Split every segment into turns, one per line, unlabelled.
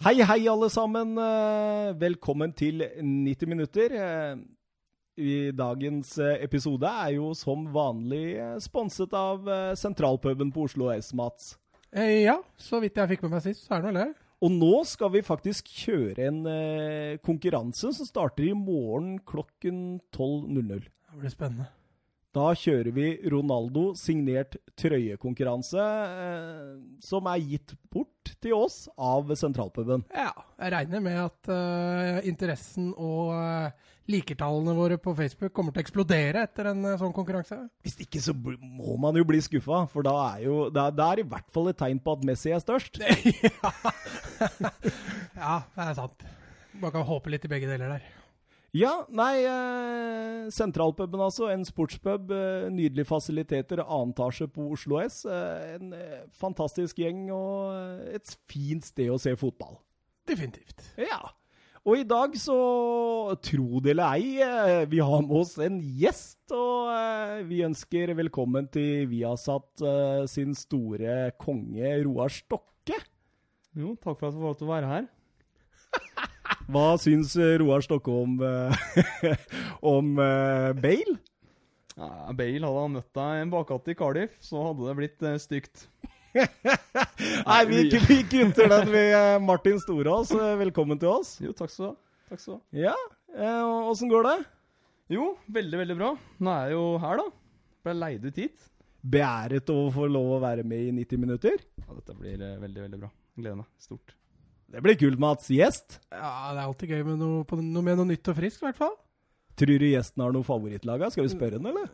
Hei, hei, alle sammen. Eh, Velkommen til 90 minutter. Eh, I dagens eh, episode er jo som vanlig eh, sponset av eh, sentralpuben på Oslo S, Mats.
Eh, ja, så vidt jeg fikk med meg sist, så er det vel det.
Og nå skal vi faktisk kjøre en eh, konkurranse som starter i morgen klokken 12.00.
Det blir spennende.
Da kjører vi Ronaldo signert trøyekonkurranse, eh, som er gitt bort til oss av sentralpuben.
Ja, jeg regner med at eh, interessen og eh, likertallene våre på Facebook kommer til å eksplodere etter en eh, sånn konkurranse.
Hvis ikke så bl- må man jo bli skuffa, for da er jo da, da er i hvert fall et tegn på at Messi er størst.
ja. ja, det er sant. Man kan håpe litt i begge deler der.
Ja, nei eh, Sentralpuben, altså. En sportspub. Eh, nydelige fasiliteter. Annen etasje på Oslo S. Eh, en eh, fantastisk gjeng og eh, et fint sted å se fotball.
Definitivt.
Ja. Og i dag så, tro det eller ei, eh, vi har med oss en gjest. Og eh, vi ønsker velkommen til Viasat eh, sin store konge Roar Stokke.
Jo, takk for at jeg får lov til å være her.
Hva syns eh, Roar Stokke om, eh, om eh, Bale?
Ja, Bale hadde han møtt deg i en bakgate i Cardiff, så hadde det blitt eh, stygt.
Nei, vi, vi kutter den ved eh, Martin Storås. Eh, Velkommen til oss.
Jo, takk skal du ha. Takk skal du ha.
Ja, eh, åssen går det?
Jo, veldig, veldig bra. Nå er jeg jo her, da. Ble leid ut hit.
Beæret å få lov å være med i 90 minutter.
Ja, dette blir eh, veldig, veldig bra. Gleder meg stort.
Det blir kult, Mats. Gjest?
Ja, det er alltid gøy med noe, på, noe med noe nytt og friskt, i hvert fall.
Tror du gjesten har noe favorittlag? Skal vi spørre han, eller?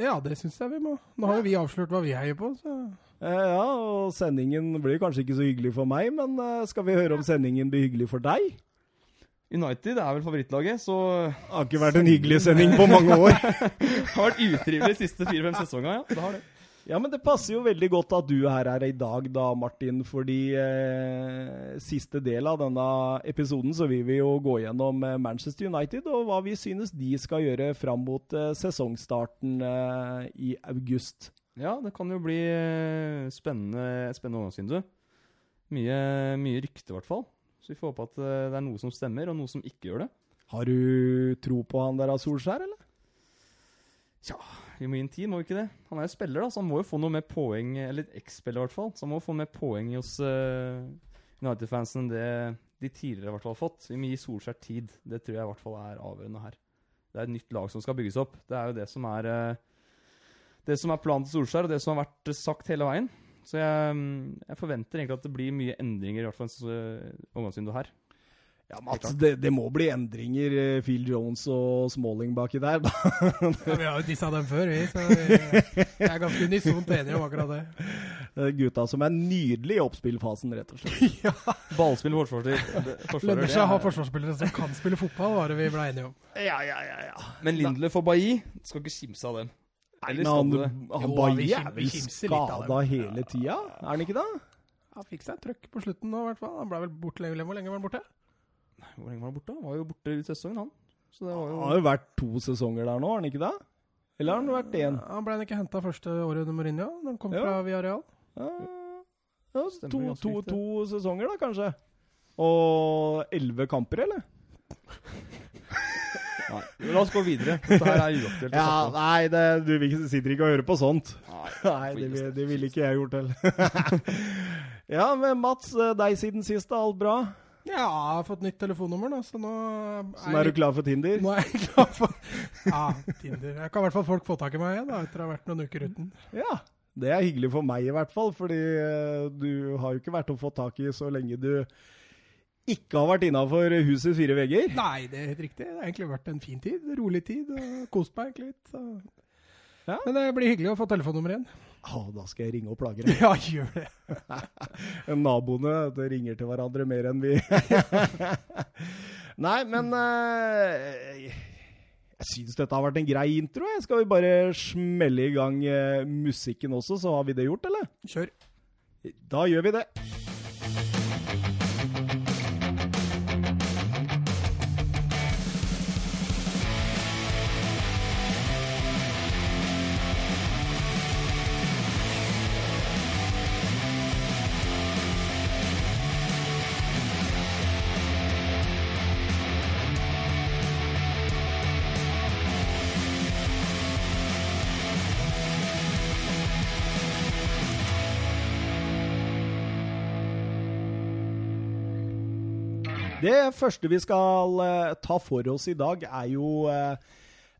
Ja, det syns jeg vi må. Nå har jo vi avslørt hva vi heier på, så
Eh, ja, og sendingen blir kanskje ikke så hyggelig for meg, men eh, skal vi høre om sendingen blir hyggelig for deg?
United er vel favorittlaget, så
Det har ikke vært en hyggelig sending på mange år.
det har vært utrivelig de siste fire-fem sesongene. Ja, det har det.
Ja, men det passer jo veldig godt at du her er i dag, da, Martin. Fordi eh, siste del av denne episoden så vil vi jo gå gjennom eh, Manchester United og hva vi synes de skal gjøre fram mot eh, sesongstarten eh, i august.
Ja, det kan jo bli eh, spennende, et spennende overgangsvindu. Mye, mye rykte, i hvert fall. Så vi får håpe at eh, det er noe som stemmer, og noe som ikke gjør det.
Har du tro på han der av Solskjær, eller?
Vi må gi en tid, må vi ikke det? Han er jo spiller, da, så han må jo få noe mer poeng Eller et X-spiller, i hvert fall. Så han må jo få mer poeng hos eh, United-fansen enn det de tidligere i hvert fall har fått. Vi må gi Solskjær tid. Det tror jeg i hvert fall er avgjørende her. Det er et nytt lag som skal bygges opp. Det er jo det som er eh, Det som er planen til Solskjær, og det som har vært sagt hele veien. Så jeg, mm, jeg forventer egentlig at det blir mye endringer, i hvert fall i omgangsvinduet her.
Ja, Mats, Altså, det, det må bli endringer. eh, Phil Jones og Smalling baki der. Da.
ja, Vi har jo dissa dem før, vi. Så eh, vi, jeg er ganske unisont enig om akkurat det.
Eh, Gutta som er nydelige i oppspillfasen, rett og slett.
Ballspill forsvarer. forsvarer,
Lønner
det
seg å ha
er-
forsvarsspillere som kan spille fotball, var det vi ble enige om.
Ja, ja, ja. ja.
Men Lindlef og Bailly skal ikke kimse av dem. Eller
Men
skal
han,
du det?
han
Jo,
bare
vi kim-
er
vi
vel
kimser litt av dem.
skada hele tida, er han ikke det?
Han fikk seg et trøkk på slutten nå, i hvert fall. Han ble vel borte lenge. Hvor lenge var han borte?
Hvor lenge var han borte? Han var jo borte ut sesongen, han. Så det var
Han
jo
har jo vært to sesonger der nå, har han ikke det? Eller har han vært én?
Han ble ikke henta første året under Mourinho, når han kom
Ja.
fra Villarreal.
Eh, Ja,
Stemmer
to,
ganske
to,
riktig.
to sesonger, da, kanskje. Og elleve kamper, eller?
Nei, men La oss gå videre. Dette her er uaktuelt. å snakke om.
nei, det, du vil ikke- sitter ikke og hører på sånt.
Nei.
Nei, det, vil- det ville ikke jeg gjort heller. ja, men Mats, eh, deg siden sist, da. Alt bra?
Ja, jeg har fått nytt telefonnummer, da, så nå
Så nå Sånn er du klar for Tinder?
Nå er jeg klar for Ja, Tinder. Jeg kan i hvert fall folk få tak i meg igjen, da, etter å ha vært noen uker uten.
Ja. Det er hyggelig for meg i hvert fall, fordi eh, du har jo ikke vært å få tak i så lenge du ikke har vært innafor husets fire vegger.
Nei, det er helt riktig. Det har egentlig vært en fin tid. Rolig tid. og Kost meg egentlig litt. Så.
Ja.
Men det blir hyggelig å få telefonnummer igjen.
Å, da skal jeg ringe og plage deg.
Ja, gjør det.
Naboene det ringer til hverandre mer enn vi Nei, men eh, Jeg syns dette har vært en grei intro. Jeg. Skal vi bare smelle i gang eh, musikken også, så har vi det gjort, eller?
Kjør.
Da gjør vi det. Det første vi skal eh, ta for oss i dag, er jo eh,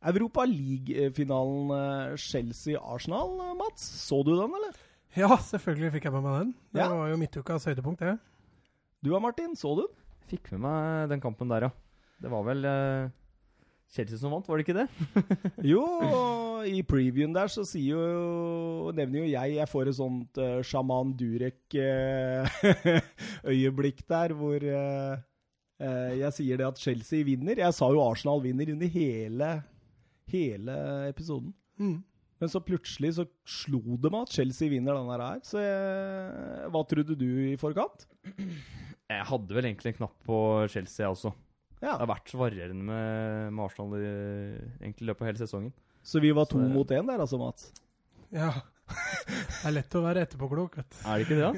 Europa League-finalen eh, Chelsea-Arsenal, eh, Mats. Så du den, eller?
Ja, selvfølgelig fikk jeg med meg den. Det
Ja.
var jo midtukas høydepunkt, det.
Du da, Martin? Så du den?
Fikk med meg den kampen der, ja. Det var vel eh, Chelsea som vant, var det ikke det?
Jo, og i previewen der så sier jo, nevner jo jeg Jeg får et sånt eh, sjaman Durek-øyeblikk der hvor eh, eh, jeg sier det at Chelsea vinner. Jeg sa jo Arsenal vinner under hele, hele episoden.
Mm.
Men så plutselig så slo det meg at Chelsea vinner denne her. Så eh, hva trodde du i forkant?
Jeg hadde vel egentlig en knapp på Chelsea, jeg også.
Ja,
Det har vært varierende med, med Arsenal i, egentlig i løpet av hele sesongen.
Så vi var to
Så-
mot én der, altså, Mats.
Ja. Det er lett å være etterpåklok, vet du.
Er det ikke det, da?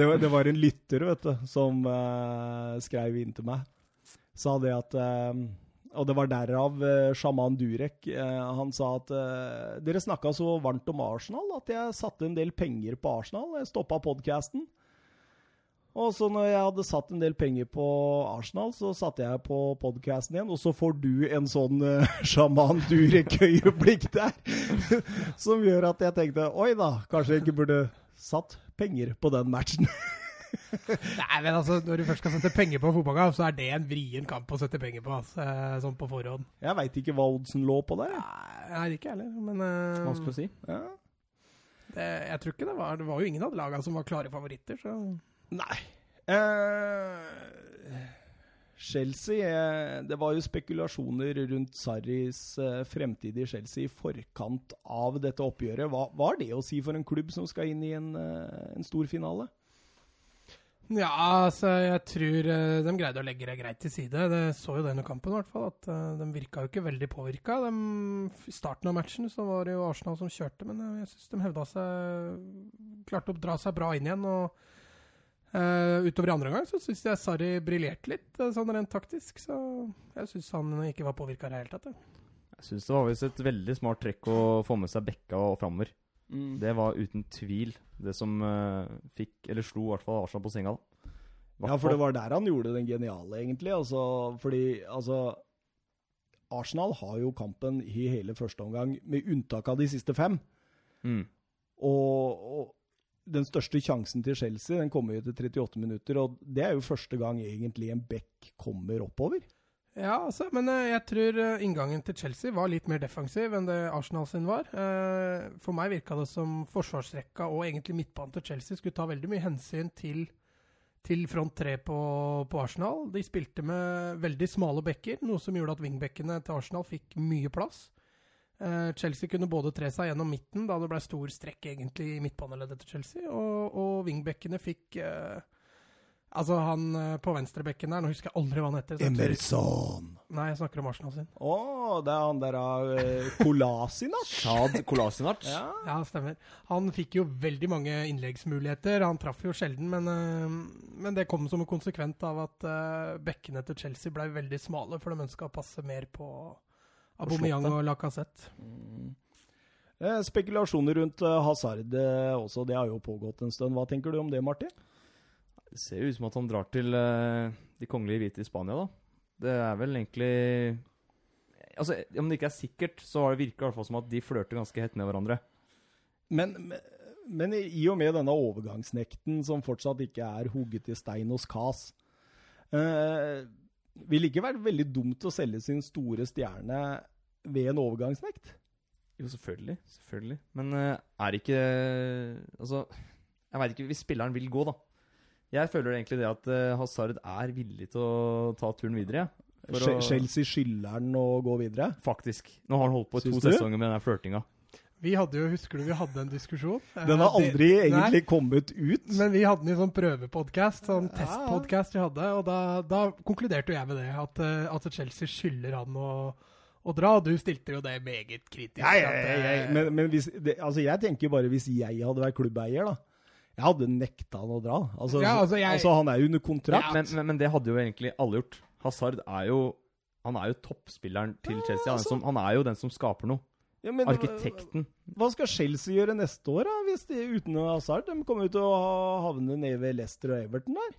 Det var, det var en lytter vet du, som eh, skrev inn til meg. Sa det at eh, Og det var derav eh, sjaman Durek. eh, han sa at eh, dere snakka så varmt om Arsenal at jeg satte en del penger på Arsenal. Jeg stoppa podkasten. Og så når jeg hadde satt en del penger på Arsenal, så satte jeg på podkasten igjen, og så får du en sånn eh, sjaman Durek-øyeblikk der, som gjør at jeg tenkte oi da, kanskje jeg ikke burde satt penger på den matchen.
Nei, men altså, når du først skal sette penger på en fotballkamp, så er det en vrien kamp å sette penger på, altså, eh, sånn på forhånd.
Jeg veit ikke hva oddsen lå på der. jeg.
Nei, ikke jeg heller, men eh,
Vanskelig å si.
Ja.
det, jeg tror ikke det var Det var jo ingen av lagene som var klare favoritter, så
Nei. Eh, Chelsea eh, Det var jo spekulasjoner rundt Sarris eh, fremtid i Chelsea i forkant av dette oppgjøret. Hva, hva er det å si for en klubb som skal inn i en, eh, en stor finale?
Ja, altså, jeg tror eh, de greide å legge det greit til side. Det så jo det under kampen, i hvert fall. At eh, de virka jo ikke veldig påvirka. De- I starten av matchen så var det jo Arsenal som kjørte, men eh, jeg syns de hevda seg Klarte å dra seg bra inn igjen. Og eh, utover i andre omgang så syns jeg Sarri briljerte litt, eh, sånn rent taktisk. Så jeg syns han ikke var påvirka i det hele tatt. jeg.
Jeg syns det var visst et veldig smart trekk å få med seg Bekka og framover. Det var uten tvil det som eh, fikk, eller slo i hvert fall Arsenal på senga. da.
Ja, for det var der han gjorde den geniale, egentlig. Altså, fordi altså Arsenal har jo kampen i hele første omgang, med unntak av de siste fem.
mm.
Og, og den største sjansen til Chelsea den kommer jo etter 38 minutter, og det er jo første gang egentlig en back kommer oppover.
Ja, altså, men eh, jeg tror eh, inngangen til Chelsea var litt mer defensiv enn det Arsenal sin var. Eh, For meg virka det som forsvarsrekka og egentlig midtbanen til Chelsea skulle ta veldig mye hensyn til, til front tre på, på Arsenal. De spilte med veldig smale bekker, noe som gjorde at wingbekkene til Arsenal fikk mye plass. Eh, Chelsea kunne både tre seg gjennom midten, da det ble stor strekk egentlig i midtbaneleddet til Chelsea, og, og wingbekkene fikk eh, Altså, han eh, på venstrebekken der, nå husker jeg aldri hva han heter. så jeg tror-
Emerson!
Nei, jeg snakker om Arsenal sin.
Å, det er han der av eh, Kolasinac.
Shad Kolasinac.
Ja.
Ja, stemmer. Han fikk jo veldig mange innleggsmuligheter. Han traff jo sjelden, men, eh, men det kom som en konsekvent av at eh, bekkene til Chelsea ble veldig smale, for de ønska å passe mer på Aubameyang og Lacassette.
Eh, Spekulasjoner rundt eh, Hazard eh, også, det har jo pågått en stund. Hva tenker du om det, Martin?
Det ser jo ut som at han drar til eh, de kongelige hvite i Spania, da. Det er vel egentlig Altså, Om det ikke er sikkert, så har det virka i hvert fall som at de flørter ganske hett med hverandre.
Men, men, men i og med denne overgangsnekten som fortsatt ikke er hugget i stein hos Kas, eh, ville ikke vært veldig dumt å selge sin store stjerne ved en overgangsnekt?
Jo, selvfølgelig. Selvfølgelig. Men eh, er ikke Altså, jeg veit ikke hvis spilleren vil gå, da. Jeg føler egentlig det at eh, Hazard er villig til å ta turen videre. ja. For
Che-
å-
Chelsea skylder den å gå videre?
Faktisk. Nå har han holdt på i
Syns
to
du?
sesonger med den der flørtinga.
Vi hadde jo, Husker du vi hadde en diskusjon? Eh,
Den har aldri
det- nei,
egentlig kommet ut.
Men vi hadde den i sånn prøvepodkast, sånn
Ja.
testpodkast vi hadde, og da, da konkluderte jo jeg med det, at, eh, at Chelsea skylder han å, å dra. Og du stilte jo det meget kritisk.
Nei,
at, eh,
Men, men hvis, det, altså jeg tenker bare hvis jeg hadde vært klubbeier, da. Jeg hadde nekta han å dra. Altså,
Ja,
altså,
altså, jeg-
han er jo under kontrakt.
Men, men, men det hadde jo egentlig alle gjort. Hazard er jo Han er jo toppspilleren til Chelsea. Han er,
altså.
som, han er jo den som skaper noe.
Ja, men- øh,
Arkitekten.
Hva skal Chelsea gjøre neste år, da, hvis de, uten Hazard? De kommer jo til å ha- havne nede ved Leicester og Everton der.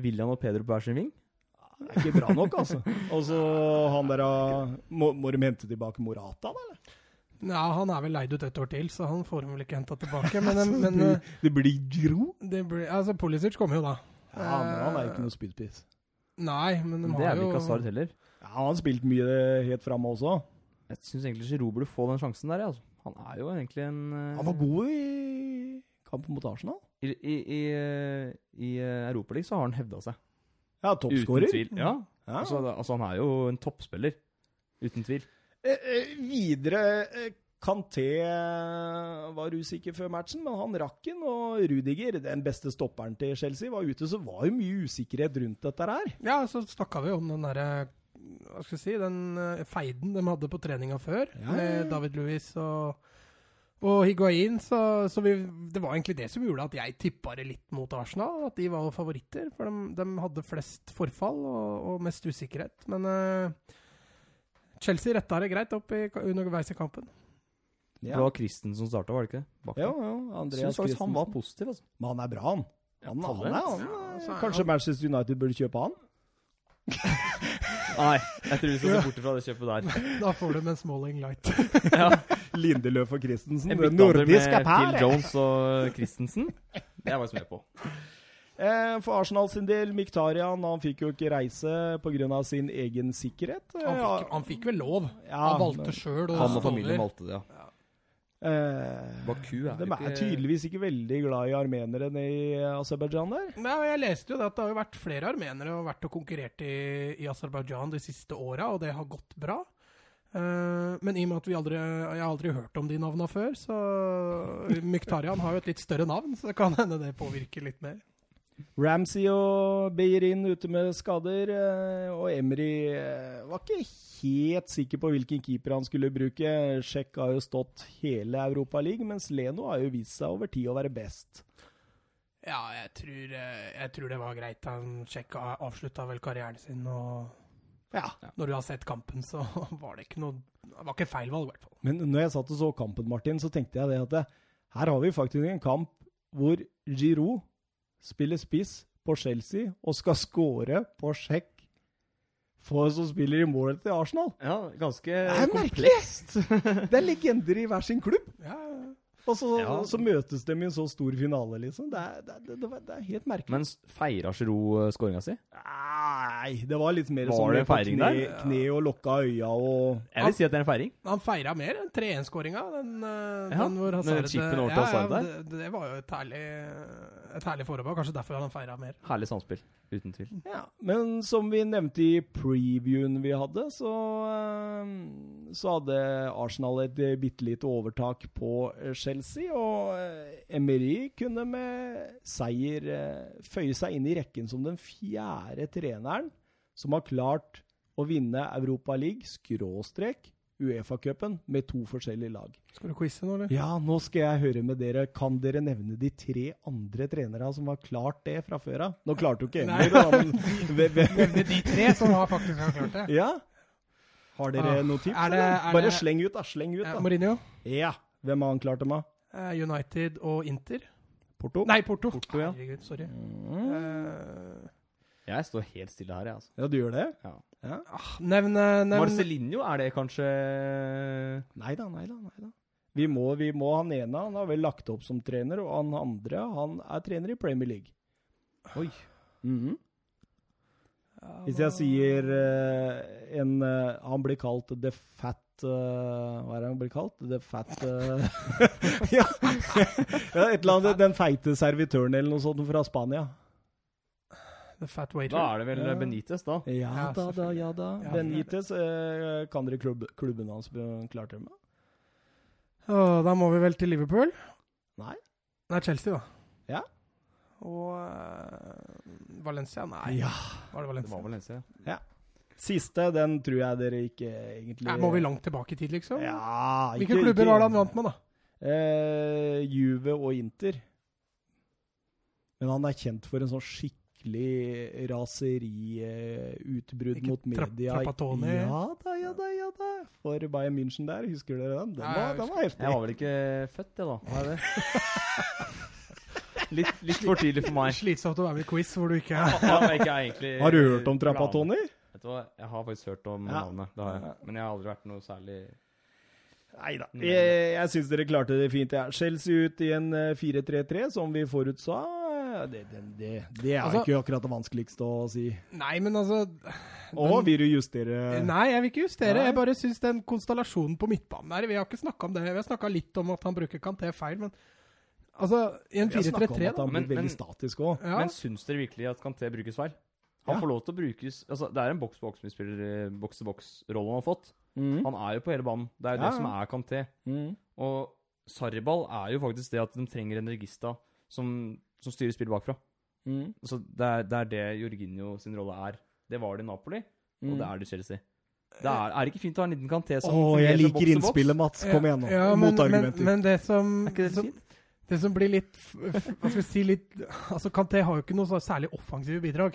William og Pedro på hver sin ving.
Det er ikke bra nok, altså. Og så han der ah, Må, må de hente tilbake Morata, da? eller?
Ja, han er vel leid ut et år til, så han får han vel ikke henta tilbake. Men,
Så
men
det,
eh,
blir- det blir Gro?
det blir, altså, Pulisic kommer jo da.
Ja, men han er jo ikke noe speedpiece.
Nei, men de
Men
har
det er vel
jo
ikke Hazard heller.
Ja, han har spilt mye helt framme også.
Jeg syns egentlig Giroud burde få den sjansen der. jeg, Altså. Han er jo egentlig en eh,
Han var god i kampen mot Arsenal.
I, i, i, eh, i eh, Europa League så har han hevda seg.
Ja,
Uten
toppskårer.
tvil. Ja.
Ja.
Altså, da- altså, han er jo en toppspiller. Uten tvil.
Eh, eh, videre eh, Kanté eh, var usikker før matchen, men han rakk den. Og Rudiger, den beste stopperen til Chelsea, var ute, så var jo mye usikkerhet rundt dette her.
Ja, så snakka vi jo om den derre Hva skal jeg si Den eh, feiden de hadde på treninga før,
Ja, ja, ja.
med David Louis og og Higuain, så, så vi, det var egentlig det som gjorde at jeg tippa det litt mot Arsenal. At de var favoritter, for de, hadde flest forfall og, og mest usikkerhet. Men eh, Chelsea retta det greit opp i, ka- underveis i kampen.
Det var Christen som starta, var det ikke det? Bak
Ja,
der.
ja,
Synes
Andreas
faktisk han
Christensen.
var positiv, altså.
Men han er bra, han. han, han, er, han,
Ja,
er-
så er
Kanskje
han-
Manchester United burde kjøpe han?
Nei, jeg tror vi skal se bort fra det kjøpet der.
Da får du en Smalling light.
Lindeløf og Christensen.
En
Det
byttehandel
nordiske
med
pære!
Phil Jones og Christensen. Det er jeg faktisk med på.
Eh, For Arsenal sin del, Miktarian han fikk jo ikke reise pga. sin egen sikkerhet. Eh,
Han fikk, han fikk vel lov.
ja,
Han valgte sjøl å
Han og
stå
familien
over.
valgte det, ja.
eh,
Baku er
De
jo
er tydeligvis ikke veldig glad i armenere nede i eh, Aserbajdsjan der.
Nei, og Jeg leste jo det at det har jo vært flere armenere og vært og konkurrert i, i Aserbajdsjan de siste åra, og det har gått bra. Eh, men i og med at vi aldri, jeg har aldri hørt om de navna før, så Myktarian har jo et litt større navn, så det kan hende det påvirker litt mer.
Ramsey og Beirin ute med skader, eh, og Emry eh, var ikke helt sikker på hvilken keeper han skulle bruke. Sjekk har jo stått hele Europaligaen, mens Leno har jo vist seg over tid å være best.
Ja, jeg tror, eh, jeg tror det var greit. Han sjekka, avslutta vel karrieren sin, og
Ja,
når du har sett kampen, så var det ikke noe Det var ikke feil valg, i hvert fall.
Men når jeg satt og så kampen, Martin, så tenkte jeg det at det, her har vi faktisk en kamp hvor Giroud spiller spiss på Chelsea og skal score på sjekk for som spiller i målet til Arsenal.
Ja, ganske
Det er merkelig! Det er legender i hver sin klubb.
Ja, ja, ja.
Og så,
Ja.
så møtes de i en så stor finale, liksom. Det er, det er, det er, det er helt merkelig.
Men feira Giroud skåringa si?
Nei, det var litt mer
Var
sånn
det
på
feiring
kne,
der?
kne og lokka øya og
Jeg vil si at det er en feiring.
Han feira mer enn 3-1-skåringa. Den, eh,
Ja,
den hvor
den
Hazard
chippen over til Hazard
ja,
der.
det, det var jo et herlig, et herlig forarbeid. Kanskje derfor han feira mer.
Herlig samspill. Uten tvil.
Ja, men som vi nevnte i previewen vi hadde, så, eh, så hadde Arsenal et eh, bitte lite overtak på eh, Chelsea. Og eh, Emery kunne med seier eh, føye seg inn i rekken som den fjerde treneren som har klart å vinne Europa League, skråstrek, Uefa-cupen, med to forskjellige lag.
Skal du quize nå, eller?
Ja, nå skal jeg høre med dere. Kan dere nevne de tre andre trenere som har klart det fra før av? Nå klarte jo ikke Emery, da. Men, hvem- hvem-
Nevne de tre som har faktisk har klart det.
ja. Har dere
Ah,
noen tips?
er det-
eller?
er
Bare
det-
sleng ut, da. Sleng ut,
Eh,
da.
Mourinho,
Ja. Hvem har han klart det med?
eh, United og Inter.
Porto?
Nei, Porto.
Porto, ja.
Herregud, sorry.
Mm.
Eh,
Jeg står helt stille her, jeg, altså.
Ja, du gjør det?
Ja.
ah, nevn eh, nevn-
Marcelinho, er det kanskje
Nei da, nei da, nei da. Vi må, vi må han ene. Han har vel lagt opp som trener, og han andre han er trener i Premier League.
Oi.
Mhm.
Ja,
Hvis jeg
nå-
sier eh, en eh, Han blir kalt The Fat eh, Hva er det han blir kalt? The Fat eh, ja. ja, et eller annet. Den feite servitøren eller noe sånt fra Spania.
The Fat Waiter.
Da er det vel
Ja.
Benitez, da.
Ja,
Ja,
da, da,
selvfølgelig.
ja da.
Ja,
Benitez, eh, kan dere klubb, klubben hans be- klart det med?
Å, da må vi vel til Liverpool?
Nei.
Nei, Chelsea, da.
Ja.
Og eh, Valencia? Nei,
Ja.
var det
Det
Valencia?
var vel Lensia.
Siste, den tror jeg dere ikke egentlig
Nei, må vi langt tilbake i tid, liksom?
Ja, ikke,
Hvilke klubber
ikke-
var det han vant med, da?
Eh, Juve og Inter. Men han er kjent for en sånn skikkelig raseriutbrudd
Ikke
mot
Tra-
media.
Trapattoni?
Ja da, ja da, ja da. For Bayern München der, husker dere den? Den
Ja,
var,
jeg
den var heftig.
Jeg var vel ikke født, jeg, da. Hva er det?
Litt, litt for tidlig for meg.
Slitsomt å være med i quiz hvor du ikke er
Han er ikke egentlig
Har du hørt om trappa,
glad.
Tony?
Vet du hva, Jeg har faktisk hørt om
Ja.
navnet, det har jeg. men jeg har aldri vært noe særlig
Nei da.
Nei.
Jeg, jeg syns dere klarte det fint. Ja. Chelsea ut i en eh, 4-3-3, som vi forutsa. Det, det, det, det er
Altså-
ikke akkurat det vanskeligste å si.
Nei, men altså
Å, vil du justere
Nei, jeg vil ikke justere.
Nei.
Jeg bare syns den konstellasjonen på midtbanen der Vi har ikke snakka om det. Vi har snakka litt om at han bruker Kanté feil, men altså I en
Vi har snakket om
4-3-3,
at
da.
han
Men-
blir veldig
men-
statisk òg.
Ja.
Men syns dere virkelig at Kanté brukes feil? Han
Ja.
får lov til å brukes altså Det er en boks-boks-spiller, boks-til-boks-rolle eh, han har fått.
Mm.
Han er jo på hele banen. Det er jo
Ja,
det som
ja.
er Kanté.
Mm.
Og Sarriball er jo faktisk det at de trenger en regista som, som styrer spillet bakfra.
Mm.
Så det er, det er det Jorginho sin rolle er. Det var det i Napoli,
Mm.
og det er det i Chelsea. Det er, er det ikke fint å ha en liten Kanté
Å,
som
jeg
fungerer som
liker
boks til boks?
innspillet, Mats. Kom igjen nå.
Ja, men, men,
Motargumenter.
men det som
Er ikke det
som,
fint?
det som blir litt f- f- Hva skal vi si litt Altså, Kanté har jo ikke noe så særlig offensive bidrag.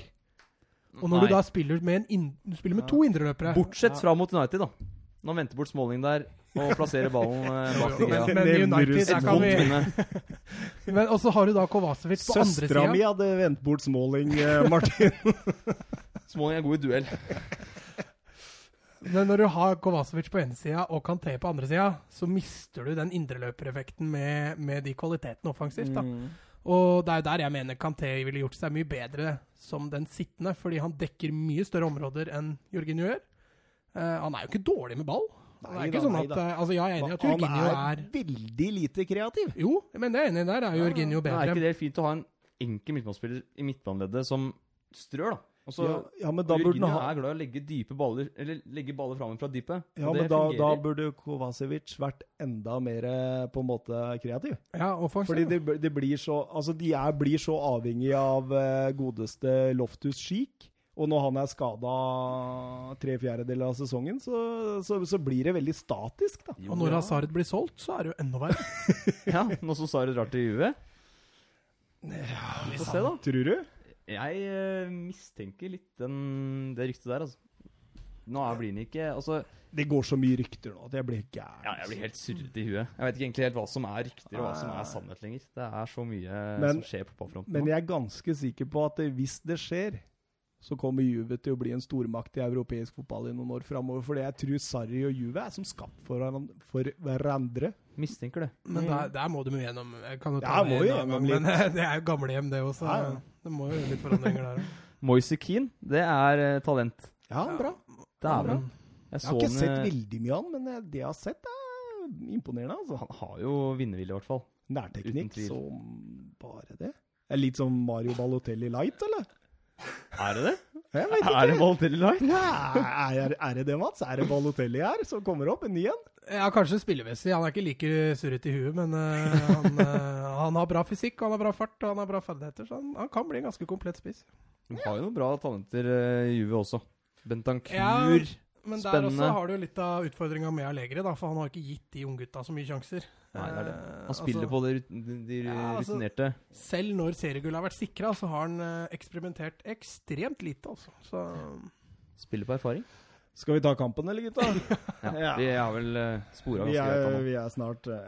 Og når
Nei.
du da spiller med, en inn- du spiller med to indreløpere
Bortsett fra mot United, da. Når han venter bort Småling der og plasserer ballen eh, bak til
Men,
greia.
men i
Nevner du
United,
så
der
Et
kan vi
vondt minne.
Men også har du da Kovacevic på andre
Søstera mi
sida.
hadde vendt bort Småling, eh, Martin.
Småling er god i duell.
Men når du har Kovacevic på ene sida og Kanté på andre sida, så mister du den indreløpereffekten med, med de kvalitetene offensivt.
Mm.
da. Og det er jo der jeg mener Kanté ville gjort seg mye bedre som den sittende, fordi han dekker mye større områder enn Jorginho gjør. Eh, han er jo ikke dårlig med ball. det
Nei
er ikke
da,
sånn
nei
at,
da.
eh, altså Jeg er enig i at
Han
Jorginho
er
er
veldig lite kreativ.
Jo, men det er jeg enig i der. Er Jorginho
Men Er
bedre?
ikke det fint å ha en enkel midtbanespiller i midtbaneleddet som strør, da? Og så
Ja, ja, men da burde
Jorginho
han ha
er glad i å legge dype baller Eller legge baller framme fra dypet.
Ja,
og det
men da, da
fungerer.
burde Kovacevic vært enda mer eh, på en måte kreativ.
Ja, offensiv.
Fordi det, det blir så, altså de er, blir så avhengig av eh, godeste Loftus Schick. Og når han er skada tre fjerdedeler av sesongen, så, så, så blir det veldig statisk, da.
Og når Hazard blir solgt, så er det jo enda verre.
Ja, Nå som Sarri drar til Juve. Få se, da.
Tror du?
Jeg eh, mistenker litt den, det ryktet der, altså. Nå er- blir han ikke Altså,
Det går så mye rykter nå at jeg blir gæren.
ja, jeg blir helt surrete i huet. Mm. Jeg vet ikke egentlig helt hva som er rykter, og hva som er sannhet lenger. Det er så mye
Men-
som skjer på ballfronten.
Men
nå.
jeg er ganske sikker på at eh, hvis det skjer, så kommer Juve til å bli en stormakt i europeisk fotball i noen år framover. For jeg tror Sarri og Juve er som skapt for, hveran- for hverandre.
Mistenker det.
Men der, der må de jo gjennom. Jeg kan Mm. jo ta
Ja,
det
må
en
jo
annen gang,
gjennom litt.
Men det er jo gamlehjem, det også.
Ja, ja.
Det må jo litt forandringer der òg.
Moise Keane, det er eh, talent.
Ja, bra.
Dæven.
Jeg har ikke sett
eh,
veldig mye av han, men eh, det jeg har sett, er imponerende. altså.
Han har jo vinnervilje, i hvert fall. Uten
Nærteknikk
tvil.
som bare det. Er litt som Mario Balotelli light, eller?
Er det det?
Jeg vet ikke.
er det Balotelli Light?
Nei, er, er det det, Mats? Er det Balotelli her som kommer opp? En ny en?
Ja, kanskje spillemessig. Han er ikke like surret i huet, men eh, han, eh, han har bra fysikk, han har bra fart og han har bra ferdigheter, så han, han kan bli en ganske komplett spiss.
De har jo noen bra talenter eh, i Juve også. Bentankur.
Ja, Men der
Spennende.
også har du jo litt av utfordringa med Allegri, da, for han har ikke gitt de unggutta så mye sjanser.
Nei, det er det.
Eh,
Han spiller
altså,
på de, rut- de, de
Ja, altså-
rutinerte.
Selv når seriegullet har vært sikra, så har han eh, eksperimentert ekstremt lite, altså. Så
Spiller på erfaring.
Skal vi ta kampen, eller, gutta?
Ja,
Ja.
De har vel uh, spora
Vi
ganske greit.
er,
av nå.
vi er snart eh,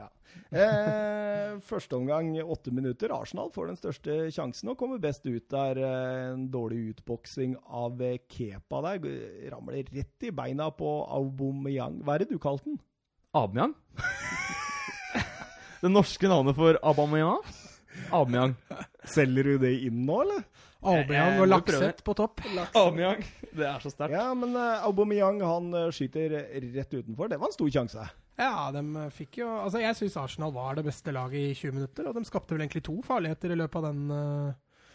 Ja. Eh, første omgang åtte minutter. Arsenal får den største sjansen og kommer best ut der. Eh, en dårlig utboksing av eh, Kepa der. G- Ramler rett i beina på Aubameyang. Hva er det du kalte den?
Abmeyang. det norske navnet for Abameyang. Abmeyang.
Selger du det inn nå, eller?
jeg
Albion
må
og
prøve det.
Lakseth på topp.
Abmeyang. Det er så sterkt.
Ja, men eh, Aubameyang han eh, skyter rett utenfor. Det var en stor sjanse.
Ja, de fikk jo Altså, jeg syns Arsenal var det beste laget i 20 minutter, og de skapte vel egentlig to farligheter i løpet av den eh,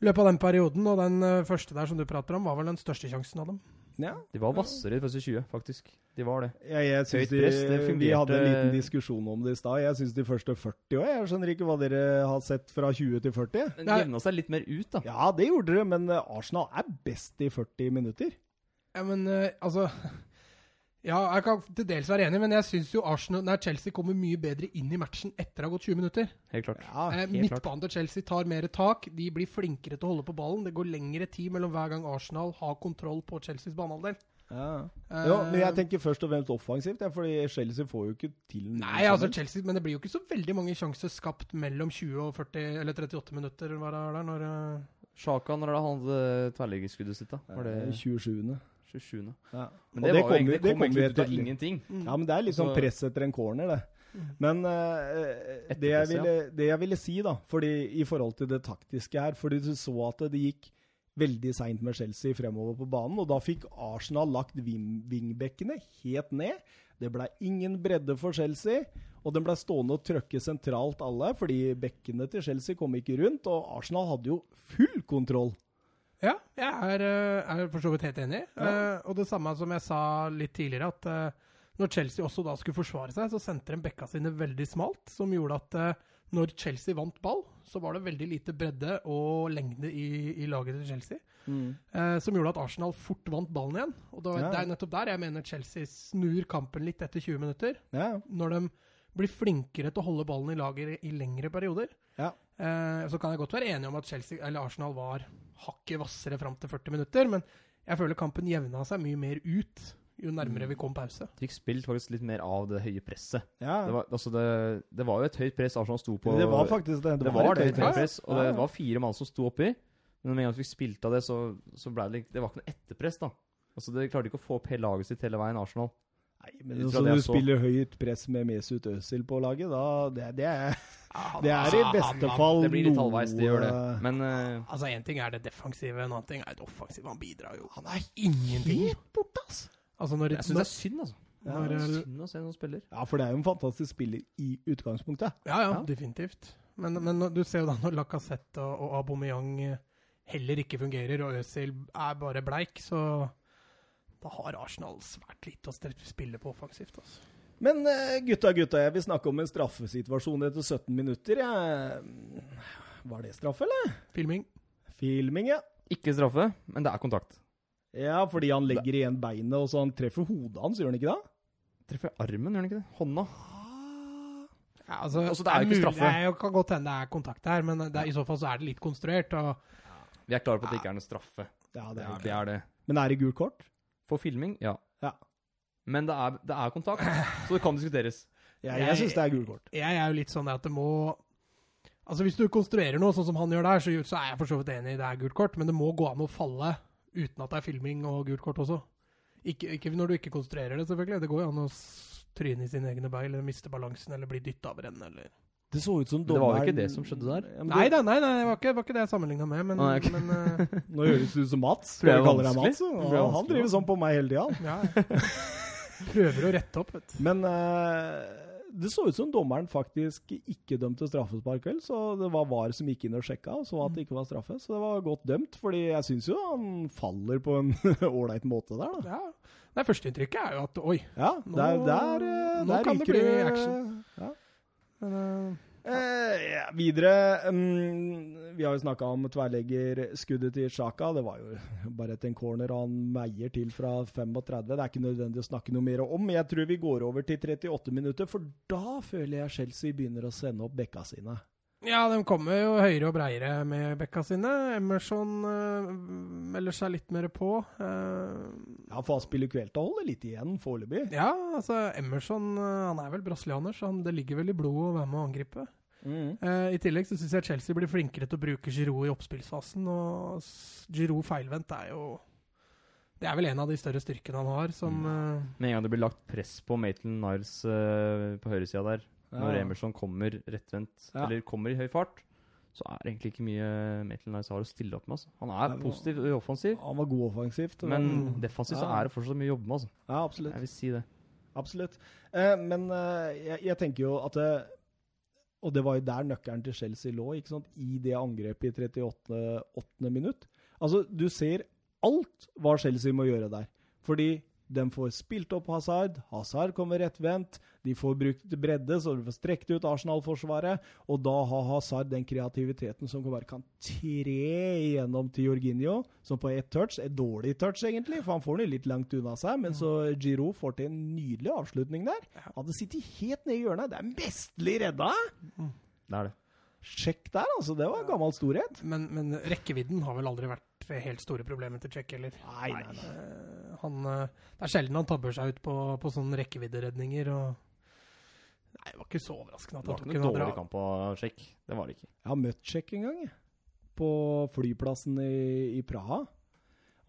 i løpet av den perioden, og den eh, første der som du prater om, var vel den største sjansen av dem.
Ja.
De var hvassere i første 20, faktisk. De var det.
Jeg, jeg synes
Høyt
de,
press, det fungerte-
Vi hadde en liten diskusjon om det i stad. Jeg syns de første 40 òg. Jeg skjønner ikke hva dere har sett fra 20 til 40.
Men
Nei.
de jevna seg litt mer ut, da.
Ja, det gjorde dere, men eh, Arsenal er best i 40 minutter.
Ja, men eh, altså Ja, jeg kan til dels være enig, men jeg syns jo Arsenal, nei, Chelsea kommer mye bedre inn i matchen etter det har gått 20 minutter.
Helt klart.
Ja,
Eh,
helt klart.
Midtbanen til Chelsea tar mer tak, de blir flinkere til å holde på ballen. Det går lengre tid mellom hver gang Arsenal har kontroll på Chelseas banehalvdel.
Ja.
Eh,
Jo, men jeg tenker først og fremst offensivt, ja, fordi Chelsea får jo ikke til noe
Nei,
som
altså
helst.
Chelsea, men det blir jo ikke så veldig mange sjanser skapt mellom 20 og 40, eller 38 minutter, hva det er der, når eh,
Sjaka når det han hadde tverrliggerskuddet sitt, da. Var det
Eh, 27.
27.
Ja.
Men
Og
det,
det
var jo egentlig, det
kommer- det
kom
kommer
egentlig ut av
til-
ingenting.
Ja,
Mm.
men det er litt sånn
Altså-
press etter en corner, det. Men eh, det, jeg
Etterpress, ja.
ville, det jeg ville si, da, fordi i forhold til det taktiske her Fordi du så at det gikk veldig seint med Chelsea fremover på banen, og da fikk Arsenal lagt vim- vingbekkene helt ned. Det ble ingen bredde for Chelsea, og den ble stående og trøkke sentralt alle, fordi bekkene til Chelsea kom ikke rundt, og Arsenal hadde jo full kontroll.
Ja, jeg er, eh, er for så vidt helt enig. Eh, og det samme som jeg sa litt tidligere, at eh, når Chelsea også da skulle forsvare seg, så sendte de bekka sine veldig smalt, som gjorde at eh, når Chelsea vant ball, så var det veldig lite bredde og lengde i, i laget til Chelsea. eh, som gjorde at Arsenal fort vant ballen igjen. Og det, var,
Ja.
det er nettopp der jeg mener Chelsea snur kampen litt etter 20 minutter.
Ja,
Når de blir flinkere til å holde ballen i lager i lengre perioder.
ja.
Eh, så kan jeg godt være enig om at Chelsea, eller Arsenal var hakket hvassere fram til 40 minutter, men jeg føler kampen jevna seg mye mer ut jo
Mm.
nærmere vi kom pause.
Fikk spilt faktisk litt mer av det høye presset.
ja.
Det var, altså det, det var jo et høyt press Arsenal sto på.
det var faktisk det.
Det var det,
et
et
høyt
høyt press, og
Ja, ja.
det var fire mann som sto oppi. Men med en gang du fikk spilt av det, så, så ble det litt- Det var ikke noe etterpress, da. Altså, Det klarte ikke å få opp hele laget sitt hele veien, Arsenal.
Nei, men
Ut fra
så
det
du
jeg så.
spiller høyt press med Mesut Özil på laget, da Det, det, er, det er i
han-
beste
han-
fall
Det blir litt halvveis, det gjør det.
noe-
Men eh,
Altså, Én ting er det defensive, en annen ting er det offensive. Han bidrar jo Han er ingenting!
borte, altså.
Altså, når,
jeg syns det er synd, altså.
når,
Det er
når
synd å se noen spiller.
Ja, for det er jo en fantastisk spiller i utgangspunktet.
Ja, ja,
Ja.
definitivt. Men, men når- du ser jo da når Lacassette og, og Aubameyang eh, heller ikke fungerer, og Øzil er bare bleik, så da har Arsenal svært lite å stre- spille på offensivt. altså.
Men eh, gutta, gutta, jeg vil snakke om en straffesituasjon etter 17 minutter. Jeg... Var det straffe, eller?
Filming.
Filming, ja.
Ikke straffe, men det er kontakt.
Ja, fordi han legger igjen beinet, og så han treffer hodet hans, gjør han ikke det?
Treffer armen, gjør den ikke det? Hånda.
Ja, altså,
Altså, det er jo ikke
mulig-
straffe.
Det er jo- kan godt hende det er kontakt her, men det er, i så fall så er det litt konstruert. Og,
Vi er klare på at det ikke er noe straffe.
Ja, det er jo
Det er det.
ikke- Men er det gult kort?
For filming, ja.
Ja.
Men det er, det er kontakt, så det kan diskuteres.
Jeg, jeg
Jeg-
syns det er gult kort.
jeg er jo litt sånn at det må Altså Hvis du konstruerer noe sånn som han gjør der, så, så er jeg for så vidt enig i det er gult kort, men det må gå an å falle uten at det er filming og gult kort også. Ikke, ikke når du ikke konstruerer det, selvfølgelig. Det går jo an å s- tryne i sine egne bein, eller miste balansen, eller bli dytta over ende, eller
Det så ut som
Men det var jo ikke
dommeren-
det som skjedde der.
Ja, men
Nei
det-
da, nei, nei, det var ikke, var ikke det jeg sammenligna med, men,
Nei, ok.
men eh,
Nå høres det ut som Mats.
Tror jeg
Når du kaller deg
vanskelig.
Mats, så-
Tror jeg
og Han
vanskelig,
driver sånn på meg hele tida.
ja. Prøver å rette opp, vet du.
Men eh, det så ut som dommeren faktisk ikke dømte straffespark, vel. Så det var VAR som gikk inn og sjekka og så at det ikke var straffe. Så det var godt dømt, fordi jeg syns jo han faller på en ålreit måte der, da.
Ja. Nei, Førsteinntrykket er jo at oi.
Ja, der,
Nå-
der, eh,
nå
der
kan det
ryker
bli
du, eh,
action.
Ja.
Men, eh,
Eh, ja, videre mm, Vi har jo snakka om tverrleggerskuddet til Sjaka. Det var jo bare etter en corner, og han meier til fra 35. Det er ikke nødvendig å snakke noe mer om. Jeg tror vi går over til 38 minutter, for da føler jeg Chelsea begynner å sende opp bekka sine.
Ja, de kommer jo høyere og breiere med bekka sine. Emerson eh, melder seg litt mer på. Eh,
Ja, for han spiller Kvelta holder litt igjen foreløpig.
ja, altså Emerson eh, han er vel brasilianer, så han, det ligger vel i blodet å være med å angripe. Eh, I tillegg så syns jeg Chelsea blir flinkere til å bruke Giroud i oppspillsfasen. Og s- Giroud feilvendt er jo Det er vel en av de større styrkene han har, som eh,
Med en gang det blir lagt press på Maitland Niles eh, på høyresida der, når Emerson kommer rettvendt,
Ja.
eller kommer i høy fart, så er det egentlig ikke mye Maitland Niles har å stille opp med. Altså. Han er
Nei, nå-
positiv og offensiv,
Han var god offensivt.
men
Mm.
defensivt så
Ja.
er det fortsatt mye å jobbe med. Altså.
ja, absolutt.
Jeg vil si det.
Absolutt. Eh, men eh, jeg, jeg tenker jo at det, Og det var jo der nøkkelen til Chelsea lå, ikke sant? i det angrepet i 38. 8. minutt. Altså, du ser alt hva Chelsea må gjøre der. Fordi de får spilt opp Hazard, Hazard kommer rettvendt, de får brukt bredde, så du får strekt ut Arsenal-forsvaret, og da har Hazard den kreativiteten som bare kan tre igjennom til Jorginho, som på ett touch, et dårlig touch egentlig, for han får den jo litt langt unna seg, men så Giro får til en nydelig avslutning der. Hadde sittet helt nede i hjørnet, det er mesterlig redda!
Det er det.
Sjekk der, altså, det var gammel storhet.
men, men rekkevidden har vel aldri vært det helt store problemet til Czech heller.
Nei, nei, nei.
Eh, han, eh, det er sjelden han tabber seg ut på, på sånne rekkevidderedninger. Og Nei, det var ikke så overraskende at han
Det var
tok
ikke
en
noe dårlig
andre.
kamp av Sjekk. Det var det ikke.
Jeg har møtt Check en gang, jeg. På flyplassen i, i Praha.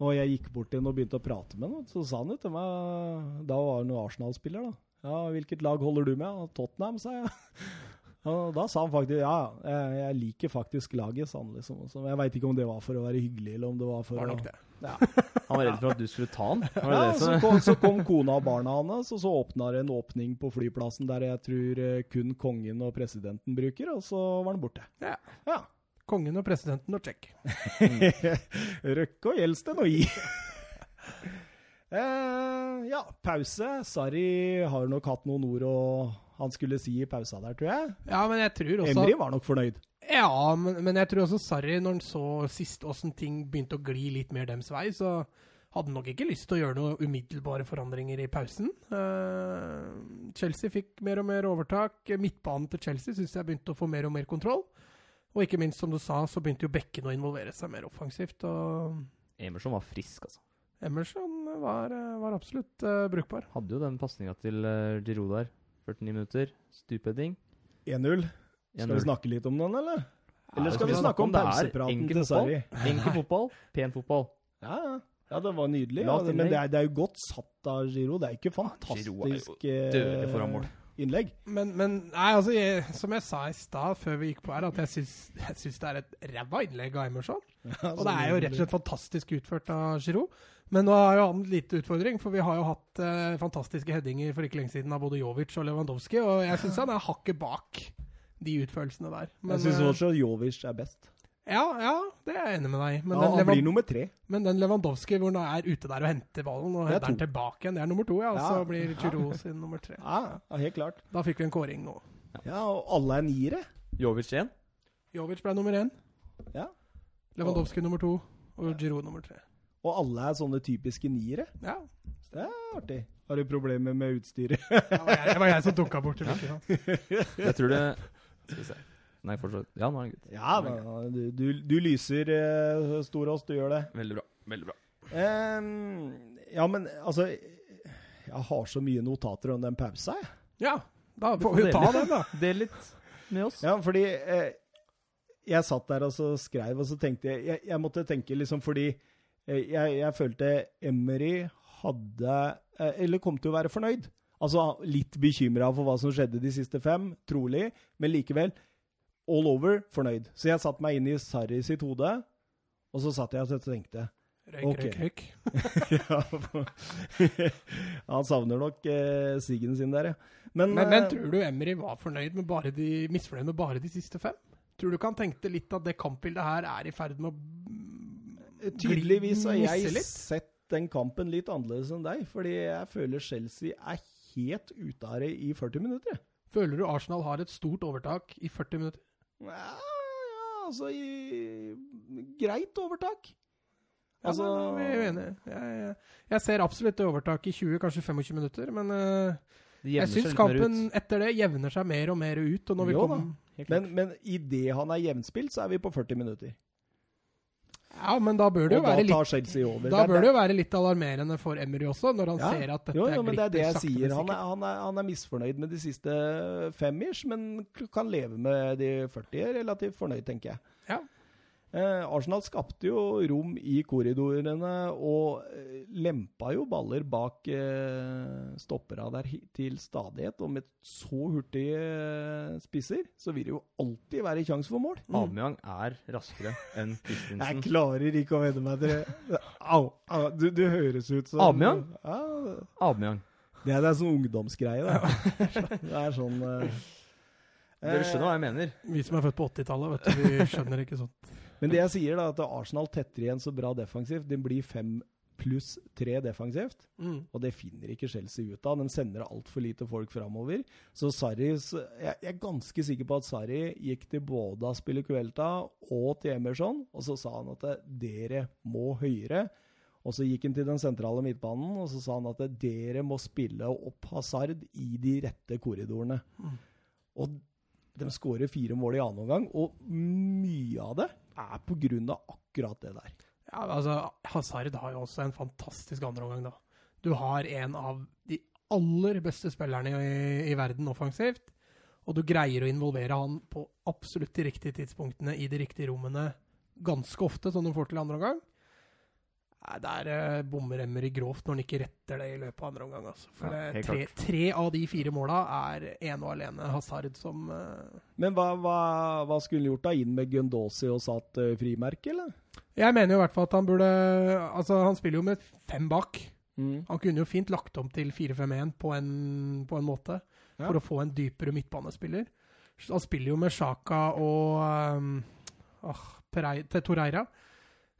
Og jeg gikk bort til ham og begynte å prate med ham. Så sa han jo til meg Da var han jo Arsenal-spiller, da. Ja, hvilket lag holder du med? «Ja, Tottenham, sa jeg. Og da sa han faktisk ja, jeg, jeg liker faktisk laget, sa han liksom. Så jeg veit ikke om det var for å være hyggelig, eller om det var for
Var
å
nok det.
Han var redd for at du skulle ta han. Var det
ja,
det
så
som
kom, så kom kona og barna hans, og så åpna det en åpning på flyplassen der jeg tror eh, kun kongen og presidenten bruker, og så var han borte.
Ja.
ja.
Kongen og presidenten og Czech.
Røkke og Gjelsten og I. eh, ja, pause. Sarri har nok hatt noen ord og han skulle si i pausa der, tror jeg.
Ja, men jeg tror også
Emry var nok fornøyd.
Ja, men, men jeg tror også Sarri, når han så sist åssen ting begynte å gli litt mer dems vei, så hadde han nok ikke lyst til å gjøre noen umiddelbare forandringer i pausen. Eh, Chelsea fikk mer og mer overtak. Midtbanen til Chelsea syns jeg begynte å få mer og mer kontroll. Og ikke minst, som du sa, så begynte jo bekkene å involvere seg mer offensivt. Og
Emerson var frisk, altså.
Emerson var, eh, var absolutt eh, brukbar.
Hadde jo den pasninga til uh, Giroud der. 49 minutter. Stupheading.
1-0. Skal
1-0.
vi snakke litt om den, eller? Eller
Ja,
skal vi snakke om
det her?
pausepraten
Enkel
til
fotball.
Sarri?
Enkel fotball, pen fotball.
Ja, ja. ja, det var nydelig. Ja,
Lavt
det- men det er, det er jo godt satt av Giro. Det er ikke
Giroud er jo
fantastisk
dødelig foran mål.
eh, innlegg.
Men, men nei, altså, jeg, som jeg sa i stad før vi gikk på her, at jeg syns, jeg syns det er et ræva innlegg av Emerson.
Altså,
Og det er jo rett og slett fantastisk utført av Giroud. Men nå har jo han en liten utfordring, for vi har jo hatt eh, fantastiske headinger for ikke lenge siden av både Jovic og Lewandowski, og jeg syns han er hakket bak de utførelsene der. Men,
Jeg syns
eh,
også Jovic er best.
ja, ja, det er jeg enig med deg i.
ja,
Men, den
han blir
Levan-
nummer tre.
men den Lewandowski hvor han er ute der og henter ballen
Det
og
er
header den
to.
tilbake igjen, det er nummer to, ja. Og
Ja.
så blir Giroud sin nummer tre.
Ja, ja, helt klart.
Da fikk vi en kåring nå.
Ja, og alle er niere.
Jovic 1.
Jovic ble nummer én.
Ja.
Lewandowski nummer to og Giroud nummer tre.
Og alle er sånne typiske niere.
Ja,
Det er artig. Har du problemer med utstyret?
det var jeg, det var jeg som dunka bort til Lykke. da.
Jeg tror det Skal vi se. Nei, fortsatt. Ja, nå er han gutt.
Ja, men du, du, du lyser, eh, Storås. Du gjør det.
Veldig bra. Veldig bra.
Ehm, ja, men altså Jeg har så mye notater om den pausa, jeg.
Ja, da
får
får vi jo ta
dele.
den, da.
Del litt med oss.
Ja, fordi eh, jeg satt der og så skrev, og så tenkte jeg Jeg, jeg måtte tenke liksom fordi eh, jeg, jeg følte Emery hadde eh, Eller kom til å være fornøyd. Altså litt bekymra for hva som skjedde de siste fem, trolig, men likevel all over fornøyd. Så jeg satte meg inn i Sarri sitt hode, og så satt jeg og tenkte
Røyk,
Ok.
røyk, røyk.
ja, Han savner nok eh, siggen sin der, ja. Men,
Men, men
eh,
tror du Emry var fornøyd med bare de, misfornøyd med bare de siste fem? Tror du ikke han tenkte litt at det kampbildet her er i ferd med å mm,
Eh, Tydeligvis har
gli- misse
jeg
litt?
sett den kampen litt annerledes enn deg, fordi jeg føler Chelsea er helt ute av det i 40 minutter. jeg.
Føler du Arsenal har et stort overtak i 40 minutter?
Ja, ja altså i, Greit overtak.
Ja, altså,
Altså-
vi er uenige. Jeg, jeg, jeg ser absolutt det overtaket i 20, kanskje 25 minutter, men eh,
Det
jeg
jevner seg
syns
litt mer ut.
kampen etter det jevner seg mer og mer ut. Og når vi
Jo da.
kom,
Helt klart.
Men, men idet han er jevnspilt, så er vi på 40 minutter.
ja, men da bør
Og
det jo
da
være litt
tar Chelsea over.
Da
er
bør det jo være litt alarmerende for Emery også, når han
Ja.
ser at dette
jo, jo, men det er det
glipper
jeg
sakte,
sier.
men
Han er,
sikkert.
han, er, han er misfornøyd med de siste femmers, men kan leve med de 40 relativt fornøyd, tenker jeg.
Ja.
Eh, Arsenal skapte jo rom i korridorene og eh, lempa jo baller bak eh, stoppera der hi- til stadighet. Og med så hurtige eh, spisser så vil det jo alltid være kjangs for mål.
Mm.
Aubameyang er raskere enn
Jeg
Christensen.
klarer ikke å venne meg til det. Au! au, Du, du høres ut som
Aubameyang?
Ja,
Aubameyang.
det er, det er sånn ungdomsgreie, det. Det er sånn eh,
Dere skjønner hva jeg mener.
Vi som er født på 80-tallet, vet du, vi skjønner ikke sånn. sånt.
eh, Men det jeg sier, da, at Arsenal tetter igjen så bra defensivt. Det blir fem pluss tre defensivt,
Mm.
og det finner ikke Chelsea ut av. De sender altfor lite folk framover. Så Sarris jeg, jeg er ganske sikker på at Sarri gikk til både Aspilicuelta og til Emerson, og så sa han at dere må høyere. Og så gikk han til den sentrale midtbanen og så sa han at dere må spille opp Hazard i de rette korridorene. Og de skårer fire mål i annen omgang, og mye av det er pga. akkurat det der.
Ja, altså, Hazard har jo også en fantastisk andreomgang, da. Du har en av de aller beste spillerne i, i verden offensivt, og du greier å involvere han på absolutt de riktige tidspunktene i de riktige rommene ganske ofte, sånn du får til andre omgang. Nei, Der eh, bommer Emry grovt når han ikke retter det i løpet av andre omgang. Altså. For
Ja,
det,
helt
tre,
klart.
tre av de fire måla er ene og alene Hazard som eh,
Men hva, hva, hva skulle han gjort da? Inn med Gundosi og satt eh, frimerke, eller?
Jeg mener jo i hvert fall at han burde Altså, han spiller jo med fem bak.
Mm.
Han kunne jo fint lagt om til 4-5-1 på, en- på en måte,
Ja.
for å få en dypere midtbanespiller. Han spiller jo med Sjaka og um, ah, Perei- til Torreira,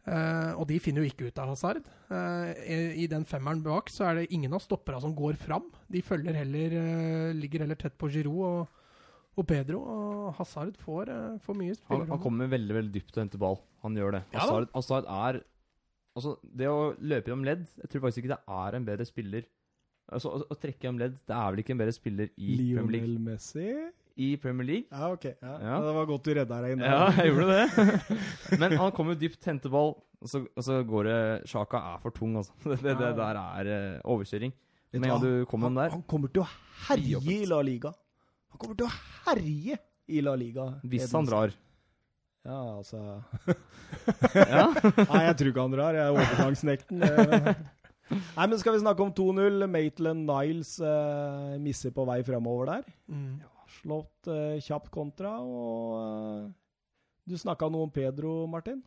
Eh, og de finner jo ikke ut av Hazard. Eh, i, I den femmeren bak så er det ingen av stoppera som går fram. De følger heller, eh, ligger heller tett på Giroud og, og Pedro, og Hazard får eh, for mye
Han, han
spillerom.
kommer veldig veldig dypt og henter ball. Han gjør det.
Ja da.
Hazard, Hazard er Altså, det å løpe gjennom ledd Jeg tror faktisk ikke det er en bedre spiller Altså, å, å trekke gjennom ledd Det er vel ikke en bedre spiller i Premier League?
Lionel Messi?
I Premier League?
Ja, OK. Ja.
Ja.
Det var godt du redda deg inn. der.
Ja, jeg gjorde det. Men han kommer dypt, henter ball, og så, og så går det Sjaka er for tung, altså. Det, det, det der er eh, overkjøring.
Vet du
Men ja,
hva?
du kom med den der.
Han kommer til å herje
Frijobbet.
i La Liga. Han kommer til å herje i La Liga.
Hvis han drar.
Ja, altså
Ja.
Nei, jeg tror ikke han drar. Jeg er overgangsnekten. Eh, Nei, men skal vi snakke om 2-0? Maitland Niles eh, misser på vei fremover der.
Mm.
Slått eh, kjapt kontra, og eh, du snakka noe om Pedro, Martin.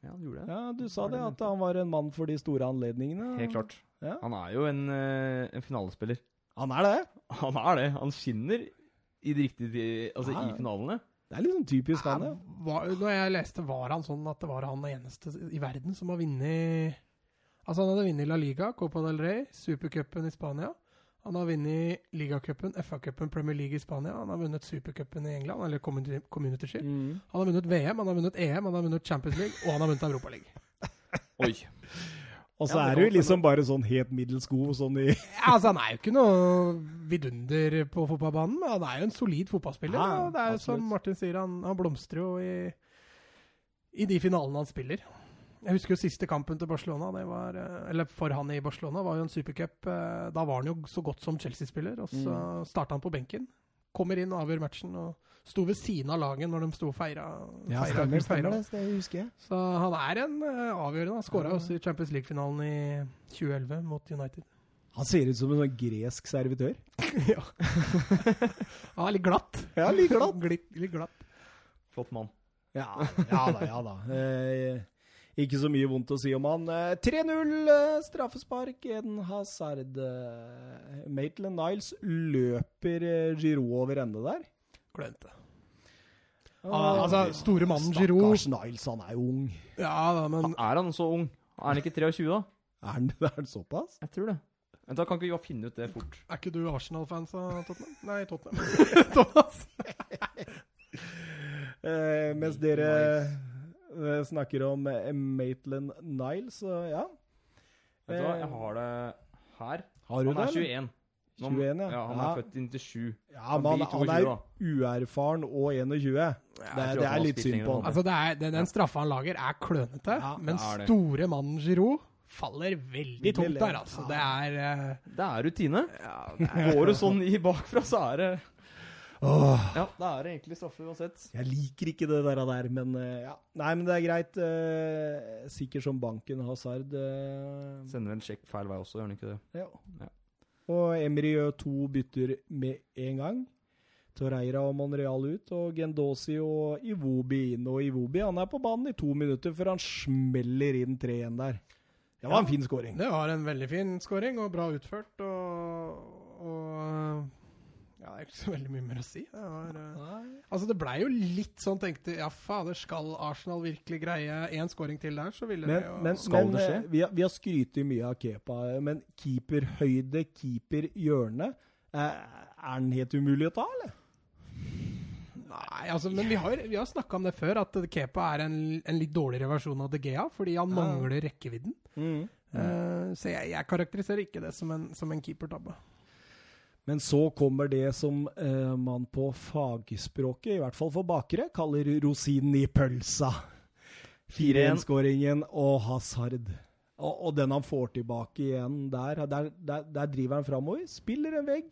ja, han gjorde det.
Ja, Du sa det, at han var en mann for de store anledningene.
Helt klart.
Ja.
Han er jo en, eh, en finalespiller.
Han er det.
Han er det. Han skinner i de riktige ti- Altså
Ah, Ja, ja.
i finalene.
Det er litt sånn typisk han, ja.
Ja, var, når jeg leste, var han sånn at det var han eneste i verden som har vunnet Altså, han hadde vunnet La Liga, Copa del Rey, supercupen i Spania. Han har vunnet ligacupen, FA-cupen, Premier League i Spania. Han har vunnet supercupen i England, eller Community Community Shield.
Mm.
Han har vunnet VM, han har vunnet EM, han har vunnet Champions League, og han har vunnet Europaligaen.
Oi.
Og så
Ja, det
er du
kan
liksom bare sånn helt middels god sånn i
Ja, altså, han er jo ikke noe vidunder på fotballbanen, men han er jo en solid fotballspiller.
Ja,
og det er jo
absolutt.
som Martin sier, han, han blomstrer jo i, i de finalene han spiller. Jeg husker jo siste kampen til Barcelona, det var, eh, eller for han i Barcelona, var jo en supercup. eh, Da var han jo så godt som Chelsea-spiller, og så
Mm.
starta han på benken. Kommer inn og avgjør matchen, og sto ved siden av laget når de sto og feira.
Ja,
feira-
stemmer, stemmer
feira.
det. Det husker jeg.
Så han er en eh, avgjørende. Han skåra
Ja.
også i Champions League-finalen i 2011 mot United.
Han ser ut som en sånn gresk servitør.
ja. Han er litt glatt.
Ja, litt glatt.
Litt, Sånn litt glatt.
Flott mann.
Ja, ja da, ja da. Eh, ikke så mye vondt å si om han. Eh, 3-0, eh, straffespark, en hasard. Eh, Maitland Niles løper eh, Giroud over ende der.
Klønete.
Ah,
altså, store mannen Giroud
Stakkars Niles, han er jo ung.
Ja da, men
Er han så ung? Er han ikke 23, da?
Er han, er han såpass?
Jeg tror det. Men da kan ikke Joa finne ut det fort.
er ikke du Arsenal-fan, sa Tottenham? Nei, Tottenham. Thomas.
Eh, mens dere eh, snakker om eh, Maitland Niles, så ja.
Vet du hva, jeg har det her.
Har du
Han
det?
er
eller?
21. Nå-
21, ja.
ja. Han
Ja.
er født i 97.
Ja, men han,
blir
han
22 da.
er uerfaren og 21. Det,
tror
det
at han
er
har
litt
spilt
synd
lenger
på
enn
han.
Altså, det er, den, den straffa han lager, er klønete,
Ja,
men
det er det.
store mannen Giroud faller veldig
Veldig
tungt der,
lett.
altså. Det er eh,
Det er rutine. Går du sånn i bakfra, så er det
Åh,
Ja, da er det egentlig straffe uansett.
jeg liker ikke det der, der men eh, ja. Nei, men det er greit. eh, Sikker som banken Hazard. eh,
Sender en sjekk feil vei også, gjør han ikke det?
Ja.
Ja.
Og Emry gjør to bytter med en gang. Torreira og Monreal ut, og Gendosi og Iwobi inn. Og Iwobi han er på banen i to minutter før han smeller inn 3-1 der. Det var
Ja.
en fin scoring.
Det var en veldig fin scoring, og bra utført, og, og Ja, det er ikke så veldig mye mer å si. Det var eh, Altså Det blei jo litt sånn tenkte Ja, fader, skal Arsenal virkelig greie én scoring til der, så ville
Men,
det jo
men,
Skal
men
det
eh,
skje?
vi har, vi har skrytt mye av Kepa, eh, men keeperhøyde, keeperhjørne eh, Er den helt umulig å ta, eller?
Nei, altså, men vi har, vi har snakka om det før, at Kepa er en, en litt dårligere versjon av De Gea, fordi han
Ja.
mangler rekkevidden.
Mm.
Eh, så jeg, jeg karakteriserer ikke det som en, som en keepertabbe.
Men så kommer det som eh, man på fagspråket, i hvert fall for bakere, kaller rosinen i pølsa. 4-1-skåringen og Hazard. Og, og den han får tilbake igjen der, der, der, der driver han framover. Spiller en vegg.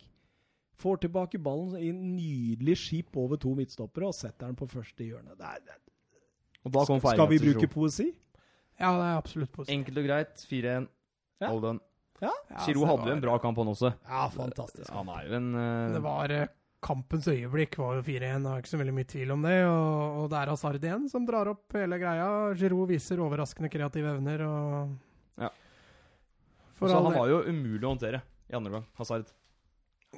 Får tilbake ballen i en nydelig skip over to midtstoppere og setter den på første hjørne. Det er- det er-
Og da kom
skal vi bruke
Tro.
poesi?
Ja, det er absolutt positivt.
Enkelt og greit. 4-1.
Ja.
All done.
Ja, så
Giroud
det
hadde jo en
var-
bra kamp, han også.
Ja, fantastisk.
Han er jo en eh,
Det var eh, kampens øyeblikk, var jo 4-1. Det er ikke så veldig mye tvil om det. Og, og det er Hazard igjen som drar opp hele greia. Giroud viser overraskende kreative evner og
Ja.
For
altså,
all
Han
del.
var jo umulig å håndtere i andre gang. Hazard.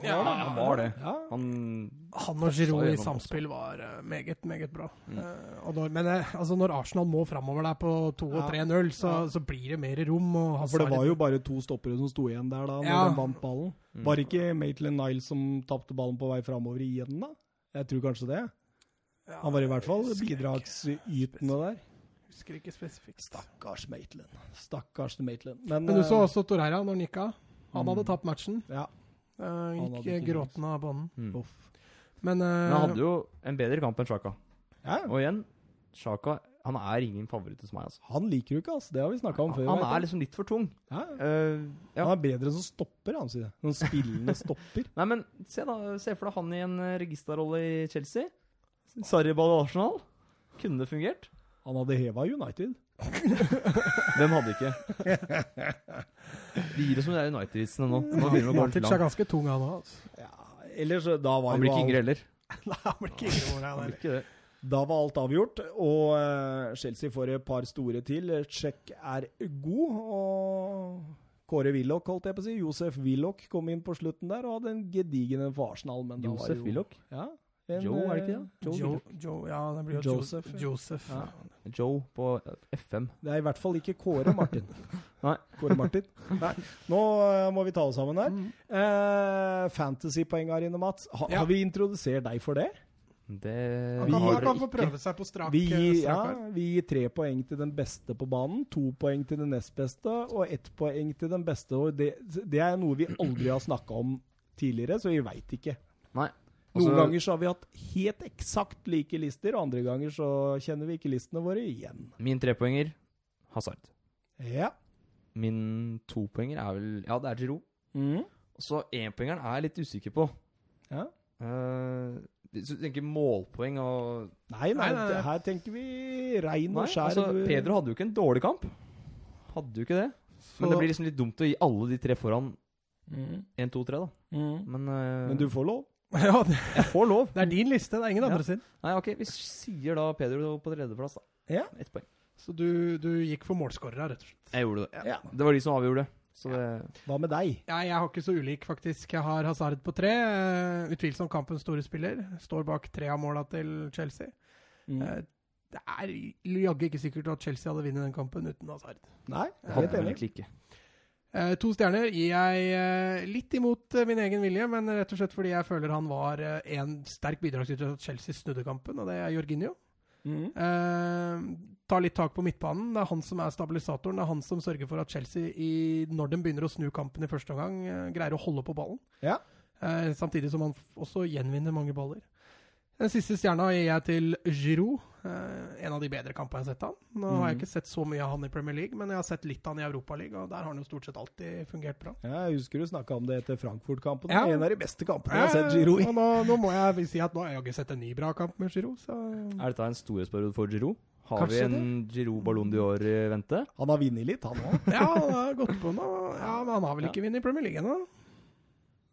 Ja,
han var det.
Ja.
Han
Han og Giroud
altså.
i
gjennom
samspill var eh, meget, meget bra.
Mm.
Eh, og når, men eh, altså når Arsenal må framover der på 2 og
Ja.
3-0, så,
Ja.
så blir det mer rom. Og
For det
Hazard-
var jo bare to stoppere som sto igjen der da, når
Ja.
de vant ballen.
Mm.
Var det ikke Maitland Niles som tapte ballen på vei framover igjen, da? Jeg tror kanskje det.
Ja,
Han var i hvert fall
jeg husker ikke-
bidragsytende der.
Husker ikke spesifikt.
Stakkars Maitland. Stakkars Maitland. Men,
Men du så
eh,
også Torreira når han gikk av. Han
Mm.
hadde tapt matchen.
Ja.
Eh, gikk
hadde ikke
gråtende av banen.
mm.
Uff.
Men, eh,
Men han hadde jo en bedre kamp enn Sjaka.
Ja,
Og igjen, Sjaka han er ingen favoritt hos meg, altså.
han liker du ikke, altså. Det har vi snakka om før.
Han
vet
er
du.
liksom litt for tung.
ja.
Eh, ja.
Han er bedre som stopper, han sier det. Som spillende stopper.
Nei, men se, da, se for deg han i en eh, registerrolle i Chelsea. Sarriball i Arsenal. Kunne det fungert?
Han hadde heva United.
Hvem hadde ikke? Det gir oss som det er United-vitsene nå. Nå begynner det å gå litt
Matic er
langt.
ganske tung, han òg. Altså.
Ja, ellers eh, da var
Han
jo
blir ikke yngre heller.
Nei, han blir ikke yngre,
Han
han
blir
heller.
ikke det.
Da var alt avgjort, og eh, Chelsea får et par store til. Check er god, og Kåre Willoch, holdt jeg på å si. Josef Willoch kom inn på slutten der og hadde en gedigen en for Arsenal. Men da var
Josef
jo-
Willoch?
Ja. en,
Joe, er det ikke det?
eh,
Joe,
Joe,
Willoch.
Joe, ja, det blir jo
Joseph,
Joseph.
ja.
Joseph.
Ja.
Joe på eh, FM.
Det er i hvert fall ikke Kåre Martin.
Nei.
Kåre Martin. Nei. Nå eh, må vi ta oss sammen her.
Mm.
Uh, Fantasypoeng her inne, Mats. Ha,
Ja.
Har vi introdusert deg for det?
Det
Han
Vi
kan,
har
han kan
det
få prøve seg på strak,
Vi gir,
eh,
ja,
strak arm.
vi gir tre poeng til den beste på banen, to poeng til den nest beste og ett poeng til den beste. Og det, det er noe vi aldri har snakka om tidligere, så vi veit ikke.
Nei.
Noen
Altså-
ganger så har vi hatt helt eksakt like lister, og andre ganger så kjenner vi ikke listene våre igjen.
Min trepoenger Hazard.
Ja.
Min topoenger er vel Ja, det er Giroud. Så énpoengeren er jeg litt usikker på.
Mm. Ja.
Eh, hvis du tenker målpoeng og
Nei, nei,
Nei, nei, nei.
her tenker vi rein
Nei,
og skjær. eh,
altså, Pedro hadde jo ikke en dårlig kamp. Hadde jo ikke det. Men det blir liksom litt dumt å gi alle de tre foran 1, 2, 3, da. Men, eh,
Mm, Men du får lov.
ja, det,
jeg får lov.
det er din liste, det er ingen
Ja.
andre sin.
Nei, ok, vi sier da Pedro på tredjeplass, da.
Ja.
Ett poeng.
Så du, du gikk for målskårere, rett og slett.
Jeg gjorde det.
Ja.
Det var de som avgjorde det. Så det
Hva med deg?
Ja, jeg har ikke så ulik, faktisk. Jeg har Hazard på tre. eh, Utvilsomt kampens store spiller. Står bak tre av måla til Chelsea.
Mm.
Eh, Det er jaggu ikke sikkert at Chelsea hadde vunnet den kampen uten Hazard.
Nei,
det
helt
hadde vel
enig.
egentlig ikke.
Eh, To stjerner gir jeg eh, litt imot eh, min egen vilje, men rett og slett fordi jeg føler han var eh, en sterk bidragsyter til at Chelsea snudde kampen, og det er Jorginho.
Mhm.
Eh, tar litt tak på midtbanen. Det er han som er stabilisatoren. Det er han som sørger for at Chelsea, i, når de begynner å snu kampen i første omgang, eh, greier å holde på ballen.
Ja.
Eh, samtidig som han f- også gjenvinner mange baller. Den siste stjerna gir jeg til Giroud. Eh, en av de bedre kampene jeg har sett han. Nå har jeg
Mhm.
ikke sett så mye av han i Premier League, men jeg har sett litt av han i Europaligaen, og der har han jo stort sett alltid fungert bra.
Ja, jeg husker du snakka om det etter Frankfurt-kampen.
Ja.
En av de beste kampene jeg har sett Giro i.
Eh, og nå, nå må jeg vel si at nå har jeg jo ikke sett en ny bra kamp med Giroud, så
Er dette en storhetsperiode for Giroud? Har
Kanskje
vi en Giroud Ballon d'Or i vente?
Han har vunnet litt, han òg.
Ja, han har gått på nå. Ja, men han har vel
Ja.
ikke vunnet i Premier League ennå?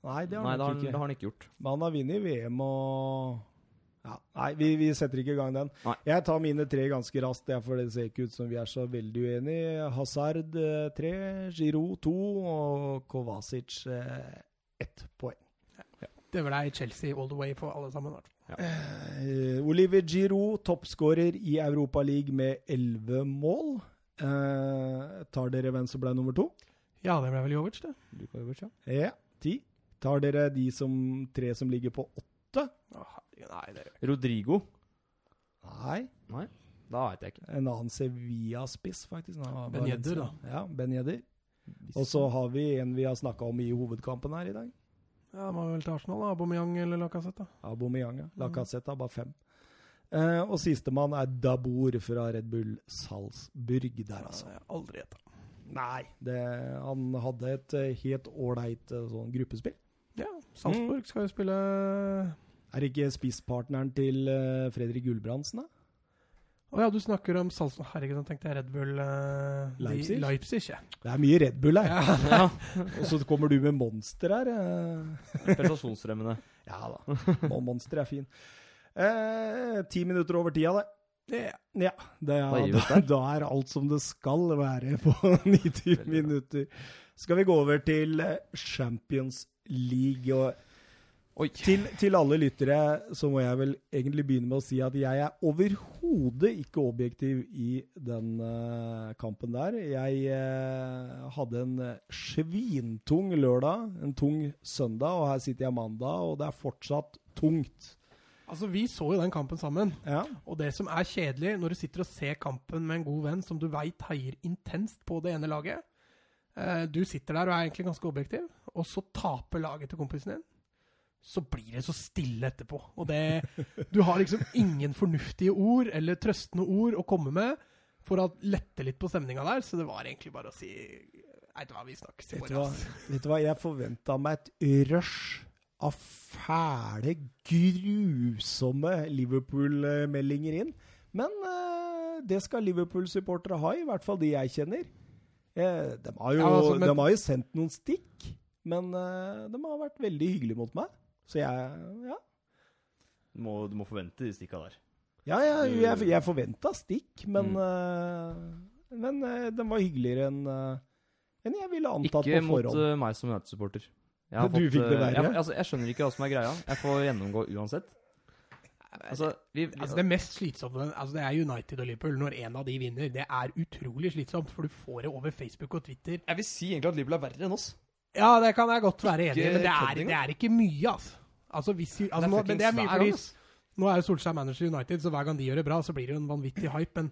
Nei, det har
Nei,
han
det har,
nok
han-
ikke.
det har han ikke gjort.
Men han har vunnet VM og ja, Nei, vi, vi setter ikke i gang den.
Nei.
Jeg tar mine tre ganske raskt, jeg, for det ser ikke ut som vi er så veldig uenige. Hazard eh, tre, Giroud to og Kovacic eh, ett poeng.
Det ble Chelsea all the way for alle sammen. i hvert fall.
Eh, Oliver Giroud, toppskårer i Europaligaen med elleve mål. Eh, tar dere hvem som ble nummer to?
Ja, det ble vel Jovic, det.
Luka Jovic, ja.
Ja, ti. Tar dere de som, tre som ligger på åtte?
Å, herregud, nei, det
Rodrigo.
Nei.
Da veit jeg ikke.
En annen Sevilla-spiss, faktisk. Nei,
Ben Yedder,
Valencia. Ja, Ben Yedder. Og så har vi en vi har snakka om i hovedkampen her i dag.
Ja, det må vel til Arsenal, da. Aubameyang eller Lacassette. da.
Aubameyang. ja. Lacassette har bare fem. Eh, og sistemann er Dabur fra Red Bull Salzburg der, altså.
har jeg aldri gjetta.
Nei, det, han hadde et eh, helt ålreit eh, sånn gruppespill.
Ja, Salzburg skal jo spille Å
Er ikke spisspartneren til eh, Fredrik Gulbrandsen, da?
ja, du snakker om Salzburg Herregud, nå tenkte jeg Red Bull eh, de-
Leipzig?
Leipzig, ja.
Det er mye Red Bull her.
Ja,
Og så kommer du med monster her. eh.
Prestasjonsfremmende.
Ja da, og monster er fin. Eh, ti minutter over tida, det.
Det-
Ja, det er,
Da gir vi
da,
oss
da er alt som det skal være på 90 minutter. Skal vi gå over til eh, Champions League og
Oi.
Til, til alle lyttere så må jeg vel egentlig begynne med å si at jeg er overhodet ikke objektiv i den eh, kampen der. Jeg eh, hadde en eh, svintung lørdag, en tung søndag, og her sitter jeg mandag, og det er fortsatt tungt.
Altså, vi så jo den kampen sammen.
Ja.
Og det som er kjedelig når du sitter og ser kampen med en god venn som du veit heier intenst på det ene laget eh, Du sitter der og er egentlig ganske objektiv, og så taper laget til kompisen din. Så blir det så stille etterpå. Og det Du har liksom ingen fornuftige ord eller trøstende ord å komme med for å lette litt på stemninga der, så det var egentlig bare å si Nei, vet du hva, vi snakkes
Vet
i
du hva,
morgen. ass.»
vet du hva? jeg forventa meg et rush av fæle, grusomme Liverpool-meldinger inn. Men eh, det skal Liverpool-supportere ha, i hvert fall de jeg kjenner. Eh, de, har jo,
Ja, altså, men-
de har jo sendt noen stikk, men eh, de har vært veldig hyggelige mot meg. Så jeg Ja,
Du må, du må forvente de stikka der.
ja, ja jeg, jeg forventa stikk, men
Mm.
eh, Men eh, de var hyggeligere enn eh, enn jeg ville antatt
Ikke
på
mot
forhånd.
eh, meg som United-supporter. Jeg, har
Men du
fått,
fikk det
eh,
verre.
Jeg, altså, jeg skjønner ikke hva som er greia. Jeg får gjennomgå uansett. Altså, vi, vi,
Altså, det mest slitsomme altså, det er United og Liverpool. Når en av de vinner, det er utrolig slitsomt, for du får det over Facebook og Twitter.
jeg vil si egentlig at Liverpool er verre enn oss.
Ja, det kan jeg godt være enig i,
Ikke
men det er,
kødding,
det er ikke mye, altså. altså, hvis, vi- altså
Det er
nå, men det er mye
fuckings hver
fordi
gang, ass.
nå er jo Solskjær manager i United, så hver gang de gjør det bra, så blir det jo en vanvittig hype, men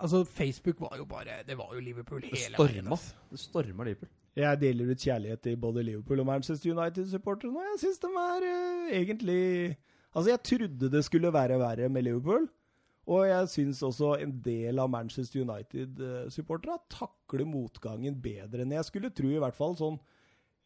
altså, Facebook var jo bare Det var jo Liverpool hele veien. altså.
storma.
ass.
det stormer Liverpool.
Jeg deler ut kjærlighet til både Liverpool og Manchester United-supportere nå. Jeg syns de er eh, egentlig Altså, jeg trodde det skulle være verre med Liverpool. Og jeg syns også en del av Manchester United-supporterne takler motgangen bedre enn jeg skulle tro, i hvert fall sånn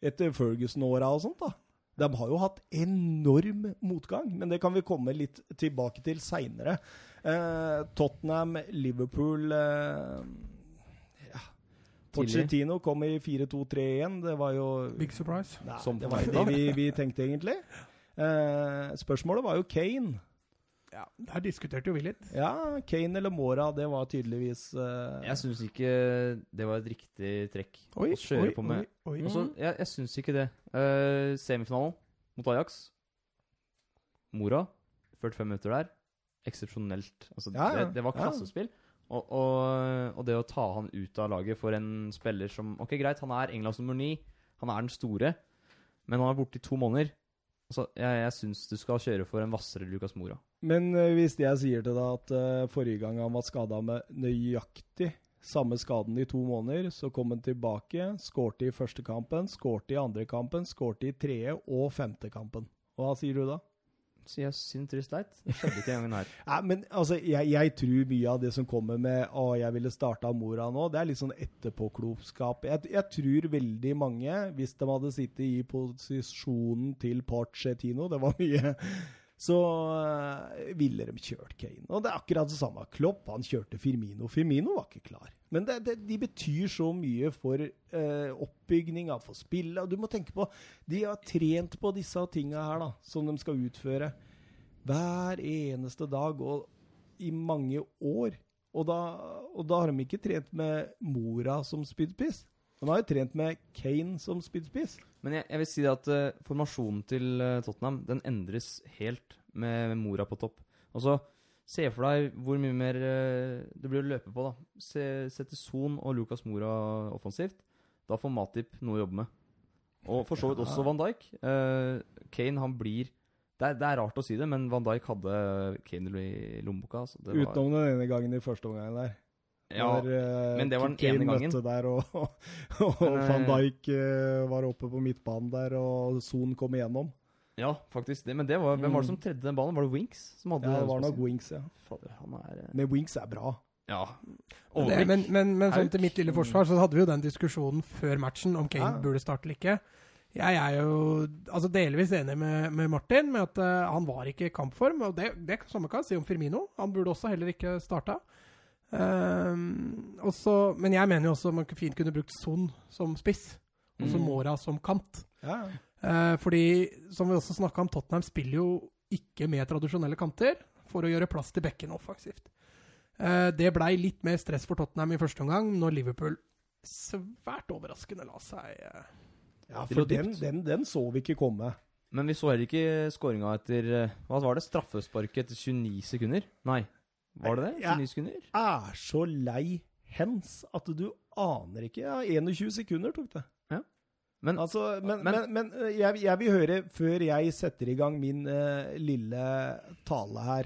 etter Ferguson-åra og sånt, da. De har jo hatt enorm motgang, men det kan vi komme litt tilbake til seinere. Eh, Tottenham, Liverpool eh, ja. Pochettino kom i 4-2-3-1. Det var jo
Big surprise.
Nei,
Som
det var jo det vi, vi tenkte, egentlig. Eh, spørsmålet var jo Kane.
Ja, Der diskuterte jo vi litt.
Ja, Kane eller Mora, det var tydeligvis eh,
Jeg syns ikke det var et riktig trekk
Oi,
å kjøre
oi,
på med.
oi, oi.
Og så- jeg jeg syns ikke det. Eh, semifinalen mot Ajax. Mora, 45 minutter der. Eksepsjonelt. Altså,
Ja, ja.
det, det var
Ja.
klassespill. Og, og, og det å ta han ut av laget for en spiller som Ok, greit, han er Englands nummer ni. Han er den store. Men han er borte i to måneder. Altså, jeg jeg syns du skal kjøre for en hvassere Lucas Mora.
Men eh, hvis jeg sier til deg at eh, forrige gang han var skada med nøyaktig samme skaden i to måneder, så kom han tilbake, skårte i første kampen, skårte i andre kampen, skårte i tredje og femte kampen. Hva sier du da?
Så jeg syns trist leit. Det skjedde ikke den gangen her.
Nei, men altså, jeg, jeg tror mye av det som kommer med 'Å, jeg ville starta mora nå', det er litt sånn etterpåklokskap. Jeg, jeg tror veldig mange, hvis de hadde sittet i posisjonen til Porcetino, det var mye så øh, ville de kjørt Kane. Og det er akkurat det samme. Klopp han kjørte Firmino. Firmino var ikke klar. Men det, det, de betyr så mye for uh, oppbygninga, for spillet. Og du må tenke på De har trent på disse tinga her, da, som de skal utføre. Hver eneste dag og i mange år. Og da, og da har de ikke trent med Mora som spydspiss. De har jo trent med Kane som spydspiss.
Men jeg, jeg vil si det at eh, formasjonen til eh, Tottenham den endres helt med, med Mora på topp. Altså, Se for deg hvor mye mer eh, det blir å løpe på. da. Se, sette Son og Lucas Mora offensivt. Da får Matip noe å jobbe med. Og for så vidt også Van Dijk. Eh, Kane han blir det er, det er rart å si det, men Van Dijk hadde Kane i lommeboka. Altså. Det var-
Utenom den ene gangen i første omgang der.
ja,
når, eh,
men det var den
Kane
ene gangen.
møtte der, og, og, og
Men, eh,
van Dijk eh, var oppe på midtbanen der, og Son kom igjennom.
Ja, faktisk. Det, men det var, hvem var det som tredde den ballen? Var det Winks? Som hadde
Mm. Ja, det
den
var nok
spasien?
Winks, ja.
Fader, han er eh,
Men Winks er bra.
Ja.
Det,
Overblikk.
men men, men sånn
Hauk.
til mitt lille forsvar så hadde vi jo den diskusjonen før matchen om
Ja.
Kane burde starte eller ikke. Jeg er jo altså delvis enig med, med Martin med at eh, han var ikke i kampform. og Det, det kan- samme kan jeg si om Firmino. Han burde også heller ikke starta. Ehm, og så- men jeg mener jo også man fint kunne brukt Son som spiss, og så
Mm.
Mora som kant.
Ja, ja.
Eh, fordi, som vi også snakka om, Tottenham spiller jo ikke med tradisjonelle kanter for å gjøre plass til bekkene offensivt. Eh, det blei litt mer stress for Tottenham i første omgang, når Liverpool svært overraskende la seg eh,
ja
Det lå
for den,
dypt.
den, den så vi ikke komme.
Men vi så heller ikke skåringa etter eh, Hva var det? Straffesparket etter 29 sekunder? Nei. Var det det?
Ja.
29 sekunder?
Er så lei hens at du aner ikke. Ja, 21 sekunder tok det.
Men
Altså, men, men,
Men-
men øh, jeg, jeg vil høre, før jeg setter i gang min øh, lille tale her,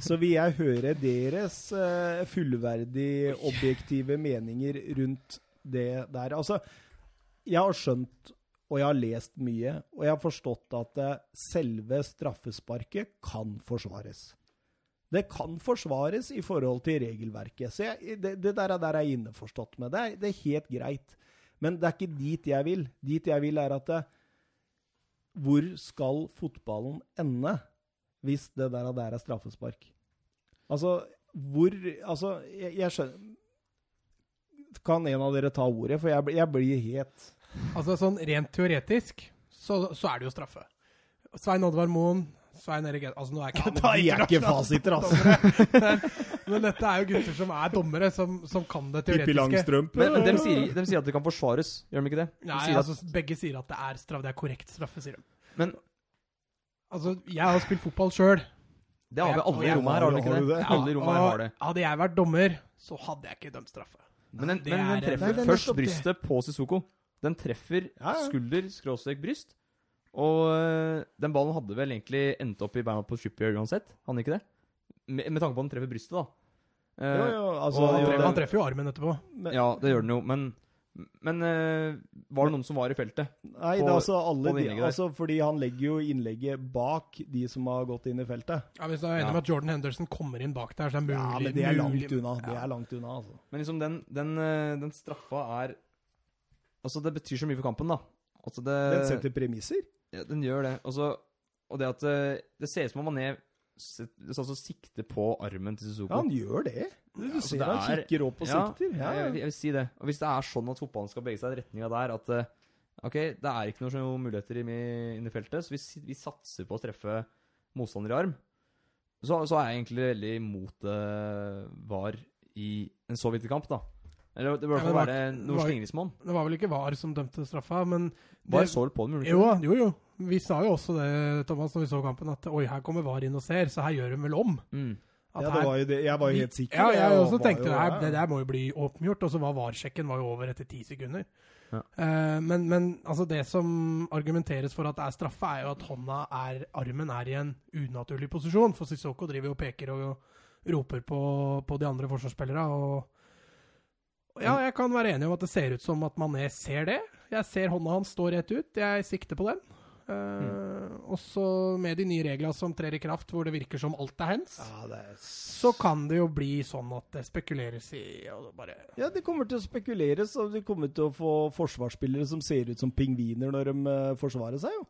så vil jeg høre deres øh, fullverdig objektive meninger rundt det der. Altså, jeg har skjønt, og jeg har lest mye, og jeg har forstått at eh, selve straffesparket kan forsvares. Det kan forsvares i forhold til regelverket. Så jeg, det, det der, er- der er jeg innforstått med. Det er, det er helt greit. Men det er ikke dit jeg vil. Dit jeg vil, er at det, Hvor skal fotballen ende hvis det der, der er straffespark? Altså, hvor Altså, jeg, jeg skjønner Kan en av dere ta ordet? For jeg, blir- jeg blir het.
Altså sånn rent teoretisk, så, så er det jo straffe. Svein Oddvar Moen, Svein Erik Ed- Altså nå er ikke han
Da gir jeg ikke fasiter, altså.
Men dette er jo gutter som er dommere, som, som kan det teoretiske.
Langstrømpe.
Men, men de, sier, de sier at det kan forsvares, gjør de ikke det? De
Nei,
sier at,
altså, begge sier at det er straff. Det er korrekt straffe, sier de.
men
Altså, jeg har spilt fotball sjøl.
det har vi alle i
Og jeg-
rommet her, har vi ikke
Har
det?
du det?
Alle i rommet her har det.
Og Hadde jeg vært dommer, så hadde jeg ikke dømt straffe.
Men den,
Det
men
er-
den
Nei,
treffer
det er
først
nettopp det.
brystet på Sissoko. Den treffer
Ja, ja.
skulder, skråstrek, bryst. Og øh, den ballen hadde vel egentlig endt opp i beina på Trippier uansett. Han ikke det? Med, med tanke på at den treffer brystet, da. Eh,
Jo, jo, altså,
Og
Han
jo,
treffer,
det-
han treffer jo armen etterpå.
men-
Ja, det gjør den jo, men Men øh, var det noen som var i feltet?
Nei,
på-
det er altså alle
på det
de,
innlegget der.
altså, fordi han legger jo innlegget bak de som har gått inn i feltet.
Ja, hvis du er enig
Ja.
med at Jordan Henderson kommer inn bak der, så er det mulig.
Ja, men det er langt
mulig-
unna. Det
Ja.
er langt unna, altså.
Men liksom den, den, øh, den straffa er Altså, det betyr så mye for kampen, da. Altså, det
Den setter premisser.
Ja, den gjør det. Og, så, og det at eh, det ser ut som om Mané set- altså, sikter på armen til
Ja,
Suzuko.
han gjør det. Du
altså,
ser
det
han
er-
kikker opp og sikter. Ja,
Jeg,
ja.
vil- jeg vil si det. Og hvis det er sånn at fotballen skal bevege seg i retninga der at eh, OK, det er ikke noen muligheter inne i- inne i feltet, så vi, si- vi satser på å treffe motstander i arm, så, så er jeg egentlig veldig imot eh, VAR i en så viktig kamp, da. Eller det bør i hvert
Ja,
fall
men
være
var-
noe slingringsmonn.
Det var vel ikke VAR som dømte straffa, men
Bare
det,
så på den, gjorde du
jo, jo, jo. Vi sa jo også det, Thomas, når vi så kampen, at oi, her kommer VAR inn og ser, så her gjør de vel om.
ikke? Mm.
At
ja,
her-
det var jo det. Jeg var jo helt sikker.
Ja, jeg
var-
også
var
tenkte
jo-
det, her,
ja.
det der må jo bli åpengjort, og så var varsjekken var jo over etter ti sekunder.
Ja.
Eh, men, men altså det som argumenteres for at det er straffe, er jo at hånda er, armen er i en unaturlig posisjon, for Sissoko driver jo og peker og, roper på, på de andre forsvarsspillere. Og, og ja, jeg kan være enig om at det ser ut som at Mané ser det. Jeg ser hånda hans stå rett ut, jeg sikter på den. Eh,
Mm.
Og så med de nye reglene som trer i kraft, hvor det virker som alt er hens
Ja, det er...
så kan det jo bli sånn at det spekuleres i og det bare
ja, det kommer til å spekuleres, og de kommer til å få forsvarsspillere som ser ut som pingviner når de eh, forsvarer seg, jo.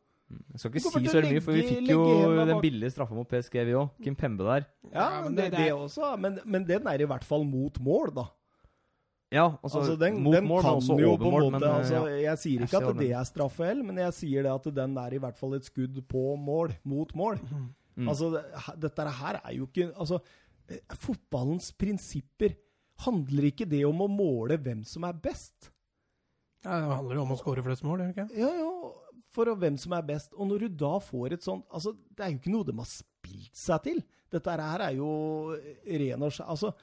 Jeg skal ikke
Du kommer
si
til
så
å
veldig mye, for vi
legge-
fikk
legge
jo
hendene
den
bak.
billige straffa mot PSG, vi òg. Kim Pembe der.
Ja, men det, det også. Men, men den er i hvert fall mot mål, da.
Ja, altså,
Altså, den,
mot
den
mål, men
kan
også
jo på
over
en
mål.
måte
Men, eh,
altså,
ja.
Jeg sier
Jeg
ikke
ser
at
den.
det er straffe heller, men jeg sier det at den er i hvert fall et skudd på mål, mot mål.
Mm.
Altså, det- he- dette her er jo ikke Altså, eh, fotballens prinsipper handler ikke det om å måle hvem som er best?
ja, Det handler jo om å skåre flest mål, gjør det ikke?
Ja, ja, for å- hvem som er best. Og når du da får et sånt Altså, det er jo ikke noe de har spilt seg til. Dette her er jo ren og skjær Altså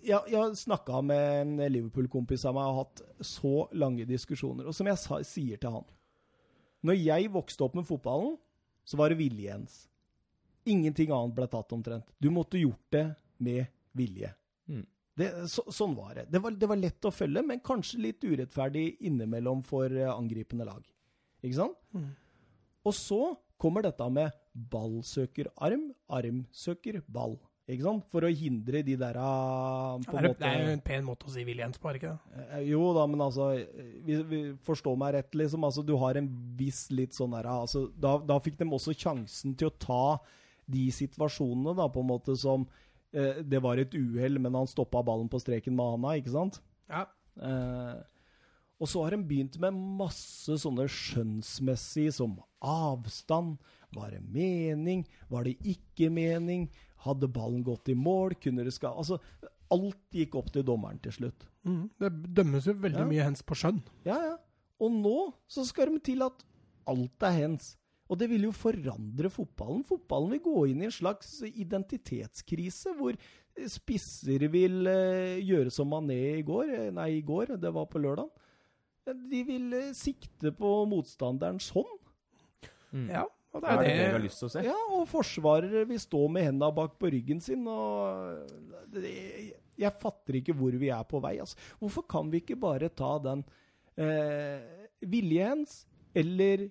Jeg, jeg snakka med en Liverpool-kompis av meg og har hatt så lange diskusjoner. Og som jeg sa, sier til han Når jeg vokste opp med fotballen, så var det viljehens. Ingenting annet ble tatt omtrent. Du måtte gjort det med vilje.
Mm.
Det, så, sånn var det. Det var, det var lett å
Mm.
følge, men kanskje litt urettferdig innimellom for eh, angripende lag. Ikke sant? Og så kommer dette med ball søker arm, arm søker ball. Ikke sant? For å hindre de der ah, på en
er det, det
måte
er jo en pen måte å si Williams på, er det ikke det?
Eh, Jo da, men altså vi, vi Forstå meg rett, liksom. Altså, du har en viss litt sånn der altså, da, da fikk de også sjansen til å ta de situasjonene, da, på en måte som eh, Det var et uhell, men han stoppa ballen på streken med handa, ikke sant?
Ja.
Eh, og så har de begynt med masse sånne skjønnsmessige som avstand. Var det mening? Var det ikke mening? Hadde ballen gått i mål? Kunne det skal... Altså, alt gikk opp til dommeren til slutt.
Mm. Det dømmes jo veldig
Ja.
mye hens på skjønn.
Ja, ja. Og nå så skal de til at alt er hens. Og det vil jo forandre fotballen. Fotballen vil gå inn i en slags identitetskrise, hvor spisser vil eh, gjøre som Mané i går. Eh, Nei, i går, det var på lørdag. De vil eh, sikte på sånn. motstanderens hånd.
Ja, og det
Er
er
det det vi har
det.
lyst til å se?
Ja, og forsvarere vil stå med henda bak på ryggen sin, og det- Jeg fatter ikke hvor vi er på vei, altså. Hvorfor kan vi ikke bare ta den eh, viljehens, eller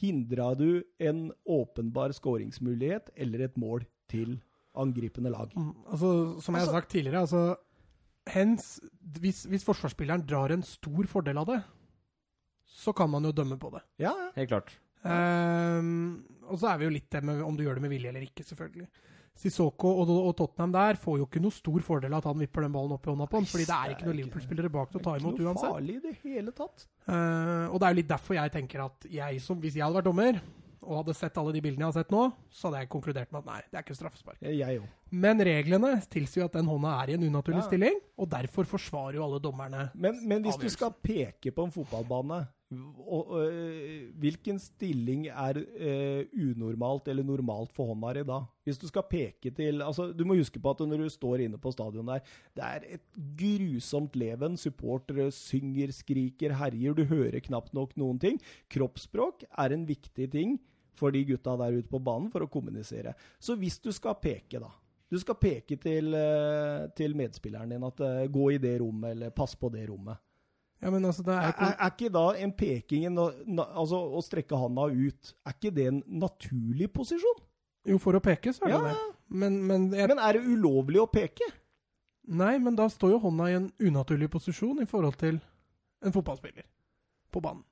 hindra du en åpenbar skåringsmulighet eller et mål til angripende lag?
Mm. Altså, som jeg har
Altså-
sagt tidligere, altså hens hvis, hvis forsvarsspilleren drar en stor fordel av det, så kan man jo dømme på det.
Ja, ja.
Helt klart.
Ehm, og så er vi jo litt det med om du gjør det med vilje eller ikke, selvfølgelig. Sissoko og, og Tottenham der får jo ikke noe stor fordel av at han vipper den ballen opp i hånda på ham, fordi det er ikke noen Liverpool-spillere bak til å ta imot
Ikke noe
uansett.
farlig i det hele tatt.
Eh, og det er jo litt derfor jeg tenker at jeg som, hvis jeg hadde vært dommer, og hadde sett alle de bildene jeg har sett nå, så hadde jeg konkludert med at nei, det er ikke straffespark.
Eh, Jeg òg.
Men reglene tilsier jo at den hånda er i en unaturlig
Ja.
stilling, og derfor forsvarer jo alle dommerne.
Men, men hvis du
Avgjørelsen.
skal peke på en fotballbane, og, øh, hvilken stilling er øh, unormalt eller normalt for hånda di da? Hvis du skal peke til altså, Du må huske på at når du står inne på stadion der, det er et grusomt leven. Supportere synger, skriker, herjer. Du hører knapt nok noen ting. Kroppsspråk er en viktig ting for de gutta der ute på banen for å kommunisere. Så hvis du skal peke, da Du skal peke til, øh, til medspilleren din at øh, gå i det rommet, eller pass på det rommet.
Ja, men altså, det er
Er,
jo ikke
er, er ikke da en peking en, na, altså, å strekke handa ut, er ikke det en naturlig posisjon?
Jo, for å peke, så er det
Ja.
det. Men, men jeg
Men er det ulovlig å peke?
Nei, men da står jo hånda i en unaturlig posisjon i forhold til en fotballspiller på banen.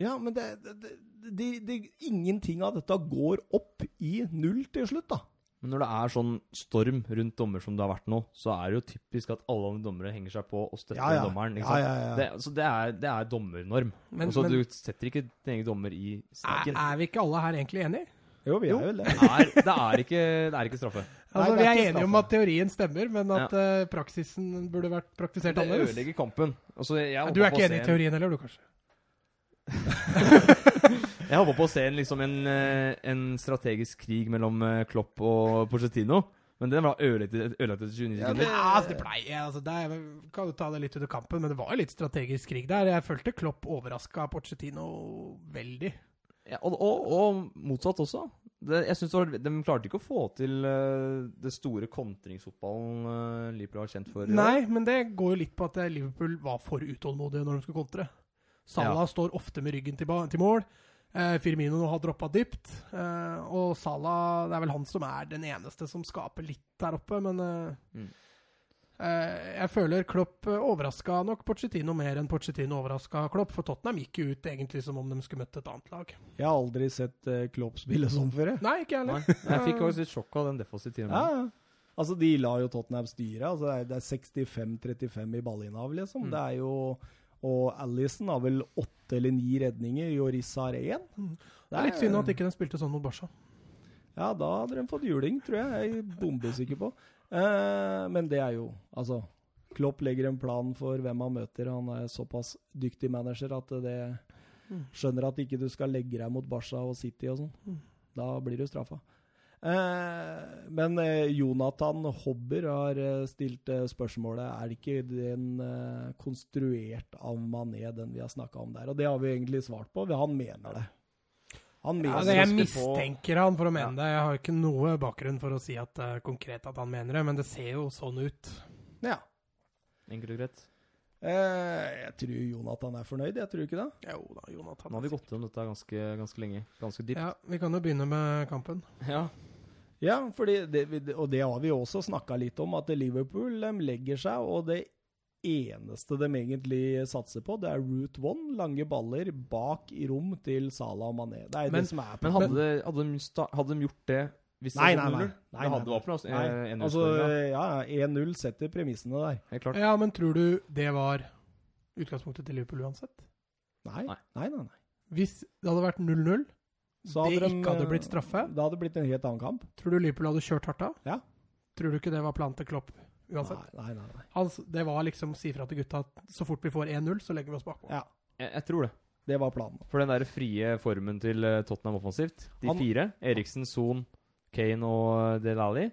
Ja, men det, det, det, det, det, ingenting av dette går opp i null til slutt, da.
Men når det er sånn storm rundt dommer som det har vært nå, så er det jo typisk at alle dommere henger seg på og støtter dommeren.
ja,
ikke sant?
ja, ja.
Det, så det er, det er dommernorm.
Men,
altså,
men
Du setter ikke din egen dommer i
er,
streken.
er vi ikke alle her egentlig enige?
jo, vi
Jo.
er vel det.
Det er, det, er ikke, det er ikke straffe.
Altså,
det er
vi er
ikke
enige om
straffe.
at teorien stemmer, men at eh, praksisen burde vært praktisert
Det
annerledes.
ødelegger kampen. Altså,
Nei,
jeg håper
Du er
på
ikke
å
enig
se
i
en-
teorien heller, du, kanskje?
Jeg håper på å se en, liksom en, eh, en strategisk krig mellom eh, Klopp og Pochettino. Men den var ødelagt ødelagt etter 29
Ja,
sekunder.
det-
Ja, altså, det blei altså, det er, Kan jo ta det litt under kampen, men det var jo litt strategisk krig der. Jeg følte Klopp overraska Pochettino veldig.
Ja, og, og, og motsatt også. Det, jeg synes det var, De klarte ikke å få til eh, det store kontringsfotballen eh, Liverpool har kjent for. i år.
Nei, men det går jo litt på at eh, Liverpool var for utålmodige når de skulle kontre. Salah
Ja.
står ofte med ryggen til, ba- til mål. Eh, Firmino har droppa dypt. Eh, og Salah Det er vel han som er den eneste som skaper litt der oppe, men eh,
Mm.
eh, Jeg føler Klopp overraska nok Pochettino mer enn Pochettino overraska Klopp, for Tottenham gikk jo ut egentlig som om de skulle møtt et annet lag.
Jeg har aldri sett eh, Klopp spille sånn før, jeg.
Nei, ikke jeg
Nei,
heller.
Jeg fikk også litt sjokk av den defensive timen.
Ja. ja. Altså, de la jo Tottenham styre. Altså, det er- det er 65-35 i ballinnehav, liksom.
Mm.
Det er jo Og Alison har vel åtte eller ni redninger. Joris har én.
Mm. Det er litt synd at ikke de spilte sånn mot Barca.
Ja, da hadde de fått juling, tror jeg. Jeg er bombesikker på. Eh, men det er jo Altså, Klopp legger en plan for hvem han møter. Han er såpass dyktig manager at det Skjønner at ikke du skal legge deg mot Barca og City og sånn. Da blir du straffa. Eh, men eh, Jonathan Hobber har eh, stilt eh, spørsmålet er det ikke den eh, konstruert av Mané, den vi har snakka om der. Og det har vi egentlig svart på. Han mener det. Han
Ja,
mener
altså, jeg
husker på-
mistenker han for å mene det. Jeg har ikke noe bakgrunn for å si at eh, konkret at han mener det, men det ser jo sånn ut.
det. Ja.
Enkelt og greit.
Eh, jeg tror Jonathan er fornøyd, jeg tror ikke det?
Jo da, Jonathan.
Nå har vi gått gjennom dette ganske, ganske lenge. Ganske dypt.
Ja, Vi kan jo begynne med kampen.
Ja.
Ja, fordi det, og det har vi også snakka litt om, at Liverpool de legger seg, og det eneste de egentlig satser på, det er route one, lange baller bak i rom til Salah og Mané. Det er
Men-
det som er
Men hadde, det- hadde, de, sta- hadde de gjort det hvis
Nei,
det
nei,
var
nei. Nei,
0-0? Det
nei,
hadde
nei.
våpen, altså.
Nei,
Eh, en
Altså,
utfordring,
ja, ja, 1-0 setter premissene der.
ja. Helt klart.
Ja, Men tror du det var utgangspunktet til Liverpool uansett?
Nei,
Nei.
nei, nei. nei.
Hvis det hadde vært 0-0,
Så
det
de-
ikke hadde blitt straffe,
Det hadde blitt en helt annen kamp.
tror du Liverpool hadde kjørt hardt av?
Ja.
Tror du ikke det var planen til Klopp uansett?
Nei, nei, nei. nei.
Han s- det var liksom si fra til gutta at så fort vi får 1-0, så legger vi oss bakpå.
Ja,
Jeg, jeg tror det.
det var planen.
For den der frie formen til eh, Tottenham offensivt, de
Han-
fire, Eriksen, Son, Kane og Del Alli,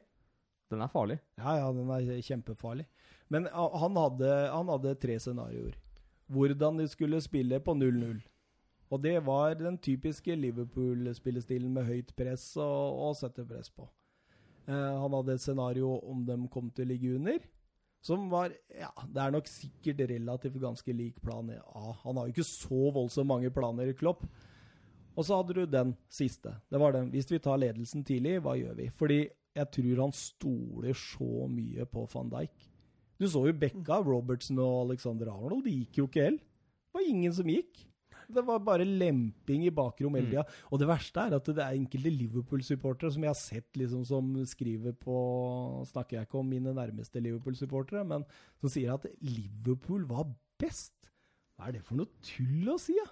den er farlig.
Ja, ja, den er kjempefarlig. Men ah, han hadde, han hadde tre scenarioer. Hvordan de skulle spille på 0-0. Og det var den typiske Liverpool-spillestilen med høyt press og, og sette press på. Eh, han hadde et scenario om de kom til å ligge under, som var Ja, det er nok sikkert relativt ganske lik plan A. Han har jo ikke så voldsomt mange planer, Klopp. Og så hadde du den siste. Det var den. Hvis vi tar ledelsen tidlig, hva gjør vi? Fordi jeg tror han stoler så mye på van Dijk. Du så jo Bekka, Robertsen og Alexander Arnold. De gikk jo ikke helt. Det var ingen som gikk. Det var bare lemping i bakrom hele tida. Og det verste er at det er enkelte Liverpool-supportere som jeg har sett liksom som skriver på Snakker jeg ikke om mine nærmeste Liverpool-supportere, men som sier at Liverpool var best. Hva er det for noe tull å si, da?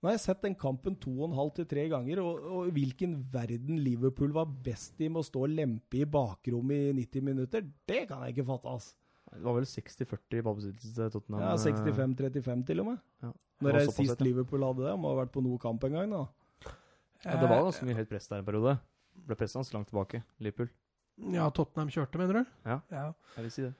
Nå har jeg sett den kampen to og en halv til tre ganger, og, og i hvilken verden Liverpool var best i med å stå og lempe i bakrommet i 90 minutter, det kan jeg ikke fatte, ass.
Det var vel 60-40 i ballbesittelse til Tottenham.
Ja,
eh,
65-35 til og med.
Ja.
Når
Det var
jeg
såpass,
sist
ja.
Liverpool hadde det, må ha vært på noe kamp en gang, da.
eh, Ja,
Eh,
det var ganske mye høyt press der en periode. Ble presset hans langt tilbake. Liverpool.
Eh, Ja, Tottenham kjørte, mener du?
Ja.
ja.
Jeg vil si det.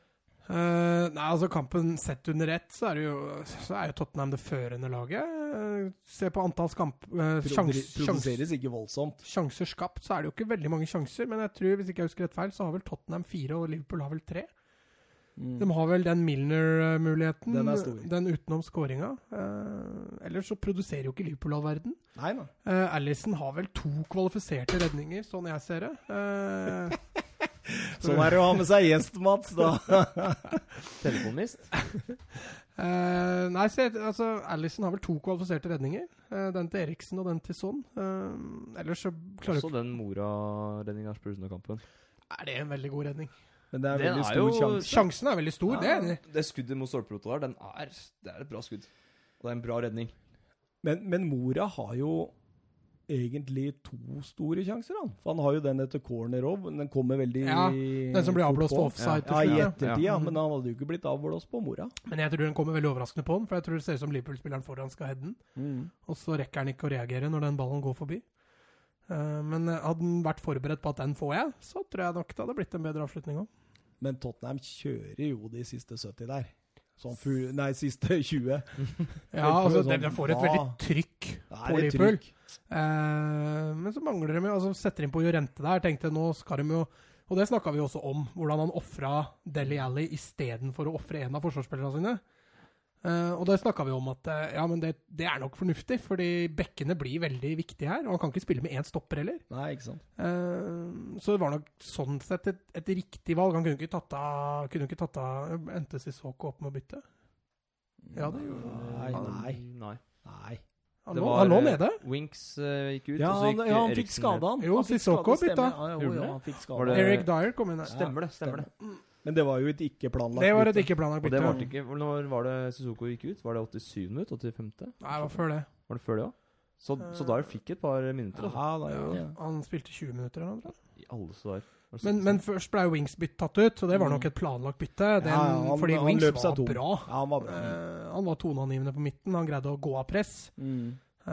Eh, nei, altså kampen sett under ett, så er, det jo, så er jo Tottenham det førende laget. Eh, se på antalls kamp... eh, sjans,
Produ- Produseres ikke voldsomt.
sjans- sjanser skapt, så er det jo ikke veldig mange sjanser. Men jeg tror, hvis ikke jeg husker rett feil, så har vel Tottenham fire, og Liverpool har vel tre.
Mm.
De har vel den Milner-muligheten.
Den er stor.
Den utenom skåringa. Eh, ellers så produserer jo ikke Liverpool all verden.
Nei da.
Eh, Allison har vel to kvalifiserte redninger, sånn jeg ser det. Eh,
Sånn er det å ha med seg gjest, Mats, da.
Telefonmist.
Eh, nei, se, altså, Allison har vel to kvalifiserte redninger. Eh, den til Eriksen og den til Son. Eh, ellers så klarer du
Også den Mora-redninga på Rosenborg-kampen.
Er det en veldig god redning?
Men det er
Den
veldig
er
stor
jo-
sjanse.
Sjansen er veldig stor, det er jeg enig i.
det skuddet mot stolperota der, den er, det er et bra skudd. Og det er en bra redning.
Men, men Mora har jo egentlig to store sjanser, han. For han har jo den etter corner òg, men den kommer veldig
Ja, den som blir
fort
avblåst
på.
offside til
Ja, i
slutt,
ettertid, ja.
Mhm.
Men han hadde jo ikke blitt avblåst på Mora.
Men jeg tror den kommer veldig overraskende på den, for jeg tror det ser ut som Liverpool-spilleren foran skal heade den. Og så rekker han ikke å reagere når den ballen går forbi. Eh, men hadde han vært forberedt på at den får jeg, så tror jeg nok det hadde blitt en bedre avslutning òg.
Men Tottenham kjører jo de siste 70 der. Sånn fu nei, siste 20.
Ja, altså, de, de får et veldig trykk
Da
på
er sånn, det
Liverpool.
trykk.
Eh, men så mangler de jo altså Setter inn på Jorente der. Tenkte nå skal de jo Og det snakka vi jo også om, hvordan han ofra Deli Alli istedenfor å ofre en av forsvarsspillerne sine. Eh, og det snakka vi om at eh, ja, men det, det er nok fornuftig, fordi bekkene blir veldig viktige her. Og han kan ikke spille med én stopper heller.
Nei, ikke sant.
Eh, så det var nok sånn sett et, et riktig valg. Han kunne ikke tatt av Kunne ikke tatt av Endte Sissoko opp med å bytte? Ja, det gjorde
Nei, nei.
nei.
nei.
Han
Det
lå-
var,
Han lå
eh,
nede.
Winks eh, gikk ut,
Ja,
og så
han,
gikk
ja, han fikk
Eriksen ned.
skada, han.
Jo,
han fikk
Sissoko
skada,
bytta.
stemmer. Ja, jo,
Gjorde
jo,
det?
han fikk
Var
skada.
det-
Eric Dyer kom inn her.
Stemmer det. stemmer det.
Men det var jo et ikke planlagt
Det var et
bytte.
ikke planlagt
Og det
bytte.
varte ikke hvor- Når var det Sissoko gikk ut? Var det 87 minutt? 85.?
Nei, det var før det.
Var det før det òg? Så, så Dyer fikk et par minutter. Altså.
Ja, da gjorde
Ja,
det.
han spilte 20 minutter eller noe. tror jeg.
I alle så der. Var det
Men,
sånn-
men først ble jo Wings bytt tatt ut, så det var nok et planlagt bytte. Den,
Mm. Ja, ja, han-
fordi
han
Wings
løp seg
var
tom.
bra.
Ja, han var bra.
Eh, han var toneangivende på midten, han greide å gå av press.
Mm.
Eh,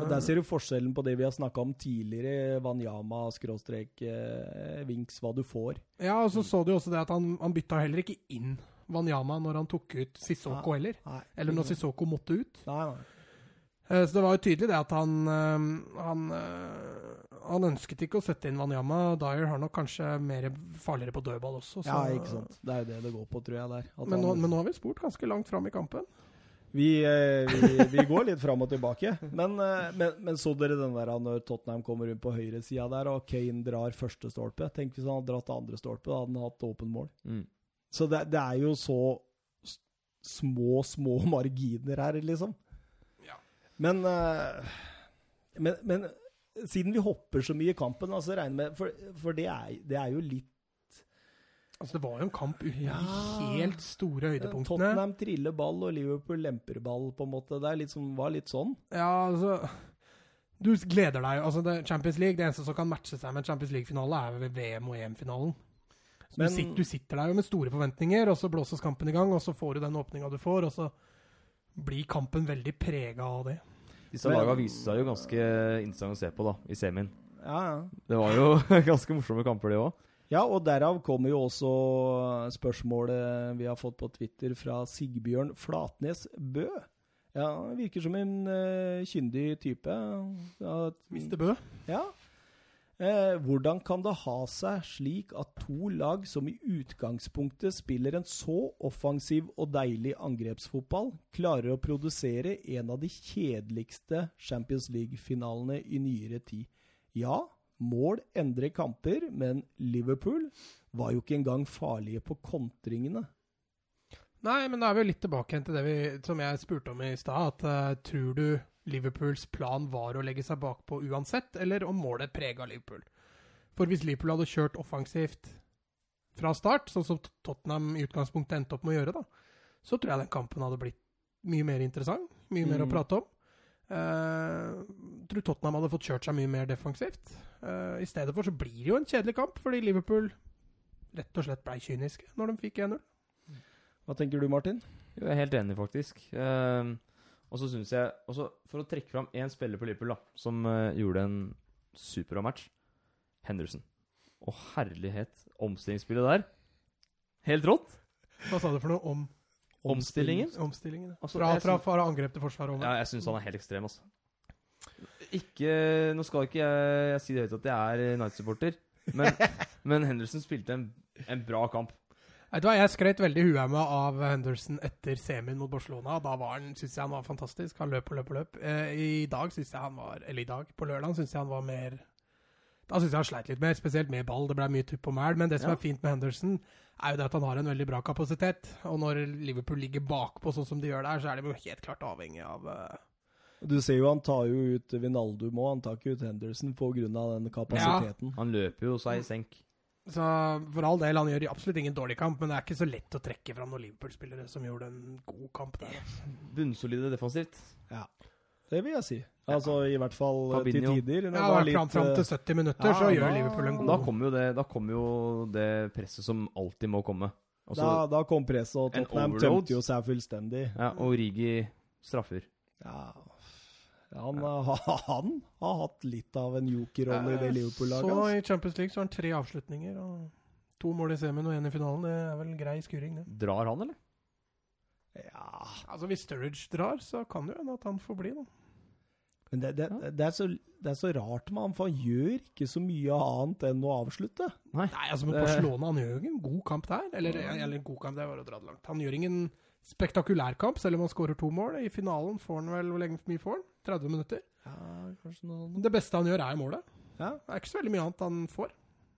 Og Der ser du forskjellen på det vi har snakka om tidligere, Wanyama, skråstrek, eh, Vinks, hva du får.
ja, og så så du jo også det at han, han bytta heller ikke inn
Ah.
Wanyama når han tok ut Sissoko heller.
Nei.
Eller når Sissoko måtte ut.
Nei, nei.
Eh, Eh, Så det var jo tydelig det at han eh, han, eh, han ønsket ikke å sette inn Wanyama. Dyer har nok kanskje mer farligere på dødball også. så-
Ja, ikke sant. Det er jo det det går på, tror jeg. der. At
Men nå,
han-
men nå har vi spurt ganske langt fram i kampen.
Vi, eh, vi, vi går litt fram og tilbake. Men, eh, men, men så dere den der når Tottenham kommer rundt på høyresida der, og Kane drar første stolpe? Tenk hvis han hadde dratt andre stolpe, da hadde han hatt åpen mål.
Mm.
Så det, det er jo så s- små, små marginer her, liksom.
Ja.
Men, eh, men, men siden vi hopper så mye i kampen, altså regner med For, for det, er, det er jo litt
Altså, det var jo en kamp uten
Ja. Eh,
de helt store høydepunktene.
Tottenham triller ball, og Liverpool lemper ball, på en måte. Det er litt som, var litt sånn.
Ja, altså Du gleder deg jo. Altså, det, Champions League, det eneste som kan matche seg med en Champions League-finale, er ved VM- og EM-finalen. Så
Men-
du, sitter, du sitter der jo med store forventninger, og så blåses kampen i gang, og så får du den åpninga du får, og så blir kampen veldig prega av det.
Disse laga viste seg jo ganske interessante å se på da, i semien.
Ja, ja.
Det var jo ganske morsomme kamper, det òg.
Ja, og derav kommer jo også spørsmålet vi har fått på Twitter fra Sigbjørn Flatnes Bø. Ja, han virker som en eh, kyndig type. Ja,
Mr. Bø.
ja. Eh, hvordan kan det ha seg slik at to lag som i utgangspunktet spiller en så offensiv og deilig angrepsfotball, klarer å produsere en av de kjedeligste Champions League-finalene i nyere tid? Ja, mål endrer kamper, men Liverpool var jo ikke engang farlige på kontringene.
Nei, men da er vi jo litt tilbake igjen til det vi, som jeg spurte om i stad. At eh, tror du Liverpools plan var å legge seg bakpå uansett, eller om målet prega Liverpool? For hvis Liverpool hadde kjørt offensivt fra start, sånn som Tottenham i utgangspunktet endte opp med å gjøre, da, så tror jeg den kampen hadde blitt mye mer interessant. Mye mer å
Mm.
prate om. Uh, tror Tottenham hadde fått kjørt seg mye mer defensivt. Eh, I stedet for så blir det jo en kjedelig kamp, fordi Liverpool rett og slett blei kyniske når de fikk 1-0.
Hva tenker du, Martin?
Jo, jeg er helt enig, faktisk. Ehm, og så syns jeg også, For å trekke fram én spiller på Liverpool da, som eh, gjorde en superbra match, Henderson. Å, herlighet. Omstillingsspillet der. Helt rått.
Hva sa du for noe om
Omstillingen.
Omstillingen.
Altså,
fra,
jeg
fra,
syns-
fra angrep til forsvar over.
Ja, jeg syns han er helt ekstrem, altså. Ikke Nå skal ikke jeg, jeg si det høyt at jeg er United-supporter, men, men Henderson spilte en, en bra kamp.
Vet du hva, Jeg skrøt veldig huhauma av Henderson etter semien mot Barcelona. Da var han, synes jeg han var fantastisk. Han løp og løp og løp. Eh, I dag synes jeg han var Eller i dag, på lørdag, synes jeg han var mer Da synes jeg han sleit litt mer, spesielt med ball. Det ble mye tupp og mæl. Men det som
Ja.
er fint med Henderson, er jo det at han har en veldig bra kapasitet. Og når Liverpool ligger bakpå sånn som de gjør der, så er de jo helt klart avhengig av eh,
Du ser jo han tar jo ut Vinaldum òg, han tar ikke ut Henderson pga. den kapasiteten.
Han løper jo seg i senk.
Så for all del, han gjør absolutt ingen dårlig kamp, men det er ikke så lett å trekke fram noen Liverpool-spillere som gjorde en god kamp der. altså.
Bunnsolide defensivt.
Det vil jeg si. Altså i hvert fall eh,
Fabinho.
til tider. Når
Ja,
det var
da, fram,
litt,
fram
eh,
til 70 minutter
ja,
så gjør
da-
Liverpool en
Men
god
Da kommer jo det, da kommer jo det presset som alltid må komme. Altså,
da, da kom presset, og
en
Tottenham
overload.
tømte jo seg fullstendig.
ja, og Rigi straffer.
Ja. Han, har- han har hatt litt av en jokerrolle i det Liverpool-laget.
Eh, Så
altså.
i Champions League så har han tre avslutninger. og To mål i semien og én i finalen. Det er vel grei skuring, det.
Drar han, eller?
Ja.
Altså Hvis Sturridge drar, så kan det jo hende at han får bli, da.
Men det, det, det, er så, det er så rart med ham, for han gjør ikke så mye annet enn å avslutte.
Nei, altså men
Det-
Barcelona han gjør jo ikke en god kamp der. Eller, eller en god kamp, det var å dra det langt. Han gjør ingen spektakulær kamp, selv om han skårer to mål. I finalen får han vel Hvor lenge mye får han? 30 minutter?
Ja, kanskje noe
Det beste han gjør, er målet.
Ja.
Det er ikke så veldig mye annet han får.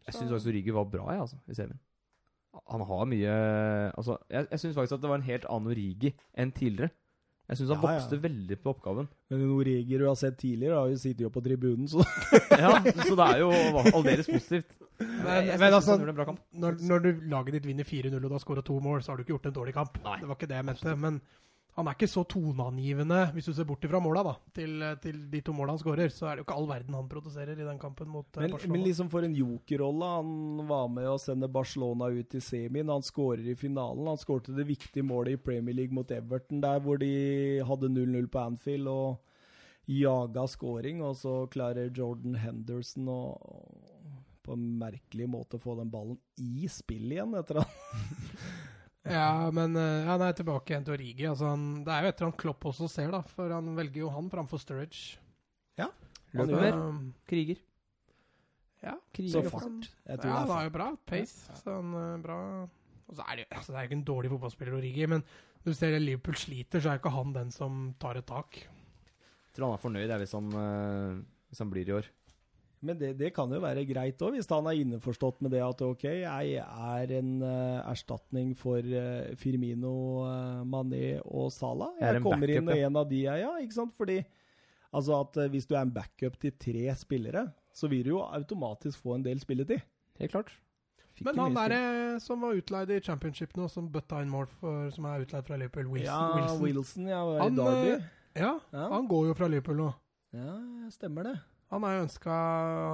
Jeg syns faktisk Rigi var bra, jeg, altså, i semien. Han har mye Altså, jeg, jeg syns faktisk at det var en helt annen Rigi enn tidligere. Jeg syns han
Ja, ja.
vokste veldig på oppgaven.
Men noen regler du har sett tidligere, har jo sittet jo på tribunen, så
Ja, Så det er jo aldeles positivt.
Men,
jeg
men
synes
altså,
han gjorde en bra kamp.
når, når du laget ditt vinner 4-0 og du har skåra to mål, så har du ikke gjort en dårlig kamp.
Nei.
Det var ikke det jeg mente. Men han er ikke så toneangivende, hvis du ser bort ifra måla, da, til, eh, til de to måla han skårer. Så er det jo ikke all verden han produserer i den kampen mot eh,
Men,
Barcelona.
men liksom for en jokerrolle. Han var med å sende Barcelona ut i semien. Han skårer i finalen. Han skårte det viktige målet i Premier League mot Everton, der hvor de hadde 0-0 på Anfield og jaga scoring. Og så klarer Jordan Henderson å å på en merkelig måte få den ballen i spill igjen etter han
Ja, men eh, ja, nei, tilbake igjen til Origi. Altså, han, det er jo etter han Klopp også ser, da. For han velger jo han framfor Sturridge. Um,
Løper.
Så,
Kriger.
Ja,
Så
Kriger.
fart. Jeg tror
ja,
det er
han
fart.
er jo bra. Pace. Så han eh, bra Og så er det jo altså, det er jo ikke en dårlig fotballspiller, Origi, men du ser det Liverpool sliter, så er jo ikke han den som tar et tak.
Tror han er fornøyd jeg, hvis, han, eh, hvis han blir i år.
Men det, det kan jo være greit òg, hvis han er innforstått med det at OK, jeg er en eh, erstatning for eh, Firmino, eh, Mané og Salah.
Jeg er
Jeg
en
kommer
backup,
inn og
ja.
en av de er, ja. Ikke sant? Fordi altså at eh, hvis du er en backup til tre spillere, så vil du jo automatisk få en del spilletid.
Helt klart. Fikk
Men
jo
han
mye
derre som var utleid i championship nå, som bøtta inn mål for eh, Som er utleid fra Liverpool, Wilson.
ja,
Wilson.
Wilson, ja. var
Han,
I Derby.
eh, Ja,
Ja.
han går jo fra Liverpool nå.
ja, stemmer det.
Han er jo ønska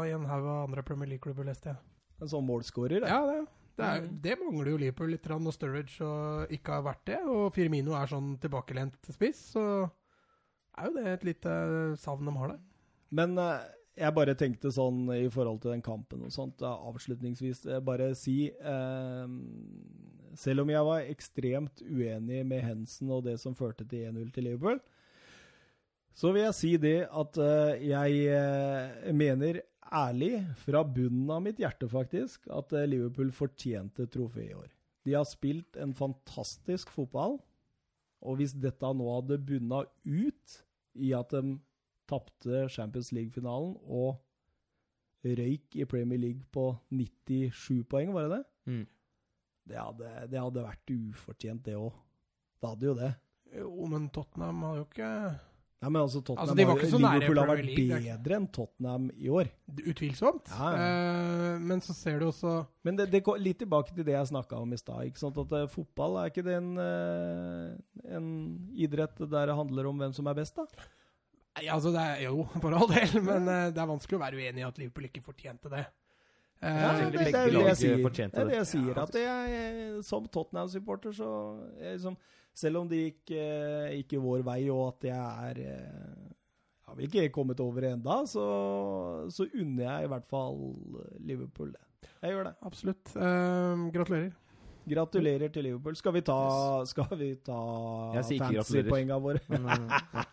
i en haug av andre Premier League-klubber, leste jeg.
En sånn målskårer.
Ja, det, det, er,
Mm.
det mangler jo Liverpool litt, grann, og Sturridge og ikke har vært det. Og Firmino er sånn tilbakelent spiss, så er jo det et lite savn de har der.
Men eh, jeg bare tenkte sånn i forhold til den kampen og sånt, da, avslutningsvis eh, bare si eh, Selv om jeg var ekstremt uenig med Hensen og det som førte til 1-0 til Liverpool, så vil jeg si det at eh, jeg eh, mener ærlig, fra bunnen av mitt hjerte faktisk, at eh, Liverpool fortjente trofeet i år. De har spilt en fantastisk fotball, og hvis dette nå hadde bunna ut i at de tapte Champions League-finalen og røyk i Premier League på 97 poeng, var det det?
Mm.
Det, hadde, det hadde vært ufortjent, det òg. Det hadde jo det.
Jo, men Tottenham har jo ikke
Nei, men altså Tottenham
Altså, de var
har jo-
ikke så nære i
Liverpool har vært
Premier League, det
bedre enn Tottenham i år.
Utvilsomt.
Ja,
Eh, men så ser du også
Men det, det går litt tilbake til det jeg snakka om i stad. ikke sant? At eh, Fotball er ikke det en, eh, en idrett der det handler om hvem som er best, da?
Nei, altså det er, Jo, for all del, men eh, det er vanskelig å være uenig i at Liverpool ikke fortjente det. Eh,
Ja, det,
Selvfølgelig
det er jo
begge
det
lag
jeg sier.
fortjente
Det er det
det.
jeg sier. At jeg, eh, som Tottenham-supporter, så jeg liksom, Selv om det gikk, eh, ikke vår vei, og at jeg er eh, Jeg har vel ikke kommet over enda, så, så unner jeg i hvert fall Liverpool det. Jeg gjør det.
Absolutt. Eh, gratulerer.
Gratulerer til Liverpool. Skal vi ta, skal vi ta
Jeg sier ikke gratulerer.
fancy-poenga våre?
Men, eh,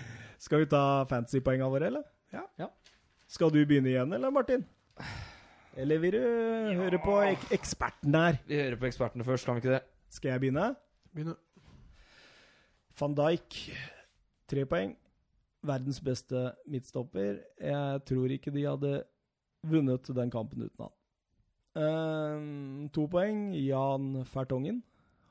Skal vi ta fancy-poenga våre, eller?
Ja.
Ja.
Skal du begynne igjen, eller, Martin? Eller vil du høre på ek eksperten her?
vi hører på ekspertene først, kan vi ikke det?
Skal jeg begynne?
Begynner.
Van Dijk, tre poeng. Verdens beste midtstopper. Jeg tror ikke de hadde vunnet den kampen uten han. Ehm, to poeng. Jan Fertongen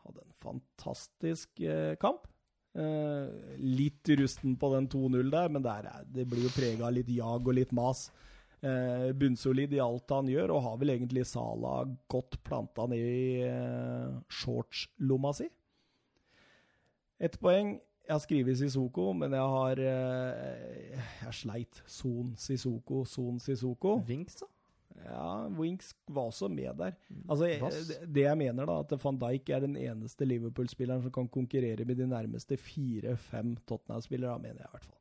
hadde en fantastisk eh, kamp. Eh, litt rusten på den 2-0 der, men der er, det blir jo prega av litt jag og litt mas. Eh, bunnsolid i alt han gjør, og har vel egentlig Sala godt planta ned i eh, shortslomma si. Ett poeng. Jeg har skrevet Sisoko, men jeg har eh, Jeg sleit. Son Sisoko, Son Sisoko.
Vinks, da?
Ja, Winks var også med der. Altså, jeg,
Mm. Vass.
det- det jeg mener, da, at van Dijk er den eneste Liverpool-spilleren som kan konkurrere med de nærmeste fire-fem Tottenham-spillere, mener jeg i hvert fall.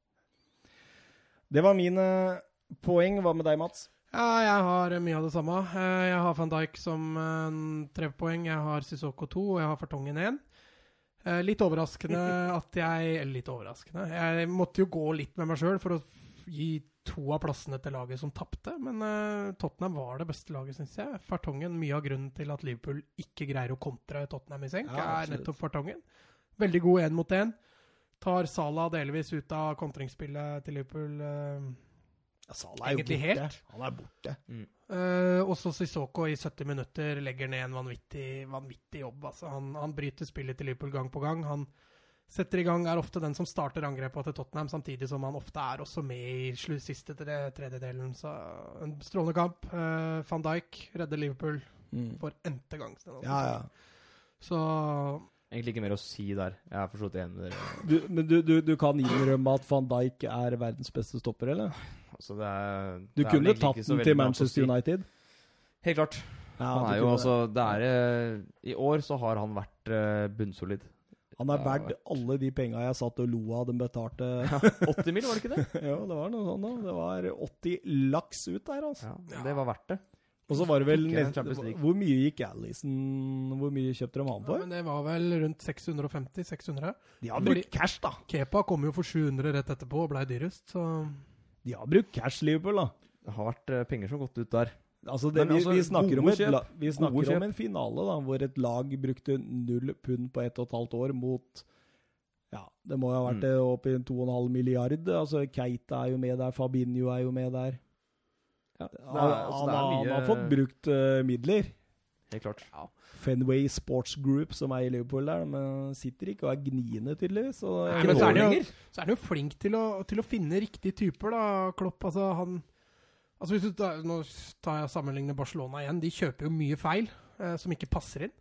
Det var mine poeng. Hva med deg, Mats?
Ja, jeg har eh, mye av det samme. Eh, Jeg har van Dijk som eh, tre poeng, jeg har Sissoko to, og jeg har Fartongen én. Eh, Litt overraskende at jeg Eller litt overraskende. Jeg måtte jo gå litt med meg sjøl for å f- gi to av plassene til laget som tapte, men eh, Tottenham var det beste laget, syns jeg. Fartongen, mye av grunnen til at Liverpool ikke greier å kontre Tottenham i senk,
Ja,
er
absolutt.
nettopp Fartongen. Veldig god én mot én. Tar Salah delvis ut av kontringsspillet til Liverpool. eh,
Ja, Salah er jo
Egentlig
borte.
helt.
Han er borte.
Uh, også Sissoko i 70 minutter legger ned en vanvittig, vanvittig jobb. Altså, han, han bryter spillet til Liverpool gang på gang. Han setter i gang, er ofte den som starter angrepet til Tottenham, samtidig som han ofte er også med i slu, siste tre, tredjedelen. Så en strålende kamp. Uh, Van Dijk redder Liverpool for n-te gang.
Mm. Ja, ja.
Så
Egentlig ikke mer å si der. Jeg er for så vidt enig med dere.
Du, men du, du, du kan innrømme at van Dijk er verdens beste stopper, eller?
Altså, det er,
Du
det er vel
kunne
egentlig
tatt
ikke så
den
veldig
til
bra på
Manchester
stil.
United.
Helt klart.
Ja,
Han
du
er jo
kunne
altså Det er eh, I år så har han vært eh, bunnsolid.
det. Han er
Ja,
verdt
vet.
alle de penga jeg satt og lo av den betalte
80 mil, var det ikke det?
Jo, det var noe sånt, da. Det var 80 laks ut der, altså.
Ja, Det var verdt det.
Og så var det vel
Ikke
nest,
Champions League.
Hvor mye gikk Allison Hvor mye kjøpte de han
Ja,
for?
men det var vel rundt 650-600.
De har brukt
fordi-
cash, da.
Kepa kom jo for 700 rett etterpå og blei dyrest, så
De har brukt cash, Liverpool, da.
Det har vært eh, penger som har gått ut der.
Altså det,
Men
vi,
altså,
vi snakker, om,
gode
et,
kjøp.
la- vi snakker
Gode
om en finale da, hvor et lag brukte null pund på ett og et halvt år mot ja, Det må jo ha vært
Mm.
eh, opp i 2,5 milliard. Altså, Keita er jo med der, Fabinho er jo med der.
Ja, det er,
Han,
altså,
han,
det er
har-
mye,
han har fått brukt eh, midler.
Helt klart.
Fenway Sports Group, som er i Liverpool der, men sitter ikke og er gniende, tydeligvis. Så,
Nei,
Ikke
men
nå
så er det jo-
lenger.
Så er han jo flink til å, til å finne riktige typer, da, Klopp. Altså, han Altså, hvis du tar, Nå tar jeg og sammenligner Barcelona igjen. De kjøper jo mye feil eh, som ikke passer inn.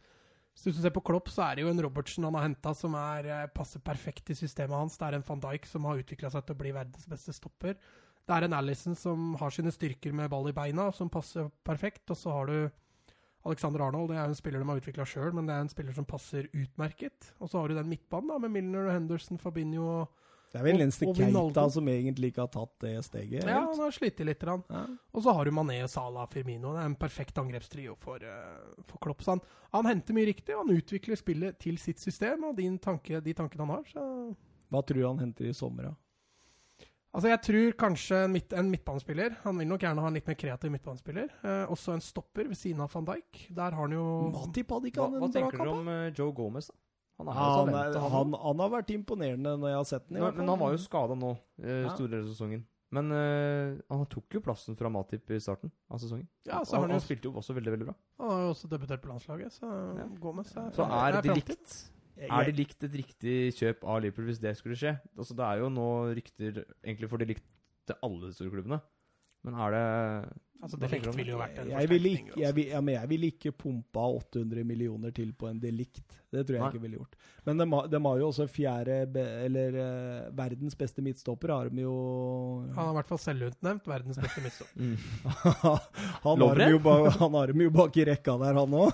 Så hvis du ser på Klopp, så er det jo en Robertsen han har henta, som er, eh, passer perfekt i systemet hans. Det er en van Dijk som har utvikla seg til å bli verdens beste stopper. Det er en Alison som har sine styrker med ball i beina, som passer perfekt. Og så har du Alexander Arnold. Det er jo en spiller de har utvikla sjøl, men det er en spiller som passer utmerket. Og så har du den midtbanen da, med Milner og Henderson, Fabinho og
det er vel
og-
den eneste
og
Keita
Wijnaldum.
som egentlig ikke har tatt det steget.
Ja,
helt.
han har slitt litt. grann.
Ja.
Og så har du Mané, Salah, Firmino. Det er en perfekt angrepstrio for, eh, for Klopp. Så han, han henter mye riktig, og han utvikler spillet til sitt system og din tanke, de tankene han har. Så.
Hva tror du han henter i sommer, da?
Altså, jeg tror kanskje en, midt, en midtbanespiller Han vil nok gjerne ha en litt mer kreativ midtbanespiller. Eh, også en stopper ved siden av van Dijk. Der har han jo
Matip hadde ikke
Hva,
han
hva
en bra
tenker
kamp?
dere om eh, Joe Gomez, da? Han er jo
Han,
talentet,
er,
han
han, han har vært imponerende når jeg har sett den. i
Nei,
hvert
men
fall.
han var jo skada nå, eh,
Ja.
store deler av sesongen. Men eh, han tok jo plassen fra Matip i starten av sesongen.
Ja, så har
Og han,
han,
han
jo,
spilte jo også veldig, veldig bra.
han har jo også debutert på landslaget, så
Ja.
Gomez er
Så er
det
det
framtid.
likt
Jeg-
Er det likt et riktig kjøp av Liverpool hvis det skulle skje? Altså, det er jo nå rykter egentlig for det likt til alle de store klubbene. Men er det
Altså,
Hva
det
tenker du om
ville jo vært en
jeg ville
forsterkning
altså?
ikke, jeg vil, ja, men jeg ville ikke pumpa 800 millioner til på en delikt. Det tror jeg
Nei.
ikke ville gjort. Men de, har- de har jo også fjerde be, Eller eh, verdens beste midtstopper har de jo
Han er i hvert fall selvutnevnt verdens beste midtstopper.
Mm.
Han har
Lovren?
dem jo, ba, han har dem jo bak i rekka der, han òg.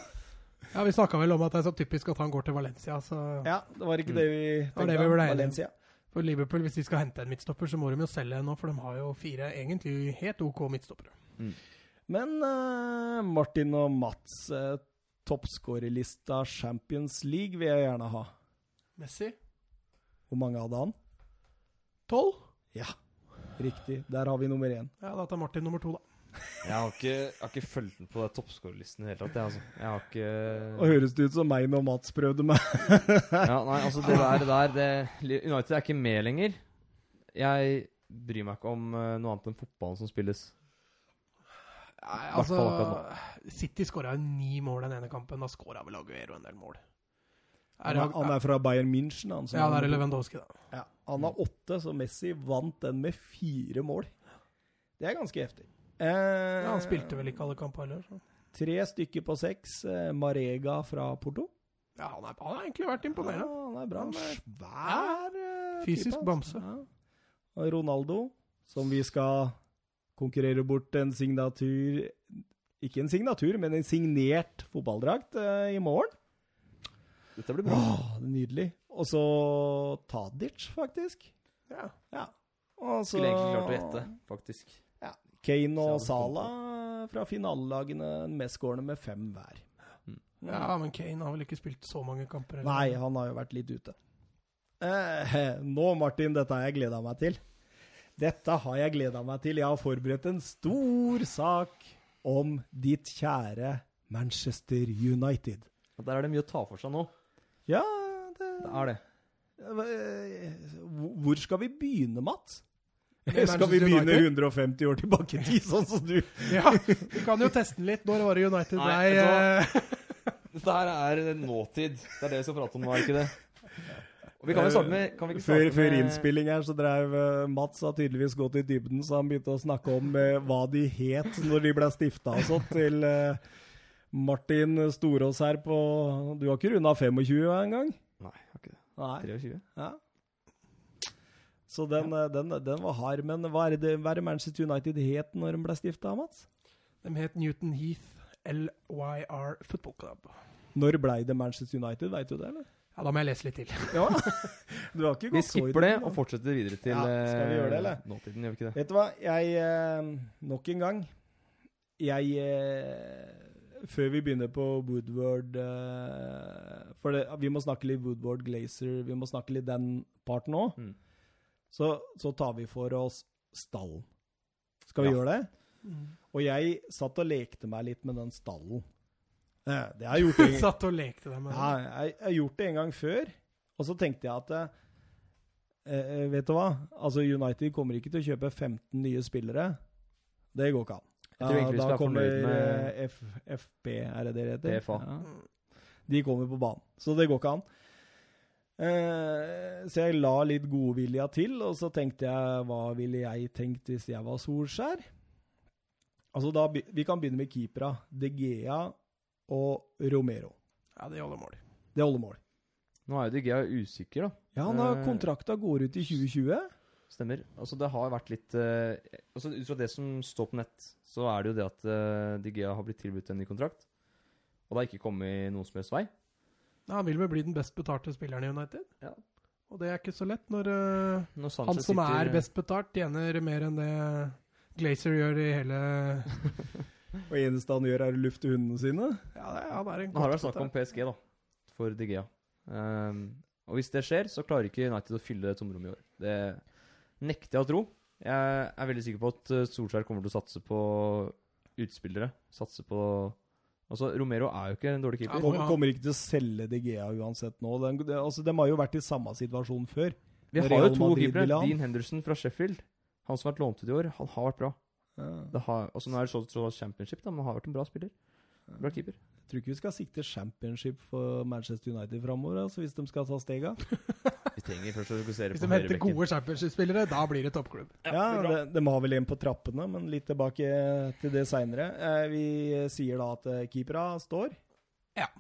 Ja, Vi snakka vel om at det er så typisk at han går til Valencia. Så
Ja, det var ikke
Mm.
det vi
var
tenkte
det vi
om.
ble enige om.
Valencia.
For Liverpool, hvis de skal hente en midtstopper, så må de jo selge nå, for de har jo fire egentlig helt OK midtstoppere.
Men eh, Martin og Mats, uh, toppskårerlista Champions League vil jeg gjerne ha.
Messi
Hvor mange hadde han?
tolv.
Riktig. Der har vi nummer én.
Ja, da tar Martin nummer to, da.
Jeg har ikke, jeg har ikke fulgt med på den toppskårerlisten i det hele tatt. Jeg, altså. jeg har ikke
Og høres det ut som meg når Mats prøvde meg.
Ja, nei, altså det der, det der det, United er ikke med lenger. Jeg bryr meg ikke om eh, noe annet enn fotballen som spilles.
Nei,
Hvert fall akkurat
City skåra jo ni mål den ene kampen. Da skåra vel Aguero en del mål.
Han
Er det,
er, han er fra Bayern München. Han, som
ja, det er
han,
Lewandowski, da.
ja, han har åtte, så Messi vant den med fire mål. Det er ganske heftig. Eh,
Ja, han spilte vel ikke alle kamper heller. Så.
Tre stykker på seks. Eh, Marega fra Porto.
Ja, han, er, han har egentlig vært
Ja,
imponerende.
han er bra.
Han
Han er
er-
svær. eh,
Fysisk
type, altså.
bamse.
Ja. Og Ronaldo, som vi skal konkurrere bort en signatur Ikke en signatur, men en signert fotballdrakt eh, i morgen.
Dette blir
Åh, nydelig. Og så Tadic, faktisk.
Ja.
Ja. Og så
Skulle egentlig klart å gjette, faktisk.
Kane og
Salah.
Salah fra finalelagene, mestskårende med fem hver.
ja, men Kane har vel ikke spilt så mange kamper. heller.
Nei, han har jo vært litt ute. Eh, nå, Martin, dette har jeg gleda meg til. Dette har jeg gleda meg til. Jeg har forberedt en stor sak om ditt kjære Manchester United.
Og Der er det mye å ta for seg nå.
Ja, det,
Det er det.
Eh, Hvor skal vi begynne, Mats?
Med
Skal vi
Manchester
begynne
United?
150 år tilbake i tid, sånn som du
Ja, vi kan jo teste den litt. Når var det United
Nei,
blei
vet du hva?
eh,
Dette her er nåtid. Det er det vi skal prate om nå, er ikke det? Og vi kan jo starte med kan vi ikke
Før,
starte
før
med-
innspilling her så drev eh, Mats har tydeligvis gått i dybden, så han begynte å snakke om eh, hva de het når de ble stifta og sånt, til eh, Martin Storås her på Du har ikke runda 25 engang?
Nei, jeg har ikke det.
Nei.
23.
Ja. Så den, eh, den, den var hard. Men hva er det, hva er det Manchester United het når de ble stifta, Mats?
De het Newton Heath LYR Football Club.
Når blei det Manchester United, veit du det, eller?
Ja, da må jeg lese litt til.
Ja. Du har ikke
Vi
gått så i
skipper det
dybden,
og
da.
fortsetter videre til
Ja, skal vi gjøre det,
eh,
eller?
nåtiden, gjør vi ikke det?
Vet du hva, jeg eh, Nok en gang. jeg eh, Før vi begynner på Woodward eh, For det, vi må snakke litt Woodward Glazer, vi må snakke litt den parten òg.
Mm.
Så, så tar vi for oss stallen. Skal vi gjøre det?
Mm.
Og jeg satt og lekte meg litt med den stallen. Eh, Det har jeg gjort en,
Satt og lekte deg med
ja,
det.
jeg, jeg har gjort det en gang før, og så tenkte jeg at eh, eh, Vet du hva? Altså, United kommer ikke til å kjøpe 15 nye spillere. Det går ikke an.
Jeg tror egentlig vi
da
skal være
kommer
fornøyd med-
eh, F, FB, er det det heter?
BFA.
Ja. De kommer på banen, så det går ikke an. Eh, så jeg la litt godvilja til, og så tenkte jeg hva ville jeg tenkt hvis jeg var Solskjær? Altså da, be- Vi kan begynne med keepera. De Gea og Romero.
Ja, det holder mål.
Det holder mål.
Nå er jo De Gea usikker, da.
Ja, han har
Eh,
kontrakta går ut i 2020.
Stemmer. Altså, det har vært litt eh, altså, Ut fra det som står på nett, så er det jo det at eh, De Gea har blitt tilbudt en ny kontrakt. Og det har ikke kommet noen som helst vei.
Ja, han vil vel bli den best betalte spilleren i United.
Ja.
Og det er ikke så lett når eh,
Når Sanchez
han som
sitter-
er best betalt, tjener mer enn det Glazer gjør i hele
Og eneste han gjør, er å lufte hundene sine.
Ja, det- han er en
Nå har
godt
det vært snakk om PSG, da. For De Gea. Ehm, og hvis det skjer, så klarer ikke United å fylle det tomrommet i år. Det nekter jeg å tro. Jeg er veldig sikker på at eh, Solskjær kommer til å satse på utspillere. Satse på Altså, Romero er jo ikke en dårlig keeper.
Ja,
Kommer, kommer ikke til å selge De Gea uansett nå. Den, det, altså, de har jo vært i samme situasjon før.
Vi har
Real
jo to
Madrid vil
keepere.
ha han.
Dean Henderson fra Sheffield. Han som har vært lånt ut i år, han har vært bra. Det har, altså, nå er det så, så championship, da, men han har vært en bra spiller. Bra keeper.
Jeg tror ikke vi skal sikte championship for Manchester United framover, altså, hvis de skal ta stega.
Vi trenger først å fokusere
Hvis
på
de henter
høyrebekken.
gode Championship-spillere, da blir det toppklubb.
Ja, de, de har vel en på trappene, men litt tilbake til det seinere. Eh, vi sier da at eh, keepera står.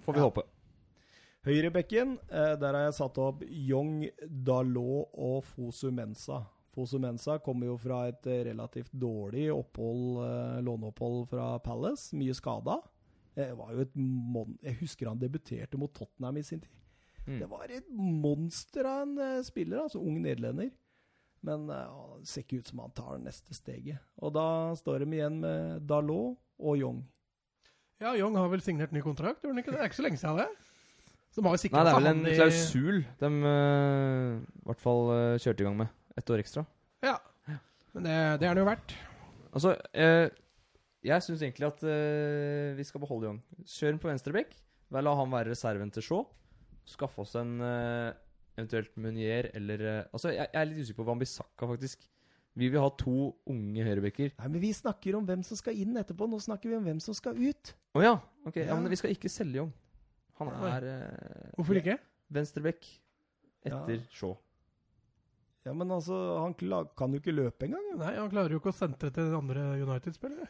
Får vi håpe.
Høyrebekken, eh, der har jeg satt opp Young, Dalot og Fosu Mensa. Fosu Mensa kommer jo fra et eh, relativt dårlig opphold, eh, låneopphold fra Palace. Mye skada. Eh, var jo et mon jeg husker han debuterte mot Tottenham i sin tid.
Mm.
Det var et monster av en eh, spiller, altså ung nederlender. Men eh, han ser ikke ut som han tar det neste steget. Og da står de igjen med Dalot og Young.
Ja, Young har vel signert ny kontrakt, gjorde han ikke det? Det er ikke så lenge siden det. Så de har jo
Nei,
sikret
det er vel
seg
en
han i-
klausul de eh, i hvert fall eh, kjørte i gang med. Ett år ekstra.
Ja. Men det, det er det jo verdt.
Altså, eh, jeg syns egentlig at eh, vi skal beholde Young. Kjør den på venstre bekk. Vel, La han være reserven til Shaw. Skaffe oss en eh, eventuelt Munier eller eh, Altså, jeg, jeg er litt usikker på Wambisaka, faktisk. Vi vil ha to unge høyrebekker.
Nei, men vi snakker om hvem som skal inn etterpå. Nå snakker vi om hvem som skal ut.
Å ja! Ok, ja.
Ja.
men vi skal ikke selge Young. Han
Nei.
er eh,
Hvorfor ikke?
venstre bekk etter
Ja.
Shaw.
Ja, men altså, han kla- kan jo ikke løpe engang. jo.
Nei, han klarer jo ikke å sentre til andre United-spillere.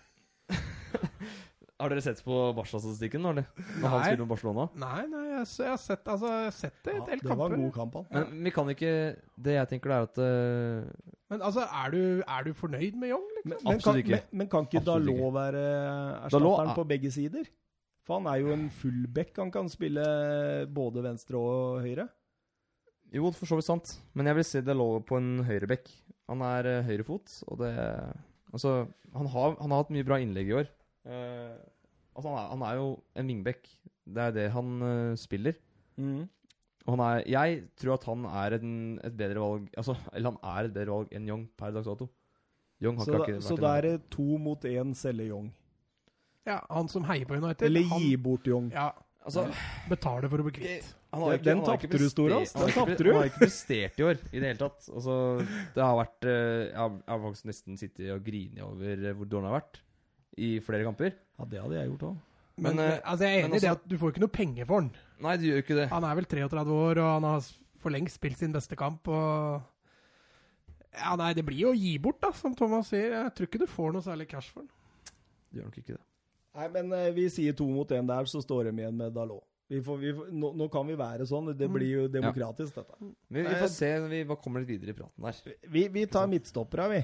Har dere sett på Barca-statistikken nå, eller? Når han
Nei.
spiller med Barcelona?
Nei, nei, jeg, s- jeg har sett, altså, jeg har sett det i
Ja,
et helt
det var
kamper.
en god kamp, han.
Men vi kan ikke Det jeg tenker, det er at eh,
Men altså, er du, er du fornøyd med Young? Liksom?
Men, men,
Absolutt
kan,
ikke.
men, men kan ikke
Absolutt
Dalot
ikke.
være
Dalot
erstatteren
er-
på begge sider? For han er jo en fullback. Han kan spille både venstre og høyre.
Jo, for så vidt sant. Men jeg vil se Dalot på en høyrebekk. Han er eh, høyrefot, og det Altså, han har, han har hatt mye bra innlegg i år. Eh, altså, han er, han er jo en vingbekk. Det er det han eh, spiller.
Mm.
Og han er Jeg tror at han er en, et bedre valg Altså, eller han er et bedre valg enn Young per dags dato. Young har
Så,
ikke
da,
vært
så
en-
da er det to mot én selge Young.
Ja, han som heier på United.
Eller
han,
gi bort Young.
Ja,
Altså,
betaler for å bli kvitt.
Han har
Den- den
han har ikke
tapte du,
prester-
Storås.
han har
Den
ikke pre-
tapte du.
Han har ikke prestert i år i det hele tatt. Altså, det har vært eh, Jeg har- jeg har faktisk nesten sittet og grinet over eh, hvor dårlig han har vært i flere kamper.
Ja, det hadde jeg gjort òg.
Men,
Men, eh,
altså, jeg er
men
enig i det
også-
at du får ikke noe penger for han.
Nei, du gjør jo ikke det.
Han er vel 33 år, og han har s- for lengst spilt sin beste kamp. og... Ja, nei, Det blir jo å gi bort, da, som Thomas sier. Jeg tror ikke du får noe særlig cash for den.
Du gjør nok ikke det.
Nei, men eh, vi sier to mot én der, så står de igjen med Dalot. Vi får, vi får, nå, nå kan vi være sånn. Det blir
Mm.
jo demokratisk, dette.
Men vi,
Nei,
vi får se når vi bare kommer litt videre i praten der.
Vi, vi tar midtstoppere, vi.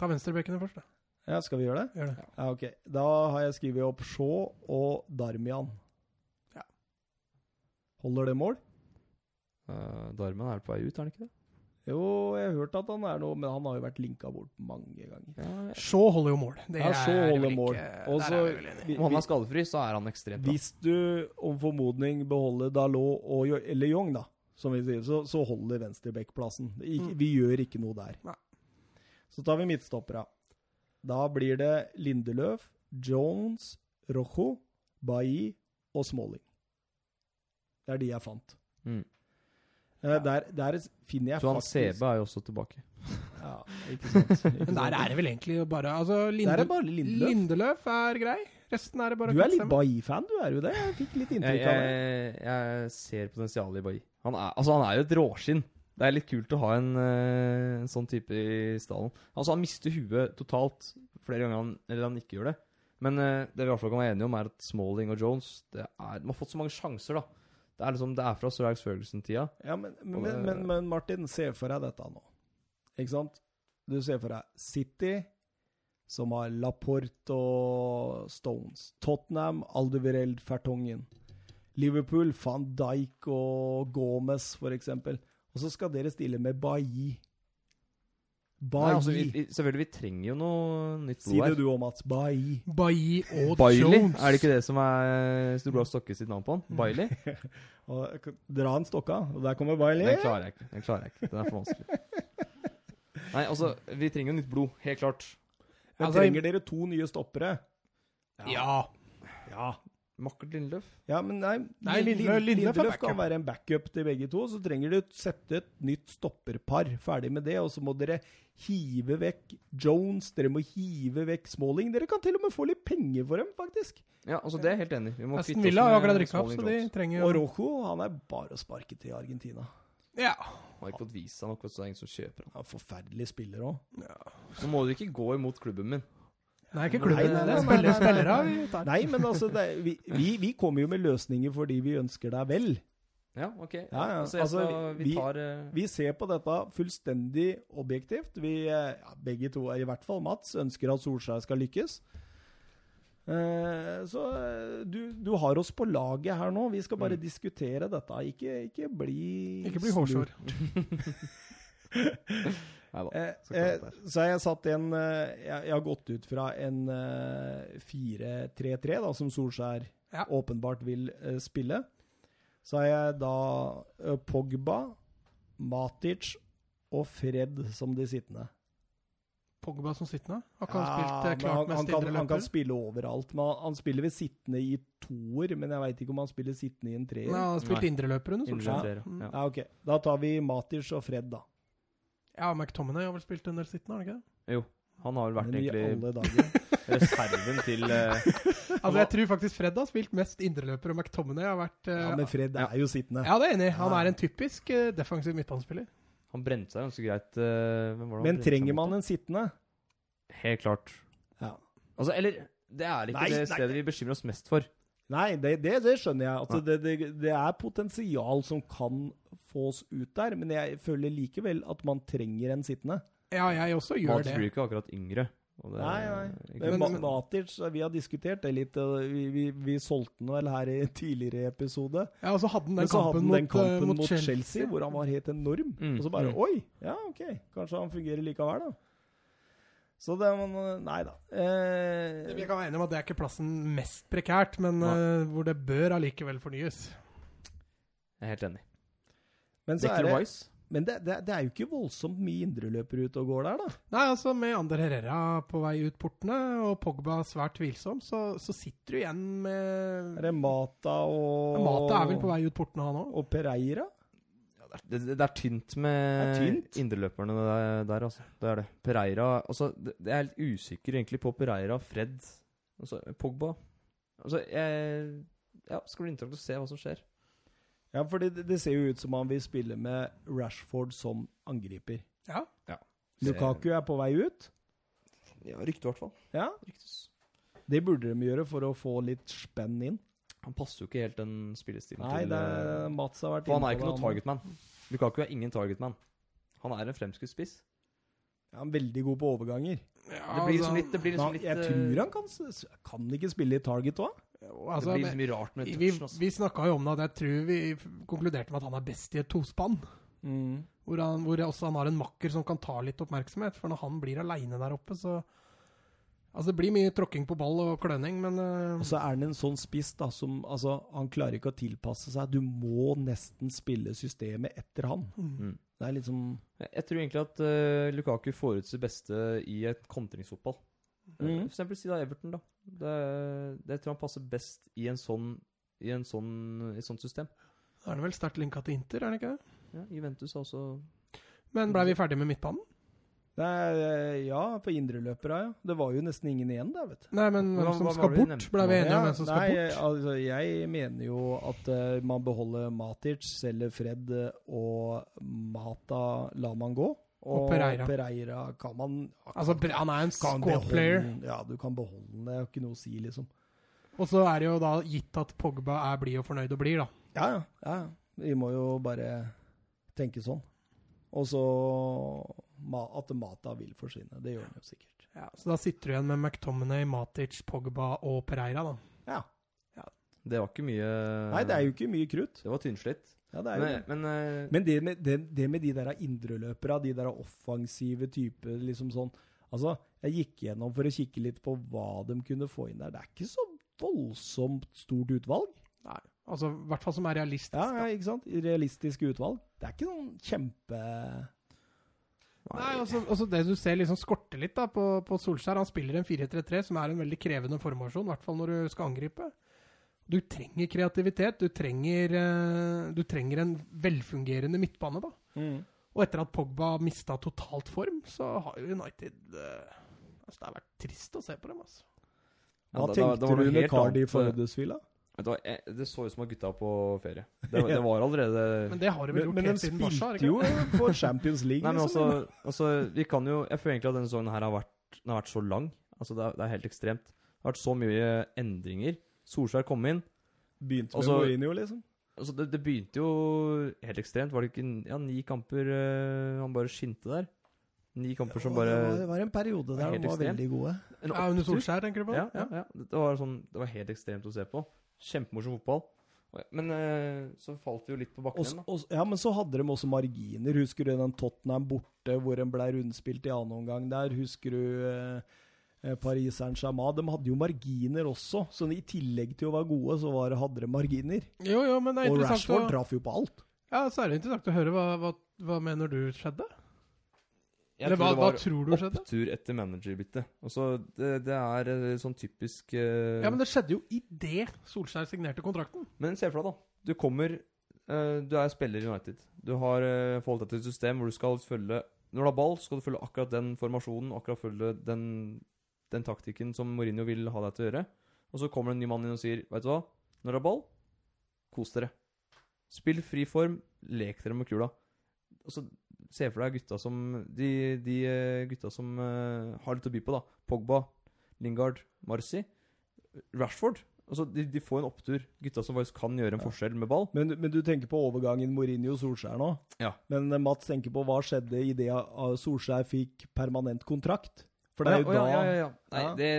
Ta venstrebekkene først, da.
Ja, skal vi gjøre det?
Gjør det.
Ja, ok. Da har jeg skrevet opp Shaw og Darmian.
Ja.
Holder det mål?
Eh, Darman er på vei ut, er han ikke det?
Jo, jeg har hørt at han er noe, men han har jo vært linka bort mange ganger.
Shaw holder jo mål. Det
Ja, Shaw
er vel
holder
ikke-
mål.
der
Og
er
så-
vi vel enige.
vi-
Om han er skadefri, så er han ekstremt bra.
Hvis du om formodning beholder Dalot og Jo- eller Jong, da, som vi sier, så, så holder venstrebekkplassen. Vi, vi gjør ikke noe der.
Mm. Nei.
Så tar vi midtstoppera. Da blir det Lindeløf, Jones, Rojo, Bailly og Smalling. Det er de jeg fant.
Mm.
Eh, Der, der finner jeg
Så han
faktisk
CB er jo også tilbake.
Ja, ikke sant. Ikke
Men der
sant.
er det vel egentlig bare Altså,
Der er
Linde,
det bare
Lindeløf.
Lindeløf.
er grei. Resten er det bare
Du er litt
kuttstemme.
Bailly-fan, du er jo det? Jeg fikk litt
Jeg,
inntrykk av det.
jeg, jeg ser potensialet i Bailly. Han, er- altså, han er jo et råskinn. Det er litt kult å ha en, eh, en sånn type i stallen. Altså, han mister huet totalt flere ganger han, eller han ikke gjør det. Men eh, det vi i hvert fall kan være enige om, er at Smalling og Jones det er, De har fått så mange sjanser, da. Det er, liksom, det er fra Sir Alex Ferguson-tida.
Ja, men, men,
Og det-
men, men Martin, se for deg dette nå. Ikke sant? Du ser for deg City, som har Laporte og Stones. Tottenham, Aldevireld, Fertongen. Liverpool, van Dijk og Gomez, for eksempel. Og så skal dere stille med Bailly.
Nei, altså, vi,
Bailly.
vi, selvfølgelig, vi trenger jo noe nytt
Si
blod
det
her.
du òg, Mats. Bailly.
Bailly og
Bailey?
Jones.
Er det ikke det som er Storbladet Stokke sitt navn på han?
Mm.
Bailey?
Og Dra en stokka, og der kommer Bailly.
Den klarer jeg ikke. Den klarer jeg ikke. Den er for vanskelig. Nei, altså, vi trenger jo nytt blod. Helt klart.
Men
Altså,
trenger dere to nye stoppere?
Ja.
Ja.
Makkert Lindløf.
Ja, men nei,
Nei,
Lin-
Lindløf-
Lin-
Lindløf er
Lindløf kan
backup.
være en backup til begge to. Så trenger du sette et nytt stopperpar. Ferdig med det. Og så må dere hive vekk Jones, dere må hive vekk Smalling. Dere kan til og med få litt penger for dem, faktisk.
Ja, altså, det er jeg helt enig i. Vi må
Aston
kvitte
Villa har jo
oss
akkurat
med
rykka opp, så
Smalling
de
Jones.
trenger
Og
jo
Rojo, han er bare å sparke til Argentina.
Ja.
Han har ikke fått vist seg nok, vet du, så det er ingen som kjøper han.
Han er forferdelig spiller òg.
Nå må du ikke gå imot klubben min.
Det er
Nei,
ikke klubben,
nei,
det
nei,
er
nei, nei,
spillere, spillere
nei,
vi tar.
Nei, men altså, det, er- vi, vi, vi kommer jo med løsninger fordi vi ønsker deg vel.
Ja, OK.
Ja, ja.
Så jeg
Altså,
skal,
vi-
vi tar eh,
Vi ser på dette fullstendig objektivt. Vi, eh, ja, begge to, i hvert fall Mats, ønsker at Solskjær skal lykkes. Eh, Så eh, du, du har oss på laget her nå. Vi skal bare diskutere dette. Ikke, ikke bli
Mm. Ikke bli hårsår.
Nei da.
Eh,
Så
eh,
klart det er.
så har jeg satt en eh, Jeg, jeg har gått ut fra en eh, 4-3-3, da, som Solskjær
Ja.
åpenbart vil eh, spille. Så har jeg da eh, Pogba, Matic og Fred som de sittende.
Pogba som sittende. Har ikke han
Ja,
spilt eh,
men
klart
han, han, kan,
mest indre
han kan
løper?
spille overalt. Men han, han spiller ved sittende i toer, men jeg veit ikke om han spiller sittende i en treer.
Nei, han har spilt
Nei.
indreløper under
Indre
Solskjær.
treer,
Mm.
ja.
Ja, ok. Da tar vi Matic og Fred, da.
Ja, McTominay har vel spilt en del sittende, har han ikke det?
Han har vel vært
Men i
egentlig
alle dager.
reserven til eh,
Altså, jeg tror faktisk Fred har spilt mest indreløper, og McTominay har vært eh,
Ja, men Fred er jo sittende.
Ja, det er jeg enig. i. Han
Ja.
er en typisk eh, defensiv midtbanespiller.
Han brente seg ganske greit. eh, hvem var det han
Men
brente seg
trenger
mot,
man en sittende?
da? Helt klart.
Ja.
Altså, eller Det er ikke
Nei,
det
nei.
stedet vi bekymrer oss mest for.
Nei, det, det, det skjønner jeg. Altså, det, det, det er potensial som kan fås ut der, men jeg føler likevel at man trenger en sittende.
Ja, jeg også gjør
Mats
det.
blir ikke akkurat yngre. og det-
Nei, nei.
ikke
Men,
sant?
Ma- Matic, vi har diskutert det litt, og vi, vi, vi solgte den vel her i en tidligere episode.
Ja, og så hadde han
Men
den
så hadde
kampen,
han den
mot, eh,
kampen mot, Chelsea,
Chelsea.
hvor han var helt enorm.
Mm,
Og så bare
mm.
Oi! Ja, OK. Kanskje han fungerer likevel, da. Så det man eh, Nei da.
Vi
Eh,
kan være enige om at det er ikke plassen mest prekært, men
Nei.
eh, hvor det bør allikevel fornyes.
Jeg er helt enig.
men så er
Declan
det,
Rice.
men det, det, det er jo ikke voldsomt mye indreløpere ute og går der, da.
Nei, altså med Ander Herrera på vei ut portene, og Pogba svært tvilsom, så, så sitter du igjen med
Er det Mata og
Mata er vel på vei ut portene, han òg.
Og Pereira?
Det, det, det er tynt
Det er
med
tynt.
indreløperne der, der, altså. Det er det. Pereira altså, det, Jeg er litt usikker egentlig på Pereira, Fred, altså, Pogba. Altså, jeg Ja, skal bli interessant å se hva som skjer.
Ja, for det, det ser jo ut som han vil spille med Rashford som angriper.
Ja.
Lukaku er på vei ut.
Ja, Rykte, i hvert fall.
Ja,
Ryktes.
Det burde de gjøre for å få litt spenn inn.
Han passer jo ikke helt den spillestilen
Nei,
til
det
eh,
er, Mats har vært
For han
inne på
er ikke
det,
noe
han.
targetman. Lukaku er ingen targetman. Han er en fremskutt spiss.
Ja, han er veldig god på overganger.
Det blir
altså,
liksom litt, det blir
Men
liksom
Altså, han, jeg
litt eh,
tror han kan, s- kan han ikke spille i target òg.
Det
altså,
blir
men-
liksom mye rart med
vi
touchen. Altså.
vi snakka jo om det, at jeg tror vi konkluderte med at han er best i et tospann. Hvor han, hvor også han har en makker som kan ta litt oppmerksomhet. For når han blir aleine der oppe, så Altså, det blir mye tråkking på ball og kløning, men eh,
Og så er han en sånn spiss da, som altså, han klarer ikke å tilpasse seg. Du må nesten spille systemet etter han.
Mm.
Det er litt sånn
Jeg jeg tror egentlig at eh, Lukaku får ut sitt beste i et kontringsfotball. Eh,
Mhm.
For eksempel si da Everton, da. Det, det tror jeg han passer best i en sånn i en sånn, i et sånt system.
Da er det vel sterkt linka til Inter, er det ikke det?
Ja, Juventus er også
Men blei vi ferdige med midtbanen?
Nei, eh, ja, på indreløpere, ja. Det var jo nesten ingen igjen der, vet du.
Nei, men
Hva-
hvem som
hva
skal
var det vi
bort?
nevnte
Blei vi
nå?
enige om hvem som skal
nei,
bort?
Altså, jeg mener jo at eh, man beholder Matic, selger Fred eh, og Mata lar man gå.
Og Pereira.
Pereira kan man
Altså, Bre- han er en
kan
squad player.
beholde- Ja, du kan beholde den. Det er jo ikke noe å si, liksom.
Og så er det jo da gitt at Pogba er blid og fornøyd og blir, da.
Ja, ja. ja. ja. Vi må jo bare tenke sånn. Og så ma- at Mata vil forsvinne. Det gjør den jo sikkert.
Så da sitter du igjen med McTominay, Matic, Pogba og Pereira, da.
Ja.
Det var ikke mye
Nei, det er jo ikke mye krutt.
Det var tynnslitt.
Ja, det er jo
Men,
det.
men eh,
Men det med, det, det med de der indreløpere, de der offensive typer, liksom sånn Altså, jeg gikk gjennom for å kikke litt på hva de kunne få inn der. Det er ikke så voldsomt stort utvalg.
Nei. Altså, i hvert fall som er realistisk.
Ja,
da.
ja, ikke sant? Realistiske utvalg. Det er ikke noen kjempe...
Nei,
altså-
også, også det du ser liksom skorte litt da på, på Solskjær. Han spiller en 4-3-3, som er en veldig krevende formasjon, i hvert fall når du skal angripe. Du trenger kreativitet. Du trenger, eh, du trenger en velfungerende midtbane, da.
Mm.
Og etter at Pogba mista totalt form, så har jo United eh, altså Det har vært trist å se på dem, altså.
ja,
Hva
da- da- da
tenkte
var det
du med
helt annet,
Cardiff
eh,
og Huddersfield, da?
Vet du hva, jeg- Det så ut som at gutta var på ferie. Det, var- det var allerede
Men det har de vel
Men,
gjort
men de
helt siden Barca? har de
spilte
ikke
jo for Champions League,
Nei, men altså,
liksom.
altså Vi kan jo Jeg føler egentlig at denne sesongen her har vært, den har vært så lang. Altså, det er, det er helt ekstremt. Det har vært så mye endringer. Solskjær kom inn.
Begynte med
altså-
Mourinho, liksom.
Altså, det, det begynte jo helt ekstremt. Var det ikke ja, ni kamper eh, han bare skinte der? Ni kamper som bare
det, var, det var en periode
var
der
helt
de var
ekstremt.
veldig gode.
en
Ja, under
opptur.
Solskjær, tenker du på?
Ja, ja, ja. Det var, sånn, det var helt ekstremt å se på. Kjempemorsom fotball. Og- Men eh, så falt vi jo litt på bakken
Og,
igjen, da.
og, ja, men så hadde de også marginer. Husker du den Tottenham borte, hvor en ble rundspilt i annen omgang der? Husker du eh, eh, Paris Saint-Germain? De hadde jo marginer også, så i tillegg til å være gode, så var, hadde de marginer.
Jo, jo, men det er
Og
interessant å,
Rashford traff jo på alt.
ja, så er det interessant å høre hva, hva, hva mener du skjedde?
Jeg
Eller
tror
hva,
det
hva
var
tror du skjedde?
opptur etter managerbytte. Og så det, det er eh, sånn typisk eh,
Ja, men det skjedde jo idet Solskjær signerte kontrakten.
Men se for deg, da. Du kommer eh, Du er spiller i United. Du har uh, forholdt deg til et system hvor du skal følge Når du har ball, skal du følge akkurat den formasjonen, akkurat følge den, den taktikken som Mourinho vil ha deg til å gjøre. Og så kommer det en ny mann inn og sier Vet du hva? Når du har ball, kos dere. Spill fri form. Lek dere med kula. Og så Se for deg gutta som De, de eh, gutta som eh, har litt å by på, da. Pogba, Lingard, Marci. Rashford. Altså, de, de får en opptur. Gutta som faktisk kan gjøre en
Ja.
forskjell med ball.
Men, men du tenker på overgangen Mourinho-Solskjær nå?
Ja.
Men eh, Mats tenker på hva skjedde idet Solskjær fikk permanent kontrakt? For det er jo
Å, ja,
da
ja, ja, ja. Nei,
Ja.
det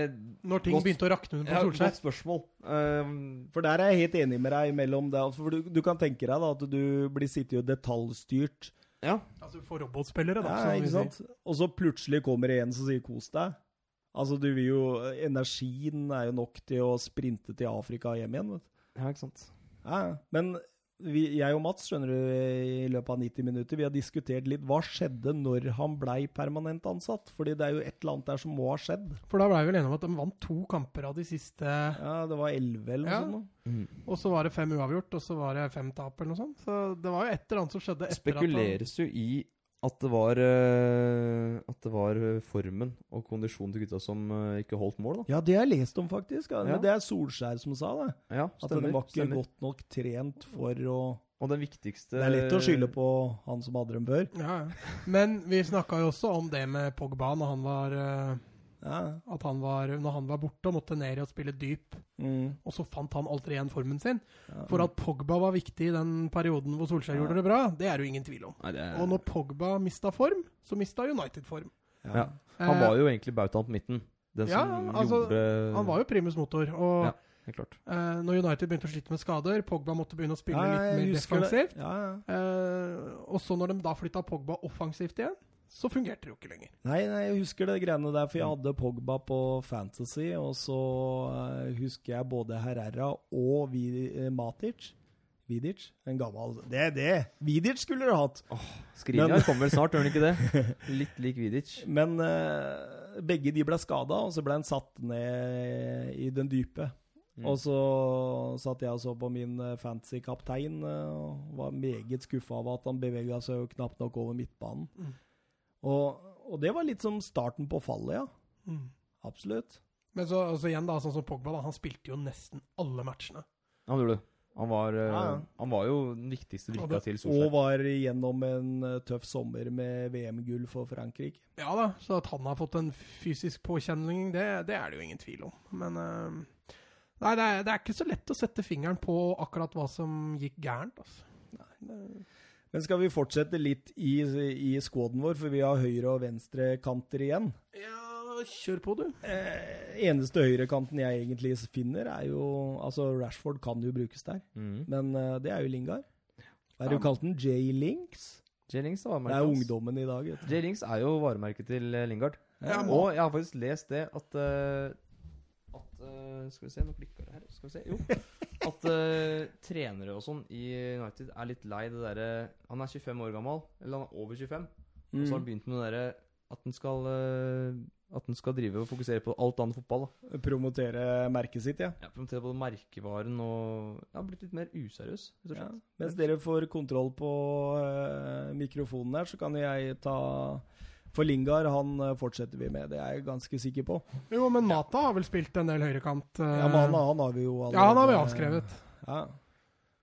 Når ting
Godt.
begynte å rakne under
ja,
på Solskjær.
Godt spørsmål. Ehm,
For der er jeg helt enig med deg mellom det. altså, For du, du kan tenke deg da at du blir sittet og detaljstyrt.
ja.
Altså, for robotspillere, da.
Ja,
som vi
ikke
sier.
sant? Og så plutselig kommer det en som sier 'kos deg'. Altså, du vil jo Energien er jo nok til å sprinte til Afrika og hjem igjen, vet du.
ja, ikke sant.
Ja, ja. men vi, jeg og Mats, skjønner du, i løpet av 90 minutter, vi har diskutert litt hva skjedde når han blei permanent ansatt. Fordi det er jo et eller annet der som må ha skjedd.
For da blei vi vel enige om at de vant to kamper av de siste,
Ja, det var 11 eller noe
Ja.
sånt. nå.
og så var det fem uavgjort, og så var det fem tap eller noe sånt. Så det var jo et eller annet som skjedde etter at
Spekuleres jo i at det var eh, At det var eh, formen og kondisjonen til gutta som eh, ikke holdt mål, da.
Ja, det har jeg lest om, faktisk. Ja.
Ja.
Det er Solskjær som sa det.
Ja,
At den var ikke
stemmer.
godt nok trent for å
Og den viktigste
Det er lett å skylde på han som hadde dem før.
han ja, ja. Men vi snakka jo også om det med Pogba når han var, eh,
Ja.
at han var, når han var borte og måtte ned og spille dyp. Og så fant han aldri igjen formen sin.
Ja.
For at Pogba var viktig i den perioden hvor Solskjær
Ja.
gjorde det bra, det er det jo ingen tvil om.
Nei, det er...
Og når Pogba mista form, så mista United form.
Ja.
Han var jo egentlig bautaen på midten. Den
Eh. Ja,
som
altså,
gjorde
han var jo primus motor, og
Ja. Helt klart.
Eh, når United begynte å slite med skader, Pogba måtte begynne å spille
Ja,
litt
jeg
mer
husker det.
defensivt.
Ja, ja.
Eh, og så når de da flytta Pogba offensivt igjen, så fungerte det jo ikke lenger.
Nei, nei, jeg husker det greiene der, for jeg hadde Pogba på Fantasy, og så eh, husker jeg både Herrera og Vi- eh, Matic. Vidic. En gammel Det er det! Vidic skulle du hatt!
Skriniar
Men-
kommer vel snart, gjør han ikke det? Litt lik Vidic.
Men eh, begge de ble skada, og så ble han satt ned i den dype.
Mm.
Og så satt jeg og så på min eh, fancy kaptein eh, og var meget skuffa av at han bevega seg jo knapt nok over midtbanen.
Mm.
Og, og det var litt som starten på fallet, ja. Absolutt.
Men så altså igjen, da, sånn som Pogba, da, han spilte jo nesten alle matchene.
Han gjorde det. Han var, eh,
Ja, ja.
han var jo den viktigste
Og
brikka
det-
til
Og
Solskjær.
var gjennom en eh, tøff sommer med VM-gull for Frankrike.
Ja da, så at han har fått en fysisk påkjenning, det, det er det jo ingen tvil om. Men eh, Nei, det er, det er ikke så lett å sette fingeren på akkurat hva som gikk gærent, altså. Det-
Men skal vi fortsette litt i, i squaden vår, for vi har høyre- og venstrekanter igjen.
Ja, kjør på, du.
Eh, eneste høyrekanten jeg egentlig finner, er jo Altså, Rashford kan jo brukes der,
Mm.
men eh, det er jo Lingard. Hva er det du kalte den? J-Links?
Jay Links er
Det er
varemerket hans.
ungdommen i dag, vet du.
Jay Links er jo varemerket til eh, Lingard.
Ja, må-
Og jeg har faktisk lest det at eh, At eh, Skal vi se, nå klikker det her. Skal vi se. Jo. At eh, trenere og sånn i United er litt lei det derre Han er 25 år gammel, eller han er over 25, og så har han
Mm.
begynt med det derre at han skal eh, At han skal drive og fokusere på alt annet enn fotball. Da.
Promotere merket sitt, ja.
Ja, Promotere både merkevaren og Ja, blitt litt mer useriøs, rett og
ja.
slett.
Mens dere får kontroll på eh, mikrofonen her, så kan jeg ta For Lingard, han eh, fortsetter vi med, det er jeg ganske sikker på.
Jo, men Mata har vel spilt en del høyrekant. eh,
Ja, men han, han har vi jo allerede
ja, han har vi avskrevet.
Ja.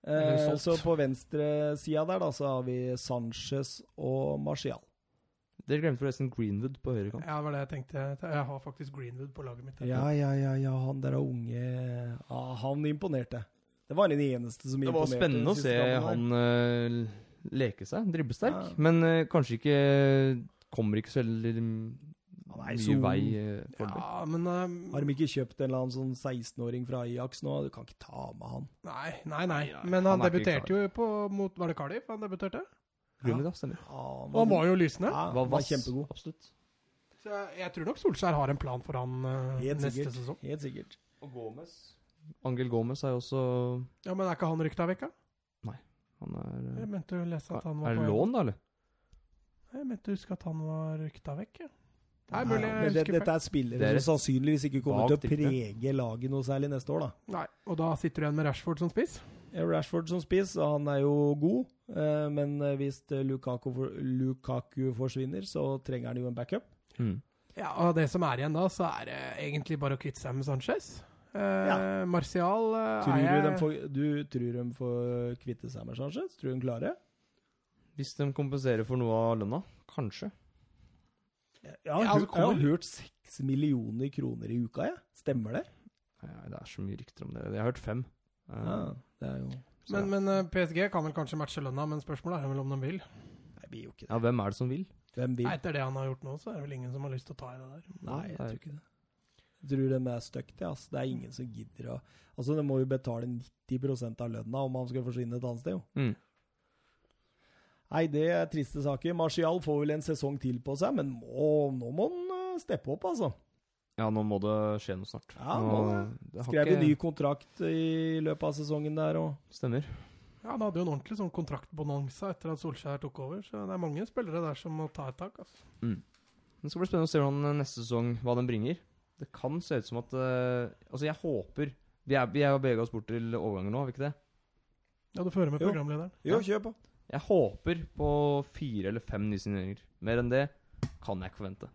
Eller
Eh,
solgt.
så på venstresida der, da, så har vi Sanchez og Martial.
Dere glemte forresten Greenwood på høyre kant.
Ja, det var det jeg tenkte. Jeg har faktisk Greenwood på laget mitt.
Ja, ja, ja, ja, han der er unge ja, Han imponerte. Det var den eneste som
Det var
imponerte.
spennende å
siste
se
gangen der.
han eh, leke seg, dribbesterk.
Ja.
Men eh, kanskje ikke Kommer ikke så veldig
Han er i
mye
solen.
vei eh, for det.
Ja, men eh,
Har de ikke kjøpt en eller annen sånn 16-åring fra Ajax nå? Du kan ikke ta med han.
Nei, nei, nei.
nei,
Men
han
han
er ikke
debuterte jo på, mot Var det Cardiff han debuterte?
Greenwood, ja, stemmer.
Ja, han
Og han var jo lysende.
ja,
Det
han var
vass,
kjempegod.
Absolutt.
Så jeg, jeg tror nok Solskjær har en plan for han eh,
Helt
neste
sikkert.
sesong.
Helt sikkert.
Og Gomez. Angel Gomez er jo også
Ja, Men er ikke han rykta vekk, da?
Han er
Mm.
eh,
Jeg mente jo lese at han var
Er det
på
lån, da, eller?
Jeg mente å huske at han var rykta vekk, ja. Nei,
Nei,
mulig
men det,
jeg husker feil.
dette er spillere
Det er
som sannsynligvis ikke kommer til
vagt
å prege laget noe særlig neste år, da. Eh,
Nei, Og da sitter du igjen med Rashford som spiss?
Rashford som spiss, og han er jo god. eh, Men hvis eh, Lukaku, for, Lukaku forsvinner, så trenger han jo en backup.
Mm.
Ja, Og det som er igjen da, så er det egentlig bare å kvitte seg med Sanchez. Eh,
Ja.
Martial eh,
Tror
er
du,
jeg
de får, du tror de får kvitte seg med Sanchez? Tror du de klarer det?
Hvis de kompenserer for noe av lønna? Kanskje.
Jeg har,
Ja,
hørt-
altså,
jeg har
kommer-
hørt seks millioner kroner i uka, jeg. Stemmer det?
Nei, det er så mye rykter om det. Jeg har hørt fem. Eh,
Ja, det er jo
så
Men,
ja.
men eh, PSG kan vel kanskje matche lønna, men spørsmålet er vel om de vil.
Nei, det blir jo ikke det.
ja, hvem er det som vil?
Hvem vil?
Nei, Etter det han har gjort nå, så er det vel ingen som har lyst til å ta i det der.
Nei, jeg
det er
tror
jo
ikke det. Jeg tror de er stuck til, ass. Det er ingen som gidder å Altså, de må jo betale 90 av lønna om han skal forsvinne et annet sted, jo.
Mm.
Nei, det er triste saker. Martial får vel en sesong til på seg, men må, nå må han eh, steppe opp, altså.
Ja, nå må det skje noe snart.
Ja, nå
det har
Skrev
ikke-
en ny kontrakt i løpet av sesongen der, og
Stemmer.
Ja, Han hadde jo en ordentlig sånn kontraktbonanza etter at Solskjær tok over, så det er mange spillere der som må ta et tak. Altså.
Det skal bli spennende å se hvordan eh, neste sesong hva den bringer. Det kan se ut som at eh, Altså, jeg håper Vi er- vi har bevega oss bort til overganger nå, har vi ikke det?
Ja, Du fører med
Jo.
programlederen.
Jo, kjør på.
Jeg håper på fire eller fem nye signeringer. Mer enn det kan jeg ikke forvente.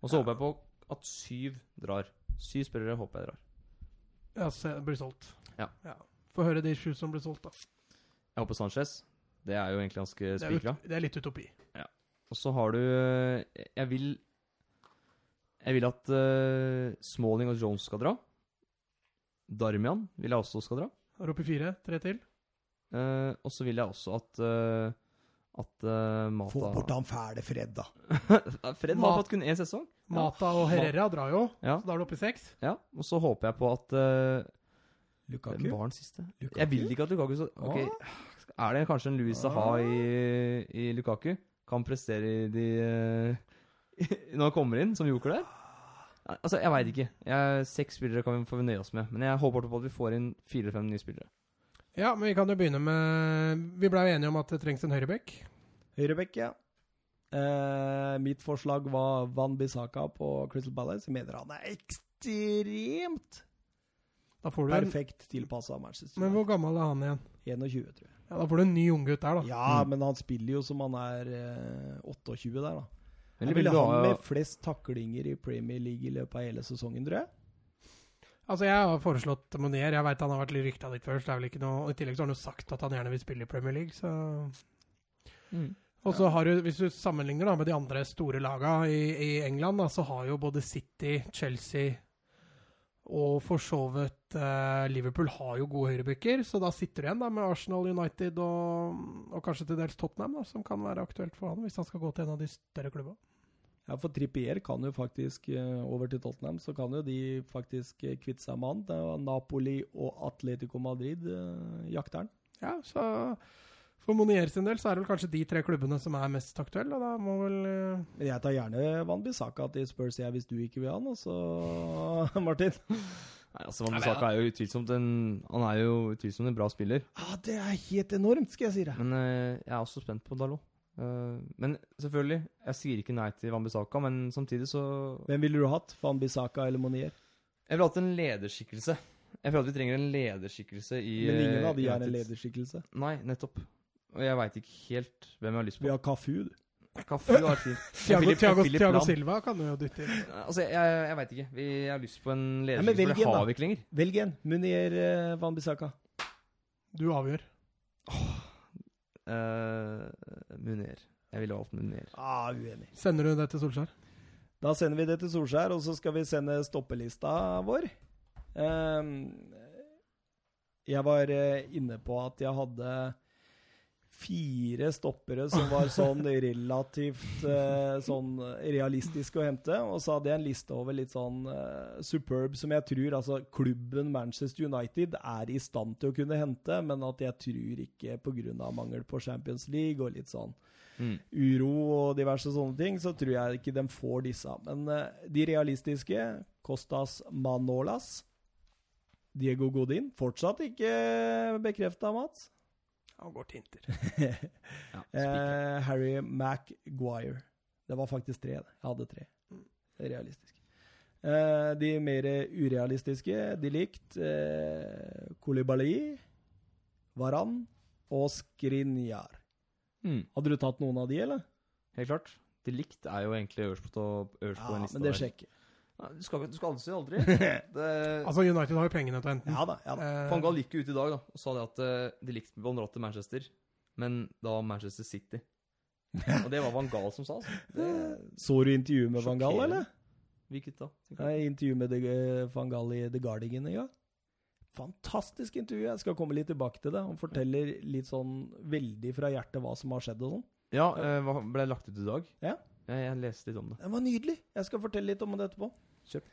Og så håper jeg på at syv drar. Syv spillere håper jeg drar.
Ja, se, det blir solgt.
Ja.
Få høre de sju som blir solgt, da.
Jeg håper Sanchez. Det er jo egentlig ganske
Det er,
spikra.
ut, det er litt utopi.
Og så har du eh, Jeg vil Jeg vil at eh, Smalling og Jones skal dra. Darmian vil jeg også skal dra.
Er du oppe i fire? Tre til?
Eh, og så vil jeg også at eh, At eh, Mata Eh,
Få bort han fæle Fred, da.
Fred
Mat-
har fått kun én sesong.
Mata og Herrera drar jo,
Ja.
så da er du oppe i seks.
ja. Og så håper jeg på at eh,
Lukaku?
Hvem var den siste?
Lukaku? Ah.
Jeg vil ikke at Lukaku så, ok. Er det kanskje en Louis Saha i, i Lukaku? Kan prestere i de eh, Når han kommer inn som joker der? Nei, Altså, Jeg veit ikke. Jeg, seks spillere kan vi få nøye oss med. Men jeg håper på at vi får inn fire-fem nye spillere.
Ja, men vi kan jo begynne med Vi blei enige om at det trengs en høyrebekk.
Høyrebekk, ja. Eh, mitt forslag var Van Bissaka på Crystal Palace. Jeg mener han er ekstremt
Da får du en,
perfekt tilpassa Manchester
Men
United.
hvor gammel er han igjen?
21, tror jeg.
Ja, Da får du en ny unggutt der, da.
Ja,
Mm.
men han spiller jo som han er eh, 28 der, da.
Eller
han
vil
ville
du
han
ha
med flest taklinger i Premier League i løpet av hele sesongen, tror jeg.
Altså, Jeg har foreslått Monier. Jeg veit han har vært litt rykta litt først. Det er vel ikke noe, og I tillegg så har han jo sagt at han gjerne vil spille i Premier League, så
Mm.
Og så har du, Hvis du sammenligner da med de andre store laga i, i England, da, så har jo både City, Chelsea og for så vidt eh, Liverpool har jo gode høyrebacker. Så da sitter du igjen da med Arsenal, United og, og kanskje til dels Tottenham, da, som kan være aktuelt for han hvis han skal gå til en av de større klubba.
Ja, For Trippier kan jo faktisk eh, over til Tottenham, så kan jo de faktisk eh, kvitte seg med han. Det var Napoli og Atletico Madrid eh, jakter han.
Ja, så for Monier sin del så er det vel kanskje de tre klubbene som er mest aktuelle, og da må vel eh,
Men jeg tar gjerne Van Bissaka til Spurs, jeg, hvis du ikke vil ha han. Og så, Martin
Nei, altså, Van Bissaka er jo utvilsomt en Han er jo utvilsomt en bra spiller.
ah, Det er helt enormt, skal jeg si deg.
Men eh, jeg er også spent på Dalot. Eh, men selvfølgelig, jeg sier ikke nei til Van Bissaka, men samtidig så
Hvem ville du hatt? Van Bissaka eller Monier?
Jeg ville hatt en lederskikkelse. Jeg føler at vi trenger en lederskikkelse i
Men ingen
eh,
av de er en
United.
lederskikkelse.
Nei, nettopp. Og jeg veit ikke helt hvem jeg har lyst
Vi
på.
har Cafu. du.
Cafu har fint.
Thiago,
Philip-
Thiago,
Philip
Thiago
Lahm.
Silva kan du jo dytte inn.
Altså, jeg, jeg veit ikke. Vi jeg har lyst på en
men
lederskikkelse,
velg
for
en,
det
da.
har vi ikke lenger.
Velg en. Munier, eh, Van Bissaka.
Du avgjør.
Eh, Munier. Jeg ville valgt Munier.
Ah, uenig.
Sender du det til Solskjær?
Da sender vi det til Solskjær, og så skal vi sende stoppelista vår. Ehm, jeg var eh, inne på at jeg hadde fire stoppere som var sånn relativt eh, sånn realistiske å hente. Og så hadde jeg en liste over litt sånn eh, superb som jeg tror altså klubben Manchester United er i stand til å kunne hente, men at jeg tror ikke pga. mangel på Champions League og litt sånn
Mm.
uro og diverse sånne ting, så tror jeg ikke de får disse. Men eh, de realistiske, Costas Manolas, Diego Godin, fortsatt ikke bekrefta, Mats.
Han går til Inter.
Ja, spiker.
Eh, Harry Maguire. Det var faktisk tre. det. Jeg hadde tre. Det er Realistisk. Eh, de mer urealistiske, de likt eh, Kolibali, Varan og Skrinjar.
Mm.
Hadde du tatt noen av de, eller?
Helt klart. De likt er jo egentlig øverst på, øverst på
Ja,
den lista.
men det
der.
sjekker.
Nei, Du skal, ikke- du skal aldri si aldri. Det,
Altså, United har jo pengene til å hente den.
Ja da. ja da.
Eh,
Van Gaal gikk jo ut i dag da, og sa det at eh, de likte Van Raat til Manchester, men da var Manchester City. Og det var Van Gaal som sa. Altså. Det,
Eh, Så du intervjuet med Van Gaal,
Sjokkerende.
eller?
hvilket da? tenker jeg.
Jeg intervjuet med The- eh, Van Gaal i The Guardian i gang. Fantastisk intervju. Jeg skal komme litt tilbake til det. Han forteller litt sånn veldig fra hjertet hva som har skjedd og sånn.
Ja, eh, hva ble lagt ut i dag?
Ja.
Jeg, jeg leste litt om det.
Det var nydelig. Jeg skal fortelle litt om det etterpå.
Kjør.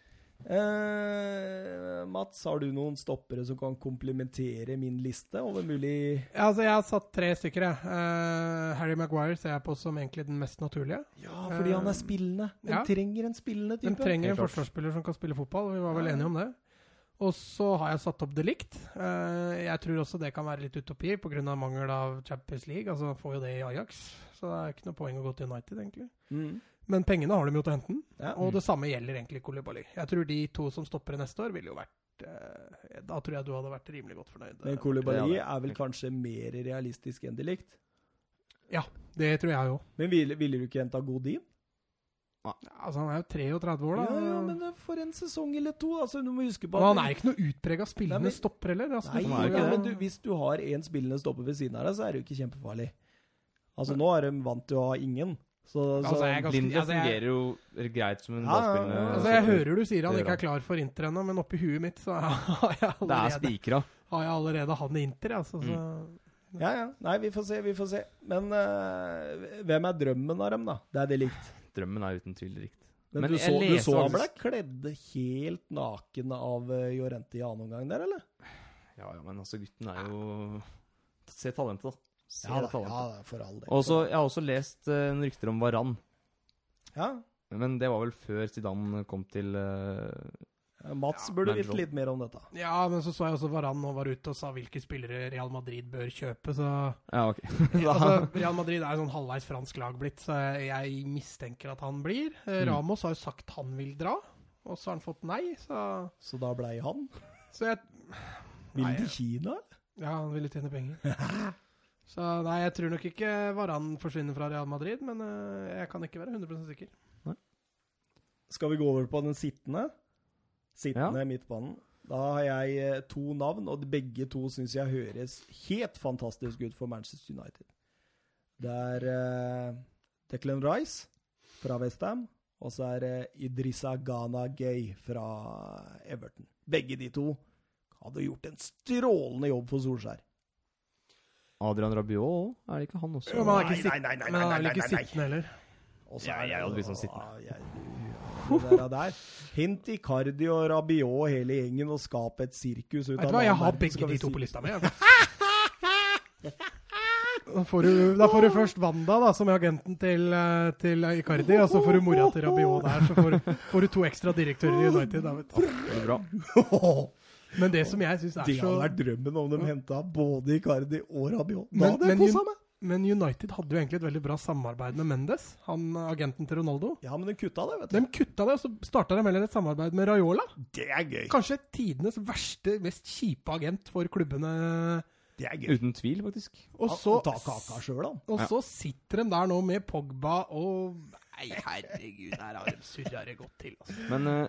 Eh, Mats, har du noen stoppere som kan komplementere min liste over mulig
Ja, altså, jeg har satt tre stykker, jeg. Eh, Harry Maguire ser jeg på som egentlig den mest naturlige.
Ja, fordi han
eh,
er spillende. Den
Ja.
trenger en spillende
Den
type.
trenger en
Helt klart.
forsvarsspiller som kan spille fotball, vi var vel
Ja.
enige om det. Og så har jeg satt opp det likt. Eh, jeg tror også det kan være litt utopi pga. mangel av Champions League. Altså han får jo det i Ajax, så det er ikke noe poeng å gå til United, egentlig.
Mm.
Men pengene har de jo til å hente den,
Ja.
og
Mm.
det samme gjelder egentlig Kolibali. Jeg tror de to som stopper neste år, ville jo vært eh, Da tror jeg du hadde vært rimelig godt fornøyd.
Men Kolibali
Det er
er vel kanskje mer realistisk enn de likt.
Det tror jeg òg.
Men ville, ville du ikke henta Godin?
Altså, han er jo 33 år, da.
Ja, ja, men eh, for en sesong eller to, altså. Du må huske på
Og
at
han er ikke noe utprega
Nei,
spillende
men-
stopper heller. Altså,
Nei,
du
Han
får
er
jo-
ikke
ja,
det.
men du, hvis du har én spillende stopper ved siden av deg, så er det jo ikke kjempefarlig. Altså, nå er de vant til å ha ingen. Så, så
Altså, jeg er ganske-
Lindley
altså, jeg-
fungerer jo greit som en
Ja,
ballspillende
ja, ja.
Altså, jeg hører du sier han
Det gjør
ikke er klar for Inter ennå, men oppi huet mitt så har jeg
Det er
allerede,
spikra.
har jeg allerede han i Inter, altså. Så.
Ja, ja. Nei, vi får se, vi får se. Men eh, hvem er drømmen av dem, da? Det er det likt.
Drømmen er uten tvil rikt.
Men,
Men
du
jeg
så, du
leser
så han ble
faktisk-
kledd helt naken av eh, Jorente i annen omgang der, eller?
Ja, ja, men altså, gutten er jo Se talentet, da. Se
Ja da,
talentet.
ja da, for all del.
Og så- jeg har også lest eh, noen rykter om Varan,
ja.
men det var vel før Zidane kom til eh,
Mats burde
men
visst
Rob-
litt mer om dette.
Ja, men så så jeg også Varan nå var ute og sa hvilke spillere Real Madrid bør kjøpe, så
Ja, ok.
altså, Real Madrid er sånn halvveis fransk lag blitt, så jeg mistenker at han blir. Eh,
Mm.
Ramos har jo sagt han vil dra, og så har han fått nei, så,
Så da blei han.
så jeg
Vil
Nei,
til Kina?
Ja, han ville tjene penger. Så nei, jeg tror nok ikke Varan forsvinner fra Real Madrid, men eh, jeg kan ikke være 100 sikker.
Skal vi gå over på den sittende? Sittende midtbanen. Da har jeg eh, to navn, og de- begge to syns jeg høres helt fantastisk ut for Manchester United. Det er eh, Declan Rice fra Westham, og så er det Idrissa Ghana Gay fra Everton. Begge de to hadde gjort en strålende jobb for Solskjær.
Adrian Rabiot òg, er det ikke han også?
Jo, men han er ikke
Nei, nei, nei, nei,
sittende, men han er vel
nei,
ikke
nei, nei.
sittende heller.
Og så
Jeg-
er det-
jeg hadde blitt sånn
Ah, jeg- det der, der. Hint i Cardi og Rabiot hele gjengen og skap et sirkus ut
Vet du
hva
hva, jeg har begge de to på lista mi. jeg. altså. Da får, du, da får du først Wanda, da, som er agenten til, eh, til Icardi, og så får du mora til Rabiot der. Så får, du- får du to ekstra direktører i United. Da, vet du.
Det er Bra.
Men det som jeg syns er
Det hadde
så
vært drømmen om de henta både Icardi og Rabiot. Da
Men-
hadde jeg
men
kosa
Jun-
meg!
Men United hadde jo egentlig et veldig bra samarbeid med Mendes, han eh, agenten til Ronaldo.
Ja, men de kutta det, vet du.
De kutta det, og så starta de heller et samarbeid med Raiola.
Det er gøy.
Kanskje tidenes verste, mest kjipe agent for klubbene.
Det er gøy.
Uten tvil, faktisk.
Og så,
Ta kaka sjøl, han.
og så sitter de der nå med Pogba og Nei, herregud, der har de surra det godt til. Altså.
Men eh,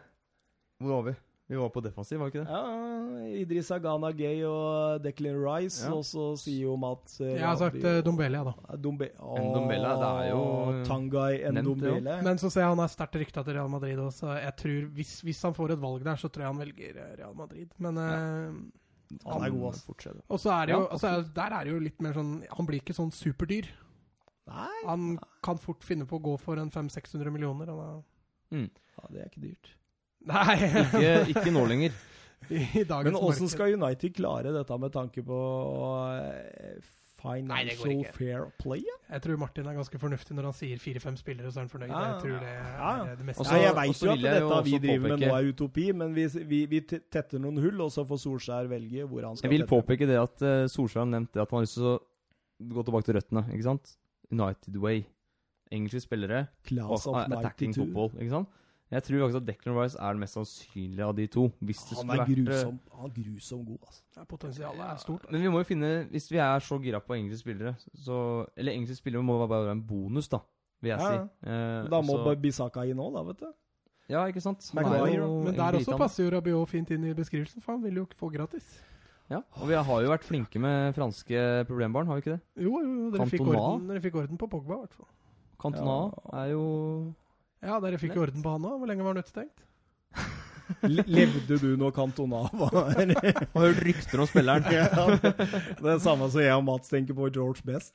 hvor var vi? Vi var på defensiv, var vi ikke det?
Ja, Idris Agana Gay og Declan Rice,
Ja.
og så sier jo Mats eh,
Jeg har sagt eh,
Rabiot.
Dombele, jeg, da.
Dombe Åh,
Ndombele, det er
eh,
jo
Tangai
nevnt, det jo.
Ndombele.
Men så ser jeg han er sterkt rykta til Real Madrid òg, så jeg tror hvis, hvis han får et valg der, så tror jeg han velger eh, Real Madrid. Men eh,
Han er god, ass.
Fortsett.
Og så er det jo
Ja,
altså, Der er det jo litt mer sånn Han blir ikke sånn superdyr.
Nei,
Han kan fort finne på å gå for en 500-600 millioner. Han er...
ja, det er ikke dyrt.
Nei!
Ikke, ikke nå lenger.
I dagens
Men åssen
marked.
skal United klare dette med tanke på eh,
Nei, det går
financial
ikke.
fair play? Ja?
Jeg tror Martin er ganske fornuftig når han sier fire-fem spillere, så er han fornøyd.
Ja,
jeg tror det
Ah. ja, ja.
er det meste.
Og så-
Nei, jeg
og
veit
så
jo at
vil jeg jo
dette vi
også
driver med nå
påpeke-
er utopi, men vi, vi, vi te- tetter noen hull, og så får Solskjær velge hvor han skal
Jeg vil
tette.
påpeke det at eh, Solskjær har nevnt det at han har lyst til å gå tilbake til røttene, ikke sant? United way. Engelske spillere og
Class of
a- attacking
92.
football, ikke sant? Jeg tror faktisk at Declan Rice er den mest sannsynlige av de to. Hvis det
Han
skulle
er
vært, eh,
grusom, han er grusom god, altså.
Ja, Potensialet er stort. altså.
Men vi må jo finne Hvis vi er så gira på engelske spillere, så Eller engelske spillere må bare være en bonus, da, vil jeg
Ja, ja.
si. Eh,
Da må
så-
bare Bisaka inn òg, da, vet du.
Ja, ikke sant? Han
Maguire,
er jo
Men
en
der også
brite, han.
passer jo Rabiot fint inn i beskrivelsen, for han vil jo ikke få gratis.
Ja, og vi har jo vært flinke med franske problembarn, har vi ikke det?
Jo, jo, jo dere, fikk
Cantona?
orden, dere fikk orden på Pogba, i hvert fall.
Cantona er jo
Ja, dere fikk jo orden på han òg. Hvor lenge var han utestengt?
Le- Levde du når Cantona var
Har hørt rykter om spilleren.
Ja, det det er det samme som jeg og Mats tenker på George Best.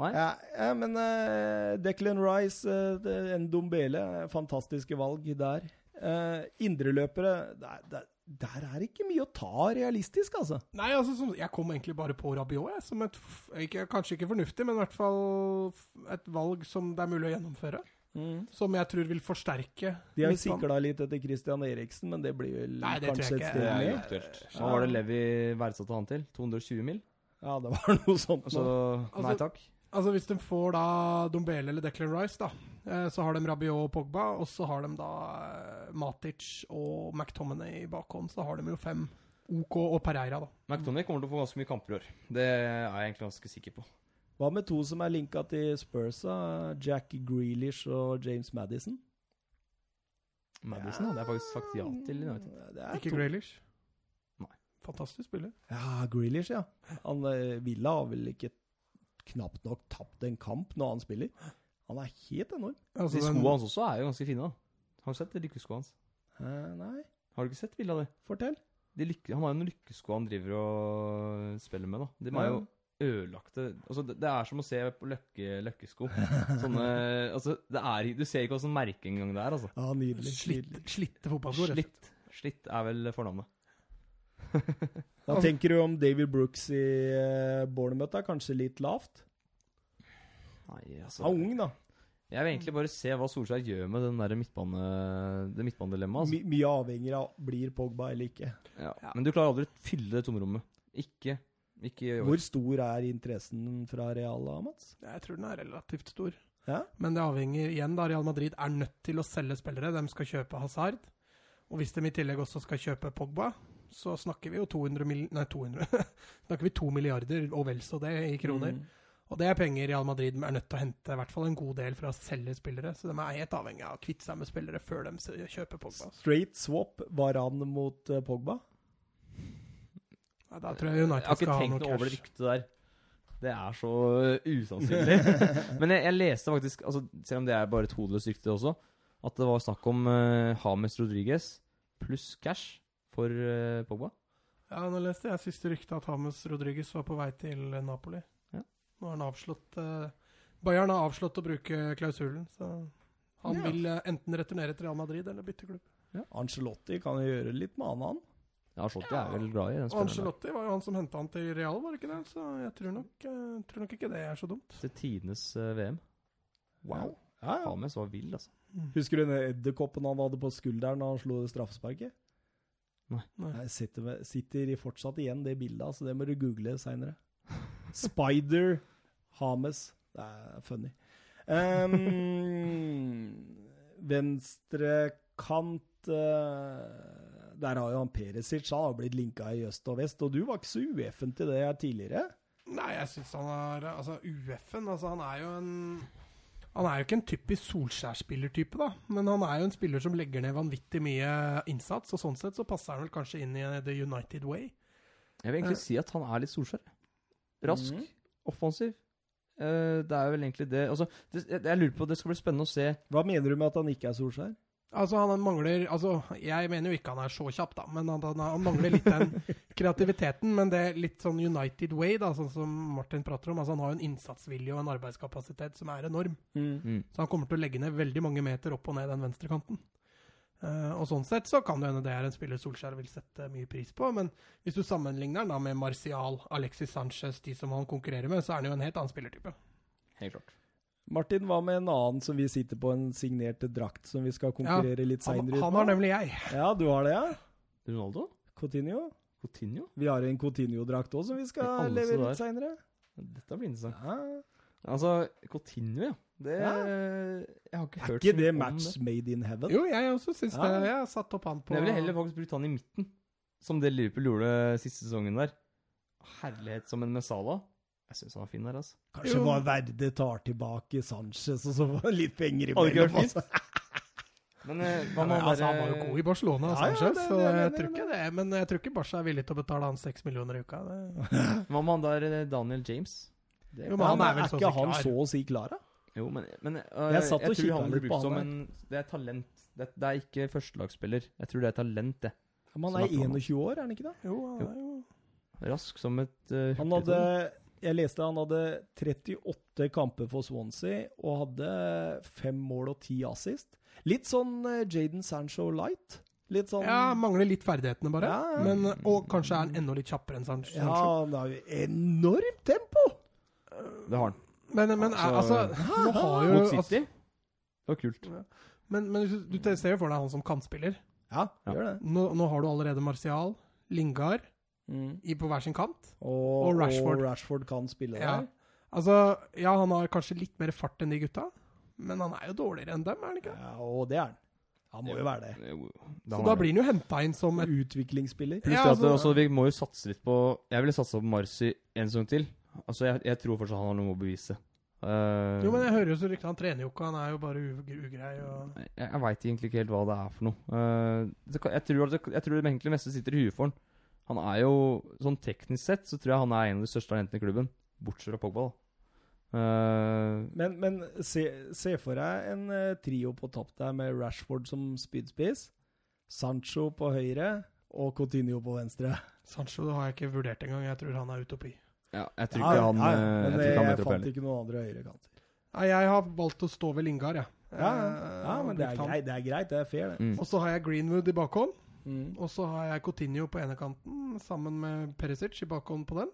Nei.
Ja, ja, men eh, Declan Rice, eh, det- en dombele, fantastiske valg der. Uh, Indreløpere der, der, der er ikke mye å ta realistisk, altså.
Nei, altså, som, jeg kom egentlig bare på Rabiot, jeg. Som et f- ikke, Kanskje ikke fornuftig, men i hvert fall f- et valg som det er mulig å gjennomføre. Som jeg tror vil forsterke
De har jo
midtbanen.
sikla litt etter Christian Eriksen, men det blir vel
Nei, det tror
kanskje et
jeg ikke.
steg ned.
Det er
Hva var det Levi verdsatte han til? 220 mil?
Ja, det var noe sånt.
Så
nå.
nei takk.
Altså Hvis de får da Dombele eller Declan Rice, da, eh, så har de Rabiot og Pogba. Og så har de da eh, Matic og McTominay i bakhånd. Så har de jo fem OK og Pereira, da.
McTominay kommer til å få ganske mye kamper i år. Det er jeg egentlig ganske sikker på.
Hva med to som er linka til Spurs, da? Jack Grealish og James Madison?
Madison hadde jeg faktisk sagt ja til. United.
Mm, Det er
Ikke
to.
Graylish.
Nei.
Fantastisk spiller.
Ja, Grealish, ja. Han eh, Villa har vel ikke knapt nok tapt en kamp når han spiller. Han er helt enorm.
Altså,
De
den-
skoene hans også er jo ganske fine, da. Har du sett de lykkeskoene hans?
Eh, nei,
Har du ikke sett bildet av det?
fortell.
De lykke, han har jo noen lykkesko han driver og spiller med, da. De er jo ødelagte altså, det, det er som å se på løkke, løkkesko. Sånne Altså, det er Du ser ikke hva slags merke engang det er, altså.
Ja, nydelig.
Slitt,
nydelig.
slitte fotballsko. rett og slett.
Slitt. Slitt er vel fornavnet.
Hva tenker du om David Brooks i eh, Bournemouth? da? Kanskje litt lavt?
Nei, altså.
Han er ung, da.
Jeg vil egentlig bare se hva Solskjær gjør med den der midtbane, det midtbanedilemmaet. Altså.
My, mye avhengig av blir Pogba eller ikke.
Ja. Men du klarer aldri å fylle det tomrommet. Ikke, ikke i år.
Hvor stor er interessen fra Real, da, Mats?
Jeg tror den er relativt stor.
Ja?
Men det avhenger igjen da, Real Madrid er nødt til å selge spillere. De skal kjøpe Hazard. Og hvis de i tillegg også skal kjøpe Pogba, så snakker vi jo 200 mil... Nei, 200. snakker vi 2 milliarder og vel så det i kroner.
Mm.
Og det er penger Real Madrid er nødt til å hente, i hvert fall en god del fra å selge spillere. Så de er helt avhengig av å kvitte seg med spillere før de s- kjøper Pogba.
Straight swap Varan mot eh, Pogba?
Nei, Da tror jeg
Jeg har
United
ikke
skal ha
tenkt
noe
noe over det
cash.
ryktet der. Det er så øh, usannsynlig. Men jeg, jeg leste faktisk, altså, selv om det er bare et hodeløst rykte også, at det var snakk om øh, James Rodriguez pluss cash for øh, Pogba.
Ja, nå leste jeg siste rykte at Hames Rodriguez var på vei til Napoli.
Ja.
Nå har han avslått eh, Bayern har avslått å bruke klausulen, så han
Ja.
vil eh, enten returnere til Real Madrid eller bytte klubb.
Angelotti kan jo gjøre litt med annet, han.
Ja, Scholti er vel glad i den
Og
spilleren.
Ancelotti var jo han som henta han til Real, var det ikke det? Så jeg tror nok, eh, tror nok ikke det er så dumt.
der. Til tidenes øh, VM.
Wow. Ja, ja.
James var vill, altså.
Husker du den edderkoppen han hadde på skulderen da han slo straffesparket?
Nei.
Nei.
Nei, sitter, med- sitter i fortsatt igjen det bildet, altså. Det må du google seinere. Spider Hames. Det er funny. Um, Venstrekant eh, Der har jo han Perisic. Han har blitt linka i øst og vest. Og du var ikke så ueffen til det tidligere.
Nei, jeg syns han er Altså, UF-en altså, Han er jo en Han er jo ikke en typisk Solskjær-spillertype, da. Men han er jo en spiller som legger ned vanvittig mye innsats, og sånn sett så passer han vel kanskje inn i The United Way.
Jeg vil egentlig
Eh.
si at han er litt Solskjær. Rask,
Mhm.
offensiv. Eh, det er vel egentlig det Altså, det, jeg, jeg lurer på Det skal bli spennende å se.
Hva mener du med at han ikke er Solskjær?
Altså, han mangler Altså, jeg mener jo ikke han er så kjapp, da, men han, han, han mangler litt den kreativiteten. Men det er litt sånn United Way, da, sånn som Martin prater om. Altså, han har jo en innsatsvilje og en arbeidskapasitet som er enorm.
Mm.
Så han kommer til å legge ned veldig mange meter opp og ned den venstrekanten. Eh, og sånn sett så kan det hende det er en spiller Solskjær vil sette mye pris på, men hvis du sammenligner han da med Martial, Alexis Sanchez, de som han konkurrerer med, så er han jo en helt annen spillertype.
Helt klart.
Martin, hva med en annen som vi sitter på en signert drakt som vi skal konkurrere litt
Han,
seinere
han har nemlig jeg.
Ja, du har det, ja?
Ronaldo?
Coutinho?
Coutinho?
Vi har en Coutinho-drakt òg som vi
I
skal
alle
levere
dager.
ut seinere.
Dette blir interessant.
Ja.
Altså, Coutinho, ja. Det
Ja.
Jeg har ikke
Er
hørt
ikke
så mye
det
om
match made in heaven?
Jo, jeg også syns
Ja.
det. Jeg har satt opp han på
Men jeg ville heller faktisk brukt han i midten, som det Liverpool gjorde siste sesongen der. Herlighet som en Mesala. Jeg syns han er fin der, altså.
Kanskje
Jo.
Valverde tar tilbake Sanchez, og så får han litt penger
Hadde ikke vært
imellom. altså.
Men eh,
Ja,
hva med
men, altså, han
derre-
var jo god i Barcelona,
Ja, ja,
Sanchez,
det-
så
det- det-
jeg
det-
tror ikke det. Men jeg tror ikke Barca er villig til å betale han seks millioner i uka. Det.
Hva med han der eh, Daniel James? Det,
Jo, men
Ja,
han
men
er vel så å
ikke
si
han
klar.
så å si klar, da?
Jo, men, men øh,
Jeg satt og
tror
kikket
han
litt
blir
på
brukt som
han
en Det er talent. Det er, det er ikke førstelagsspiller. Jeg tror det er talent, det.
Men han
Som er
er
planen.
21 år, er han ikke det?
Jo, han er jo
Rask som et øh,
Han
hurtigtog.
hadde, jeg leste han hadde 38 kamper for Swansea og hadde fem mål og ti assist. Litt sånn eh, Jaden Sancho light. Litt sånn
Ja, mangler litt ferdighetene, bare.
Ja, ja.
Men, og kanskje er han enda litt kjappere enn Sanchez.
Ja, han har jo enormt tempo!
Det har han.
Men, men er- altså,
Altså,
nå har jo
Mot
altså,
City. Det var kult.
Men, men hvis du, du ser jo for deg han som kantspiller.
Ja,
Ja.
gjør det.
Nå, nå har du allerede Martial, Lingard i, på hver sin kant.
Og,
Og Rashford.
og Rashford kan spille
Ja.
der.
Altså, ja, han har kanskje litt mer fart enn de gutta, men han er jo dårligere enn dem, er han ikke?
Ja, og det er han. Han må jo være det.
Jo, det
Så
har
da
han.
blir han jo henta inn som et
Utviklingsspiller.
Pluss
Ja,
det at det
altså-
også, vi må jo satse litt på Jeg ville satsa på Marcy en sesong til. Altså, jeg, jeg tror fortsatt han har noe å bevise. Eh,
Jo, men jeg hører jo så rykte han trener jo ikke, han er jo bare u- ugrei og
jeg, jeg veit egentlig ikke helt hva det er for noe. Eh, det, kan- jeg, tror, at det- jeg tror det egentlig meste sitter i huet for han. Han er jo, sånn teknisk sett, så tror jeg han er en av de største talentene i klubben. Bortsett fra Pogba, da. Eh,
Men, men se, se for deg en eh, trio på topp der med Rashford som spydspiss, Sancho på høyre og Coutinho på venstre.
Sancho det har jeg ikke vurdert engang, jeg tror han er utopi.
ja, jeg tror ikke han
ja,
eh,
ja,
Jeg
men
tror
jeg,
ikke han møter opp
fant
heller.
ikke noen andre høyrekanter.
Nei, jeg har valgt å stå ved Lingard, jeg.
Ja,
Eh,
ja,
og
men det
brukt
er,
han.
greit, det er greit. Det er fair, det.
Mm.
Og så har jeg Greenwood i bakhånd.
Mm.
Og så har jeg Coutinho på ene kanten, sammen med Perisic i bakhånd på den.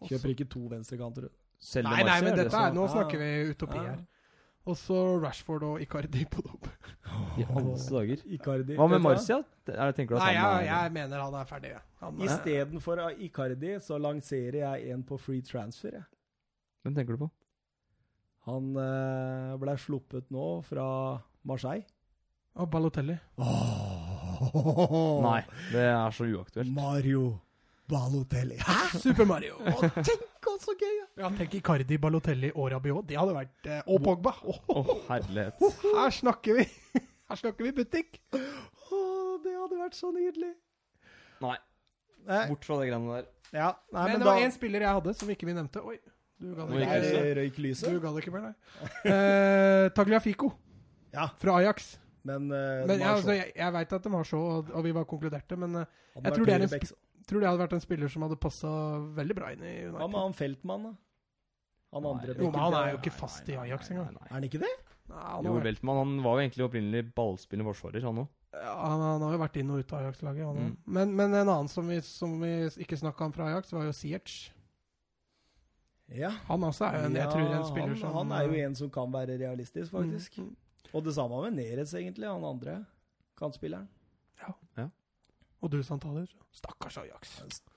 Og så-
Kjøper ikke to venstrekanter.
Selger
Nei, nei,
Marcial,
men
det
dette
som-
er, nå
Ja.
snakker vi utopi
Ja.
her. Og så Rashford og Icardi på dobb.
I alle dager.
Icardi.
Hva
Vet
med
du
Marcia? Er, tenker du at
Nei,
han
jeg,
er
jeg mener han er ferdig. Ja. Han, er-
Istedenfor Icardi så lanserer jeg en på free transfer. Jeg.
Hvem tenker du på?
Han eh, ble sluppet nå fra Marseille.
og Balotelli.
Nei, det er så uaktuelt.
Mario Balotelli.
Super Mario. Og
Tenk så gøy! ja.
ja, tenk Icardi, Balotelli og Rabiot. Det hadde vært eh, Og Pogba. Åh,
Å, herlighet.
her snakker vi! Her snakker vi butikk.
Å, det hadde vært så nydelig.
Nei,
Nei,
bort fra de greiene der.
ja. Nei
men,
men,
det var
da
én spiller jeg hadde som ikke vi nevnte. Oi, du ga
Nå
det
gikk
ikke. mer.
lyset.
Nei, Røyk
Du
lyset.
ga det ikke mer, nei. Eh, Tagliafico
Ja.
fra Ajax.
Men, eh,
Men,
Marshall,
ja, altså, jeg jeg veit at de har så, og, og vi var konkluderte, men eh,
han
jeg
var
tror det er
høyre
en
back.
tror det hadde vært en spiller som hadde passa veldig bra inn i
Hva med
United.
han Feltmann, da? Han andre
Jo, men han er jo
backen.
ikke fast i Ajax engang.
Er han ikke det?
Nei, han,
Jo,
har vært,
Weltmann han var jo egentlig opprinnelig ballspillende forsvarer, han òg.
ja, han, han har jo vært inn og ut av Ajax-laget. han
Mm.
også. Men, men en annen som vi, som vi ikke snakka om fra Ajax, var jo Siertz.
Ja.
Han også er jo en, jeg tror en spiller
han,
som
han er jo en som kan være realistisk, faktisk.
Mm, mm.
Og det samme med Neres, egentlig. Han andre kantspilleren.
Og du, Santaler. Stakkars Ajax.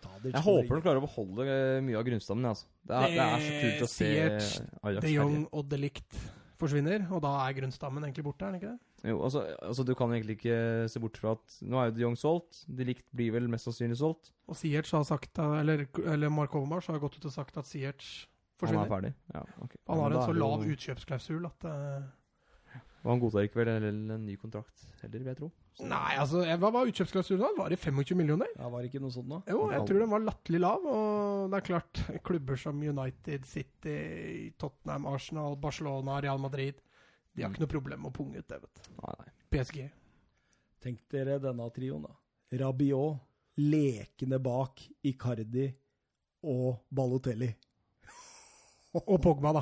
Tadic
Jeg håper de klarer å beholde eh, mye av grunnstammen. Altså. Det, er, det er så kult å se eh,
Siert,
Ajax
De Jong
herje.
og De Ligt forsvinner, og da er grunnstammen egentlig borte, er den ikke det?
Jo, altså, altså, du kan egentlig ikke se bort fra at Nå er jo de Jong solgt. De Likt blir vel mest sannsynlig solgt.
Og Siertz har sagt, eller, eller Mark Overmars har gått ut og sagt at Siertz
Han er
forsvinner.
ferdig. Ja,
Han
ok. Ja,
har
men
en
da
så
er det jo-
lav utkjøpsklausul at eh,
Og han godtar ikke vel heller en ny kontrakt heller, vil jeg tro. Så-
Nei, altså, eh, hva var utkjøpsklausulen da? Var det 25 millioner?
Ja, var det ikke noe sånt nå?
Jo, jeg tror den var latterlig lav, og det er klart, klubber som United, City, Tottenham, Arsenal, Barcelona, Real Madrid, de har ikke noe problem med å punge ut det, vet du.
Mm. Nei, nei.
PSG.
Tenk dere denne trioen, da. Rabiot, lekende bak Icardi og Balotelli.
Og Pogba, da.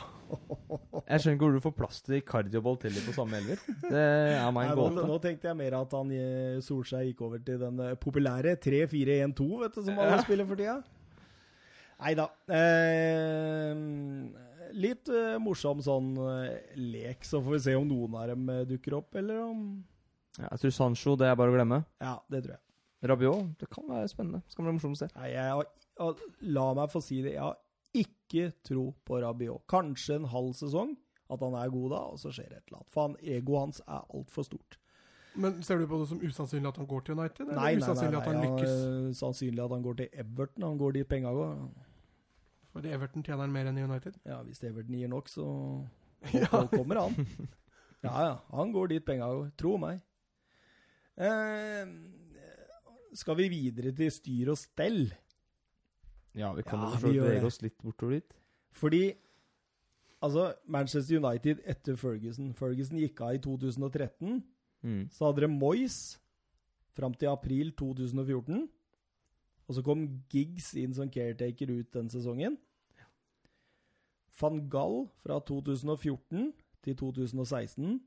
Jeg skjønner ikke hvor du får plass til Icardi og Balotelli på samme elver. Det er
Nei,
meg en
nå,
gåte.
nå tenkte jeg mer at han eh, Solskjær gikk over til den eh, populære 3-4-1-2, vet du, som alle spiller for tida. Nei da. Eh, litt eh, morsom sånn eh, lek, så får vi se om noen av dem eh, dukker opp, eller om
Ja, Jeg tror Sancho det er bare å glemme.
Ja, det tror jeg.
Rabiot det kan være spennende. Det kan bli morsomt å se.
Nei, jeg har, og La meg få si det. Jeg har ikke tro på Rabiot. Kanskje en halv sesong at han er god da, og så skjer et eller annet. For han, egoet hans er altfor stort.
Men ser du på det som usannsynlig at han går til United, eller
Nei, nei, nei.
usannsynlig
nei,
at han lykkes?
eh, sannsynlig at han går til Everton. Han går dit penga går.
Fordi Everton tjener han mer enn United.
Ja, hvis Everton gir nok, så så kommer han. Ja, ja. Han går dit penga går. Tro meg. Eh, skal vi videre til styr og stell?
Ja, vi kan
Ja,
jo
vi
ja,
gjør det.
bevege oss litt bortover dit.
Fordi altså, Manchester United etter Ferguson Ferguson gikk av i 2013.
Mm.
Så hadde dere Moyes fram til april 2014. Og så kom Giggs inn som caretaker ut den sesongen. Van Gall fra 2014 til 2016.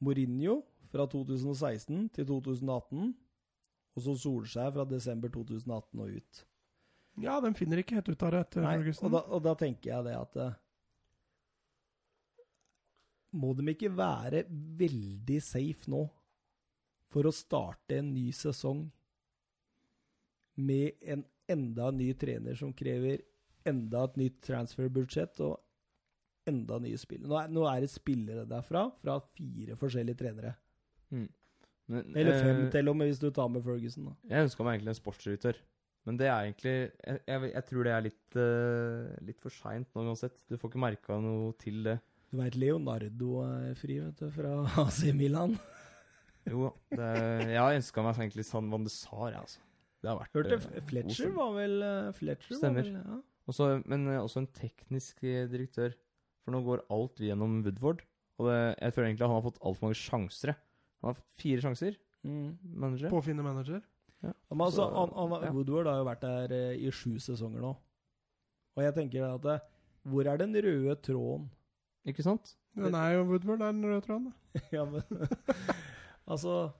Mourinho fra 2016 til 2018. Og så Solskjær fra desember 2018 og ut.
Ja, de finner ikke helt ut av det etter
Nei, og,
Ferguson.
da, og da tenker jeg det at eh, Må de ikke være veldig safe nå for å starte en ny sesong med en enda ny trener som krever enda et nytt transferbudsjett og enda nye spillere? Nå er, nå er det spillere derfra, fra fire forskjellige trenere.
Men,
Eller fem,
eh,
til og med, hvis du tar med Ferguson. da.
Jeg ønska meg egentlig en sportsdirektør, men det er egentlig Jeg, jeg, jeg tror det er litt, eh, litt for seint nå uansett. Du får ikke merka noe til det.
Du veit Leonardo er fri, vet du, fra AC Milan.
Jo, det, jeg har ønska meg egentlig San Van de Sar, jeg, altså. Det har vært
Hørte
eh,
F-
god
Fletcher
stemning.
var vel eh, Fletcher
Stemmer.
Var vel, ja.
Også, men eh, også en teknisk eh, direktør. For nå går alt gjennom Woodward. Og det, jeg tror egentlig han har fått altfor mange sjanser. jeg. Han har fire sjanser, manager.
På å finne manager.
Men altså,
Mm. Så,
han, han,
ja.
Woodward har jo vært der eh, i sju sesonger nå. Og jeg tenker at eh, hvor er den røde tråden?
Ikke sant?
Den er jo Woodward, er den røde tråden. da.
ja, men, altså,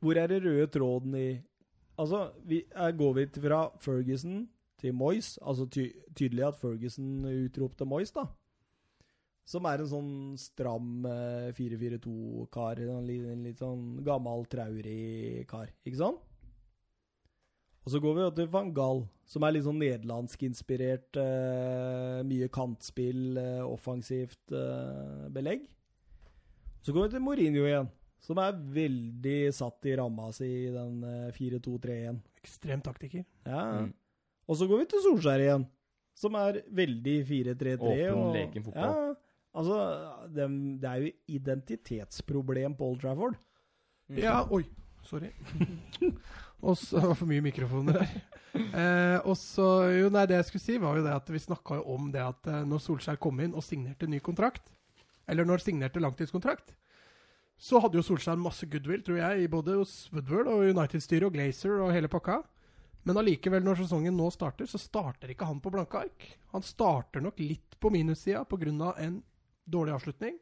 hvor er den røde tråden i Altså, vi, her går vi til- fra Ferguson til Moyes. Altså ty tydelig at Ferguson utropte Moyes, da. Som er en sånn stram eh, 4-4-2-kar. En li- en litt sånn gammel, traurig kar. Ikke sant? Og så går vi jo til van Gaal, som er litt sånn nederlandsk-inspirert. eh, mye kantspill, eh, offensivt eh, belegg. Så går vi til Mourinho igjen, som er veldig satt i ramma si i den eh, 4-2-3-1.
Ekstrem taktiker.
Ja.
Mm.
Og så går vi til Solskjær igjen, som er veldig 4-3-3.
Åpen,
og-
leken fotball.
Ja, altså, dem- det er jo identitetsproblem på Old Trafford.
Mm.
Ja, oi. Sorry. Og så Det var for mye mikrofoner her. Eh, og så, jo nei, Det jeg skulle si, var jo det at vi snakka om det at eh, når Solskjær kom inn og signerte ny kontrakt, eller når signerte langtidskontrakt, så hadde jo Solskjær masse goodwill, tror jeg, i både hos Woodward og United-styret og Glazer og hele pakka. Men allikevel, når sesongen nå starter, så starter ikke han på blanke ark. Han starter nok litt på minussida pga. en dårlig avslutning.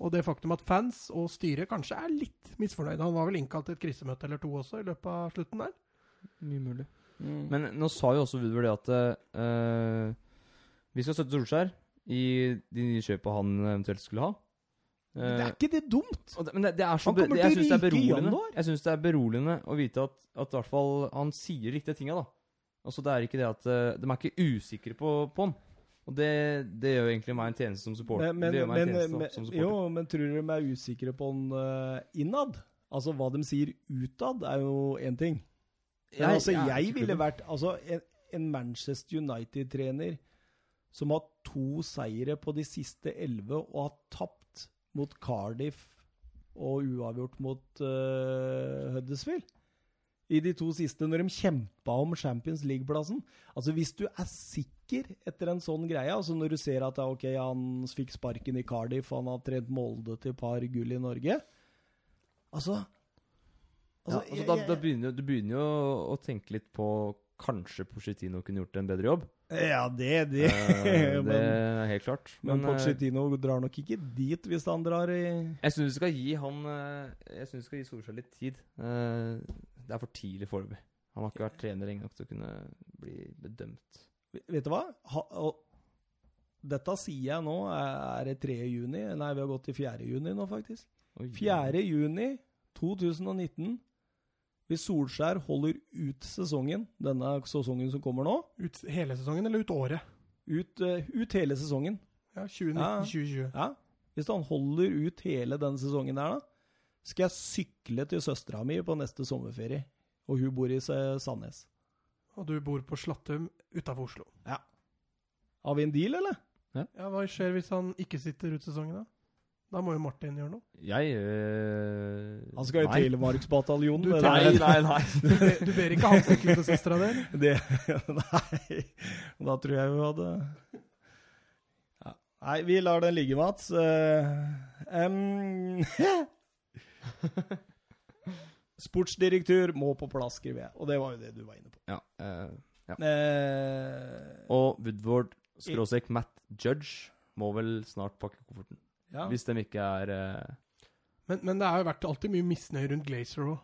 Og det faktum at fans og styret kanskje er litt misfornøyde. Han var vel innkalt til et krisemøte eller to også i løpet av slutten der.
Mye mulig. Men nå sa jo også Woodward det at eh, vi skal støtte Solskjær i de nye kjøpa han eventuelt skulle ha.
Men Det
Eh,
er ikke det dumt?
og det, men det, det er så
Han
be,
kommer
jeg
til
synes det er
å ryke i
beroligende
januar.
Jeg synes det er beroligende å vite at, at i hvert fall han sier de riktige tinga, da. Altså, det er ikke det at eh, De er ikke usikre på, på han. Og det, det gjør jo egentlig meg en tjeneste som supporter.
Men, men,
det gjør meg en
men,
tjeneste
men,
som supporter.
jo, men tror dere de er usikre på den eh, innad? Altså, hva de sier utad, er jo én ting. Men
Jeg-
altså,
jeg er
jeg
ikke
ville
klubben.
vært altså, en, en Manchester United-trener som har to seire på de siste elleve og har tapt mot Cardiff og uavgjort mot eh, Huddersfield i de to siste, når de kjempa om Champions League-plassen. Altså, Hvis du er sikker etter en sånn greie, altså når du ser at ja, ok, han fikk sparken i Cardiff, han har trent Molde til et par gull i Norge Altså,
Ja, altså, da, da begynner, jo- du begynner jo å tenke litt på Kanskje Pochettino kunne gjort en bedre jobb.
Ja, det, det.
Eh, det
men,
er helt klart.
men
eh,
Pochettino drar nok ikke dit hvis han drar i
jeg syns vi skal gi han eh, Jeg synes vi skal gi Solskjær litt tid. Eh, det er for tidlig foreløpig. Han har ikke vært trener lenge nok til å kunne bli bedømt.
Vet du hva? Ha, og, dette sier jeg nå. Er det 3. juni? Nei, vi har gått til 4. juni nå, faktisk.
Oi.
4. juni 2019. Hvis Solskjær holder ut sesongen, denne sesongen som kommer nå,
Ut hele sesongen eller ut året?
ut, eh, ut hele sesongen
Ja, 2019,
Ja.
2020.
Ja. Hvis han holder ut hele denne sesongen her, da, skal jeg sykle til søstera mi på neste sommerferie. Og hun bor i eh, Sandnes.
Og du bor på Slattum utafor Oslo.
Har vi en deal, eller?
Ja, Hva skjer hvis han ikke sitter ut sesongen, da? Da må jo Martin gjøre noe.
Jeg eh,
Han skal i
nei.
Telemarksbataljonen.
Du
det
tenker-
der.
Nei, nei, nei.
Du ber, du ber ikke han sykle til søstera di?
Det, nei. Da tror jeg hun hadde ja. Nei, vi lar den ligge, Mats. Eh, em, Sportsdirektør må på plass, skriver jeg. Og det var jo det du var inne på.
Ja, eh,
Eh,
og Woodward skråstrek Matt Judge må vel snart pakke kofferten.
ja.
Hvis de ikke er eh,
Men, men det har jo vært alltid mye misnøye rundt Glazer òg.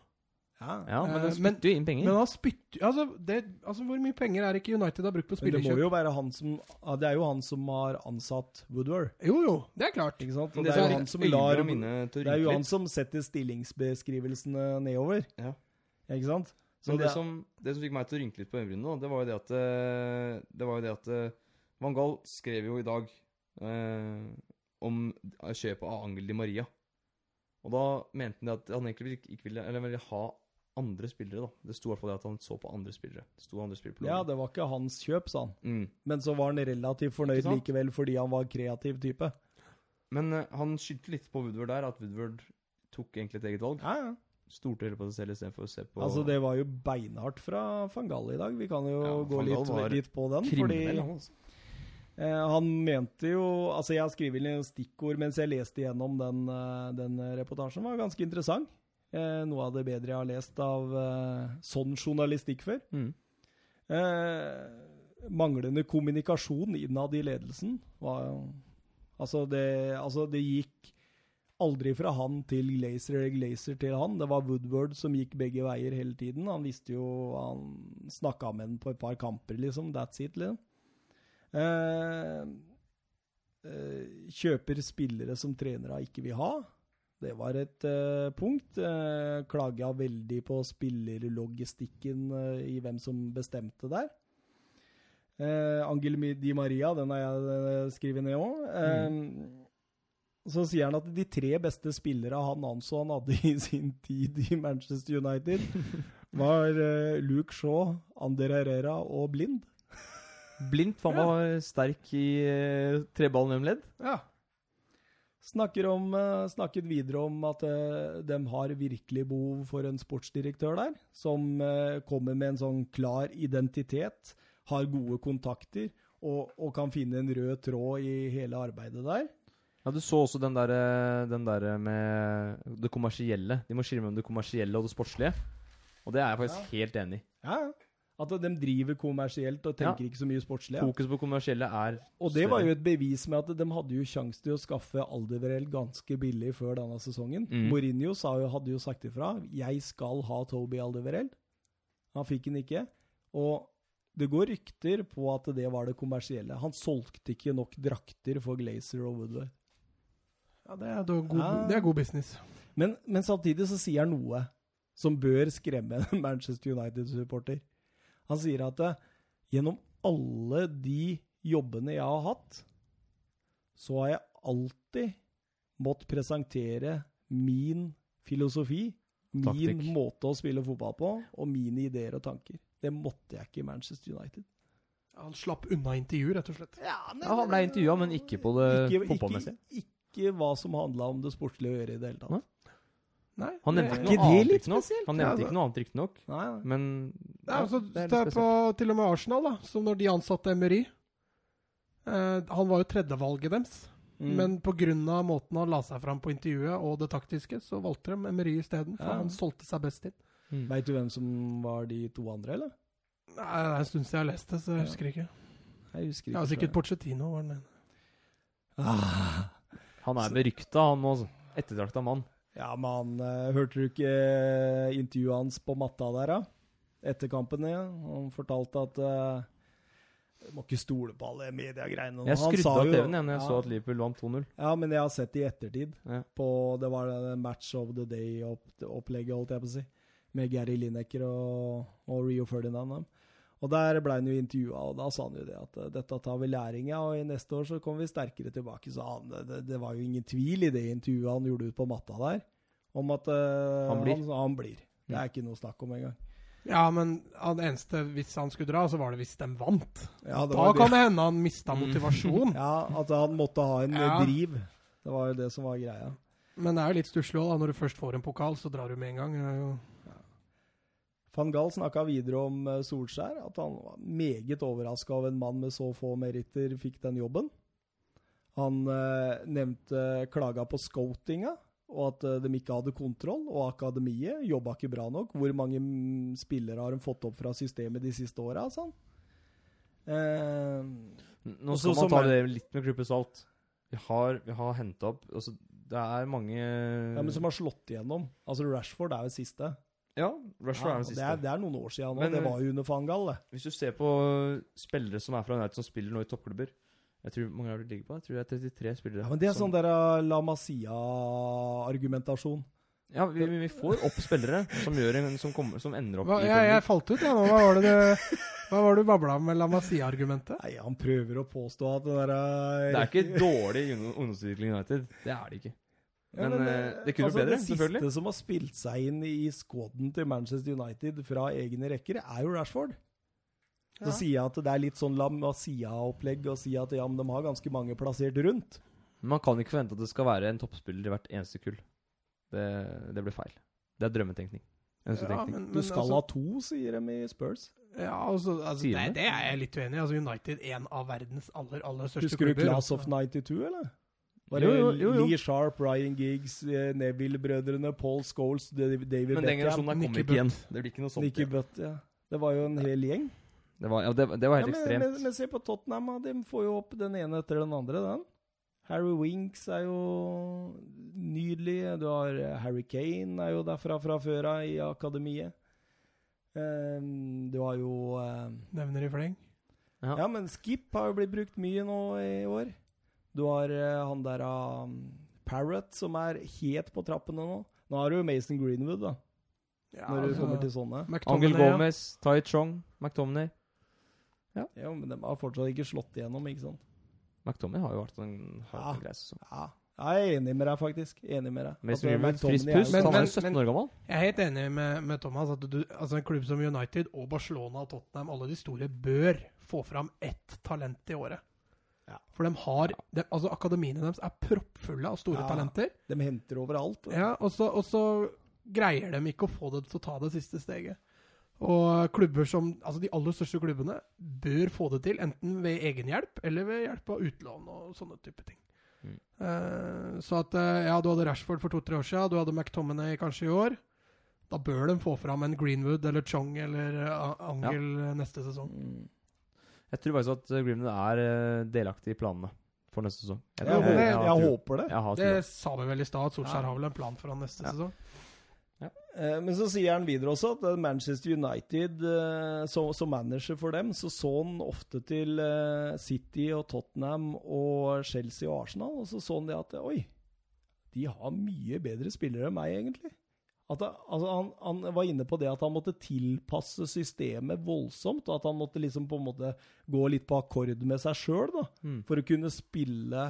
Ja.
Ja, men de
Eh, men-
spytter jo inn penger.
Men han spytter altså, det, altså, hvor mye penger er det ikke United har brukt på
Men det må
spillerkjøp?
jo være han som ja, Det er jo han som har ansatt Woodward,
Jo, jo, det er klart.
ikke sant? Og
Men
det er jo han som lar
øynene
Det
mine til å
er jo
ryke
han
litt.
som setter stillingsbeskrivelsene nedover.
Ja.
Ikke sant?
Men
det
det,
er-
som, det som fikk meg til å rynke litt på øyenbrynene, da, det var jo det at eh, Det var jo det at eh, Van Gaal skrev jo i dag eh, om kjøpet av Angel Di Maria. Og da mente han det at han egentlig ikke- ikke ville, eller ville ha andre spillere, da. Det sto i hvert fall det at han så på andre spillere. Det sto andre spillere på
Ja,
laget.
det var ikke hans kjøp, sa han.
Mm.
Men så var han relativt fornøyd
Ikke sant?
likevel fordi han var kreativ type.
Men eh, han skyldte litt på Woodward der, at Woodward tok egentlig et eget valg.
Ja, ja.
Stolte heller på seg selv istedenfor å se på
Altså, det var jo beinhardt fra van Gaal i dag. Vi kan jo
Ja,
gå
van Gaal
litt,
var
litt på den.
kriminell,
Fordi
han altså.
Eh, han mente jo Altså, jeg har skrevet inn stikkord mens jeg leste gjennom den, eh, den reportasjen. var ganske interessant. Eh, noe av det bedre jeg har lest av eh, sånn journalistikk før.
Mm.
Eh, manglende kommunikasjon innad i ledelsen var jo Altså, det, altså det gikk aldri fra han til Glazer eller Glazer til han. Det var Woodward som gikk begge veier hele tiden. Han visste jo Han snakka med ham på et par kamper, liksom. That's it, liksom. Eh, eh, kjøper spillere som trenere ikke vil ha. Det var et eh, punkt. Uh, Klaga veldig på spillerlogistikken eh, i hvem som bestemte der. Eh, Angel Mi- Di Maria, den har jeg eh, skrevet ned òg. Så sier han at de tre beste spillere han anså han hadde i sin tid i Manchester United, var eh, Luke Shaw, Ander Herrera og Blind.
Blindt faen meg var sterk i eh, treballen mellom ledd.
Ja.
Snakker om, eh, snakket videre om at eh, de har virkelig behov for en sportsdirektør der, som eh, kommer med en sånn klar identitet, har gode kontakter og, og kan finne en rød tråd i hele arbeidet der.
Ja, du så også den der, eh, den der eh, med det kommersielle. De må skille mellom det kommersielle og det sportslige. Og det er jeg faktisk helt enig i.
Ja, ja. At de driver kommersielt og tenker ikke så mye sportslig. Ja.
Fokus på kommersielle er
Og det var jo
større.
et bevis med at de hadde jo sjanse til å skaffe Aldeverell ganske billig før denne sesongen.
Mm.
Mourinho sa jo, hadde jo sagt ifra 'jeg skal ha Toby Aldeverell'. Han fikk den ikke. Og det går rykter på at det var det kommersielle. Han solgte ikke nok drakter for Glazer og Woodward.
ja det, er da god,
Ja.
det er god business.
Men, men samtidig så sier han noe som bør skremme en Manchester United-supporter. Han sier at eh, gjennom alle de jobbene jeg har hatt, så har jeg alltid måttet presentere min filosofi, min
Taktikk.
måte å spille fotball på, og mine ideer og tanker. Det måtte jeg ikke i Manchester United.
Han slapp unna intervju, rett og slett.
Ja, Han ble intervjua, men ikke på det
Ikke, ikke,
fotballmessige.
ikke hva som handla om det sportslige å gjøre i det hele tatt.
Nei.
Nei,
Han
det-
nevnte
Er
ikke
ikke
noe
det
annet,
litt
riktignok. Han
Ja,
nevnte
det-
ikke noe annet, riktignok.
Nei, nei.
Men
Ja, altså,
det er litt
se på
spesielt.
til og med Arsenal, da, som når de ansatte Emery eh, Han var jo tredjevalget deres,
Mm.
men pga. måten han la seg fram på intervjuet og det taktiske, så valgte de Emery isteden, for
Ja.
han solgte seg best inn.
Mm.
Veit du hvem som var de to andre, eller?
Nei, Det er en stund siden jeg har lest det, så jeg husker ikke.
Jeg husker ikke.
Ja,
selv.
Sikkert Porcetino var den ene.
Ah,
Han er berykta, han nå. altså. Ettertrakta mann.
ja, men eh, hørte du ikke eh, intervjuet hans på matta der, da? Etter kampen, ja. Han fortalte at eh, du må ikke stole på alle mediegreiene.
Jeg
Han
skrudde
sa
av
jo-
TV-en igjen når jeg
ja,
så at Liverpool vant 2-0.
Ja, men jeg har sett det i ettertid.
Ja.
På, det var det match of the day-opplegget, holdt jeg på å si. Med Gary Lineker og, og Rio Ferdinand. dem. Og der ble han jo intervjua, og da sa han jo det at eh, dette tar vi læring av, og i neste år så kommer vi sterkere tilbake. Så han, det, det var jo ingen tvil i det intervjuet han gjorde ut på matta der, om at eh,
Han blir.
Han, han blir. Det er ikke noe snakk om engang.
Ja, men han eneste hvis han skulle dra, så var det hvis de vant.
Ja, det
Da
var
kan
det.
det hende han mista motivasjon.
ja, at han måtte ha en eh,
Ja.
driv. Det var jo det som var greia.
Men det er jo litt stusslig òg, når du først får en pokal, så drar du med en gang. Det er jo
Van Gaal snakka videre om eh, Solskjær, at han var meget overraska over en mann med så få meritter fikk den jobben. Han eh, nevnte klaga på scoutinga, og at eh, de ikke hadde kontroll. Og akademiet jobba ikke bra nok. Hvor mange mm, spillere har de fått opp fra systemet de siste åra, sa han. Eh,
Nå
Og så-
skal
som
man
er-
ta det litt med klype salt. Vi har, vi har henta opp altså, Det er mange
ja, men som har slått igjennom. Altså Rashford er jo siste.
Ja, Rashford
Ja,
er den
det,
siste.
er, det er noen år siden nå.
Men,
det
eh,
var jo under van Gaal, det.
Hvis du ser på spillere som er fra United som spiller nå i toppklubber Jeg tror mange er det ligger på? Jeg tror det er 33 spillere.
Ja, men det er
som-
sånn der eh, La Masia-argumentasjon.
Ja, vi, vi vi får opp spillere som, gjør en, som, kommer, som ender opp
Hva,
i
jeg,
Premier
jeg falt ut, jeg nå. Hva var det du, hva var det du babla om med La Masia-argumentet?
Nei, han prøver å påstå at det der
League. Det er ikke dårlig i ungdom- ungdomsutvikling i United. Det er det ikke. men, eh, det kunne jo bedre,
altså, Det
selvfølgelig.
siste som har spilt seg inn i skåden til Manchester United fra egne rekker, er jo Rashford. Så
Ja.
sier jeg at det er litt sånn La Masia-opplegg å si at ja, men de har ganske mange plassert rundt.
Men Man kan ikke forvente at det skal være en toppspiller i hvert eneste kull. Det, det blir feil. Det er drømmetenkning.
Ja,
Ønsketenkning.
men,
Du
men
skal
altså,
ha to, sier de i Spurs.
ja, altså, altså,
Sier
det,
han det?
det er jeg litt uenig i. Altså, United, en av verdens aller aller største
Husker du
klubber.
Class of 92, eller? Var det
Jo, jo, jo, jo.
Lee Sharp, Ryan Giggs, eh, Neville-brødrene, Paul Scholes, David
Men, den
Beckham,
generasjonen der kommer
Nicky
ikke igjen. Det blir ikke noe sånt.
Nicky
igjen.
Butt. Ja. Det var jo en hel gjeng.
Det var, ja, det, det var helt
ja, men,
ekstremt.
Men, men se på Tottenham, da. de får jo opp den ene etter den andre, den. Harry Winks er jo nydelig. Du har eh, Harry Kane er jo derfra fra før av i akademiet. Eh, du har jo eh,
Nevner i fleng.
Ja.
ja, men Skip har jo blitt brukt mye nå i år. Du har eh, han der av Parrot, som er het på trappene nå. Nå har du jo Mason Greenwood, da,
Ja, altså,
når
altså.
du kommer til sånne.
Angel
ja.
Gomez, Tai Chong, McTominay.
Ja, men de har fortsatt ikke slått igjennom, ikke sant?
McTominay har jo vært en, har
Ja.
vært en grei sesong.
Ja, jeg er enig med deg, faktisk. Enig med deg.
Mason
At, eh,
Greenwood,
McTominay
frisk
er jo-
pust.
Men-
Han
men-
er jo 17 år gammel.
Jeg er helt enig med, med Thomas at du, altså en klubb som United og Barcelona og Tottenham, alle de store, bør få fram ett talent i året.
Ja.
For de har de, altså Akademiene deres er proppfulle av store
Ja.
talenter.
De henter overalt.
Ja, og, så, og så greier de ikke å få det til å ta det siste steget. Og klubber som, altså De aller største klubbene bør få det til, enten ved egenhjelp eller ved hjelp av utlån og sånne type ting.
Mm.
Eh, så at eh, ja, du hadde Rashford for to-tre år siden, du hadde McTominay kanskje i år. Da bør de få fram en Greenwood eller Chong eller eh, Angel eh, neste sesong.
Mm.
Jeg tror faktisk at eh, Greenwood er eh, delaktig i planene for neste sesong.
Jeg,
tror-
håper,
det-
jeg,
har tro.
håper det.
Jeg har
Det
tro.
sa vi vel i stad, at Solskjær
Ja.
har vel en plan for han neste
Ja.
sesong.
Eh, Men så sier han videre også at eh, Manchester United, eh, som, som manager for dem, så så han ofte til eh, City og Tottenham og Chelsea og Arsenal, og så så han det at eh, oi, de har mye bedre spillere enn meg, egentlig. At det, altså han, han var inne på det at han måtte tilpasse systemet voldsomt, og at han måtte liksom på en måte gå litt på akkord med seg sjøl, da,
Mm.
for å kunne spille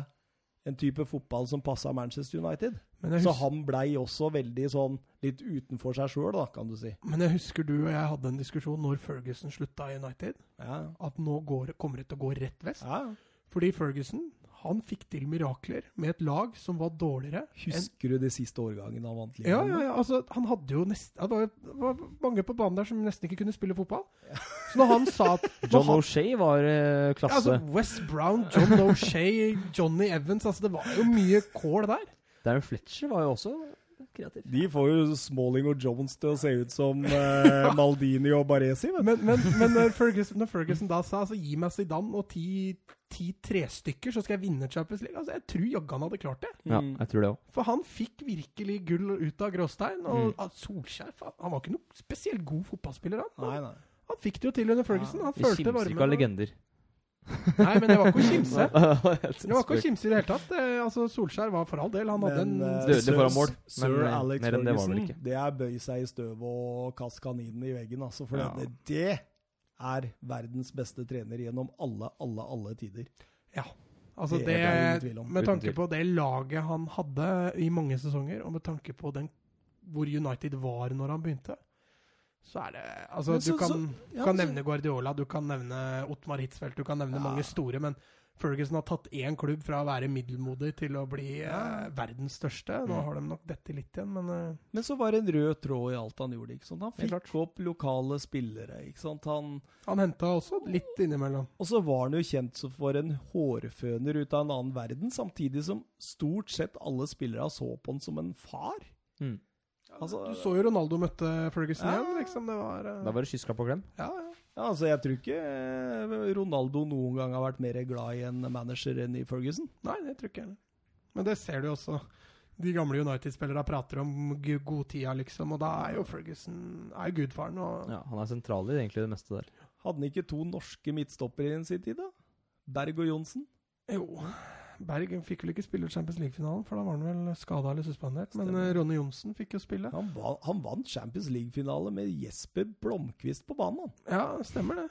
en type fotball som passa Manchester United.
Men jeg
Så
husker-
han blei også veldig sånn litt utenfor seg sjøl, da, kan du si.
Men jeg husker du og jeg hadde en diskusjon når Ferguson slutta i United.
Ja.
At nå går, kommer det til å gå rett vest.
ja.
Fordi Ferguson han fikk til mirakler med et lag som var dårligere. enn-
Husker du de siste årgangene han vant
ja,
ligaen?
ja, ja, altså Han hadde jo nest, ja, det var, jo- det var mange på banen der som nesten ikke kunne spille fotball. Så når han sa at når
John
han,
O'Shay var eh,
ja,
klasse.
altså, West Brown, John O'Shay, Johnny Evans altså Det var jo mye kål der.
Darren Fletcher var jo også kreativ.
De får jo Smalling og Jones til å se ut som eh, Maldini og Baresi, vet du.
Men, men, men når, Ferguson, når Ferguson da sa altså, gi meg Zidane og ti, ti trestykker, så skal jeg vinne Champions League, altså, jeg tror jaggu han hadde klart det.
Ja, jeg tror det òg.
For han fikk virkelig gull ut av gråstein. Og ah, Solskjær faen, han var ikke noe spesielt god fotballspiller, han.
Nei, nei.
Han fikk det jo til under Ferguson. Han
Vi
følte
kimser ikke av
varmen.
legender.
Nei, men det var ikke å kimse. Det var ikke å
Dødelig
kimse i det hele tatt. Eh, Altså, Solskjær var for all del Han hadde
Men, eh,
en
Dødelig
foran mål.
Sir
Men, eh,
Alex
mer enn det var vel
Ferguson,
ikke.
det er bøy seg i støv og kast kaninen i veggen, altså. For
Ja.
det, det er verdens beste trener gjennom alle, alle, alle tider.
Ja. Altså
Det er
det,
det ingen tvil om.
med
Uten
tanke
tvil.
på det laget han hadde i mange sesonger, og med tanke på den, hvor United var når han begynte, så er det Altså,
Men så-
du kan,
så-
du
ja,
kan
så-
nevne Guardiola, du kan nevne Ottmar Hitzfeldt, du kan nevne
Ja.
mange store, men Ferguson har tatt én klubb fra å være middelmodig til å bli eh, verdens største. Nå
Mm.
har de nok dette litt igjen, men eh,
Men så var det en rød tråd i alt han gjorde. ikke sant? Han
Helt
fikk opp lokale spillere. ikke sant? Han
han henta også litt innimellom.
Og så var han jo kjent som for en hårføner ut av en annen verden, samtidig som stort sett alle spillere så på han som en far.
Mm.
Altså,
Du så jo Ronaldo møtte Ferguson
Ja.
igjen, liksom. Det var eh,
Da var det kyssklapp og klem.
ja, ja.
ja, altså, jeg tror ikke eh, Ronaldo noen gang har vært mer glad i en manager enn i Ferguson.
Nei, det tror ikke jeg heller. Men det ser du jo også. De gamle United-spillerne prater om gu- godtida, liksom, og da er jo Ferguson er jo gudfaren. Og
Ja, han er sentral i egentlig det meste der.
Hadde han ikke to norske midtstoppere i sin tid, da? Berg og Johnsen.
jo Berg fikk vel ikke spille Champions League-finalen, for da var han vel skada eller suspendert. Men
Stemmer.
eh, Ronny Johnsen fikk jo spille.
Han, va han vant Champions League-finale med Jesper Blomkvist på banen. han.
Ja, stemmer det.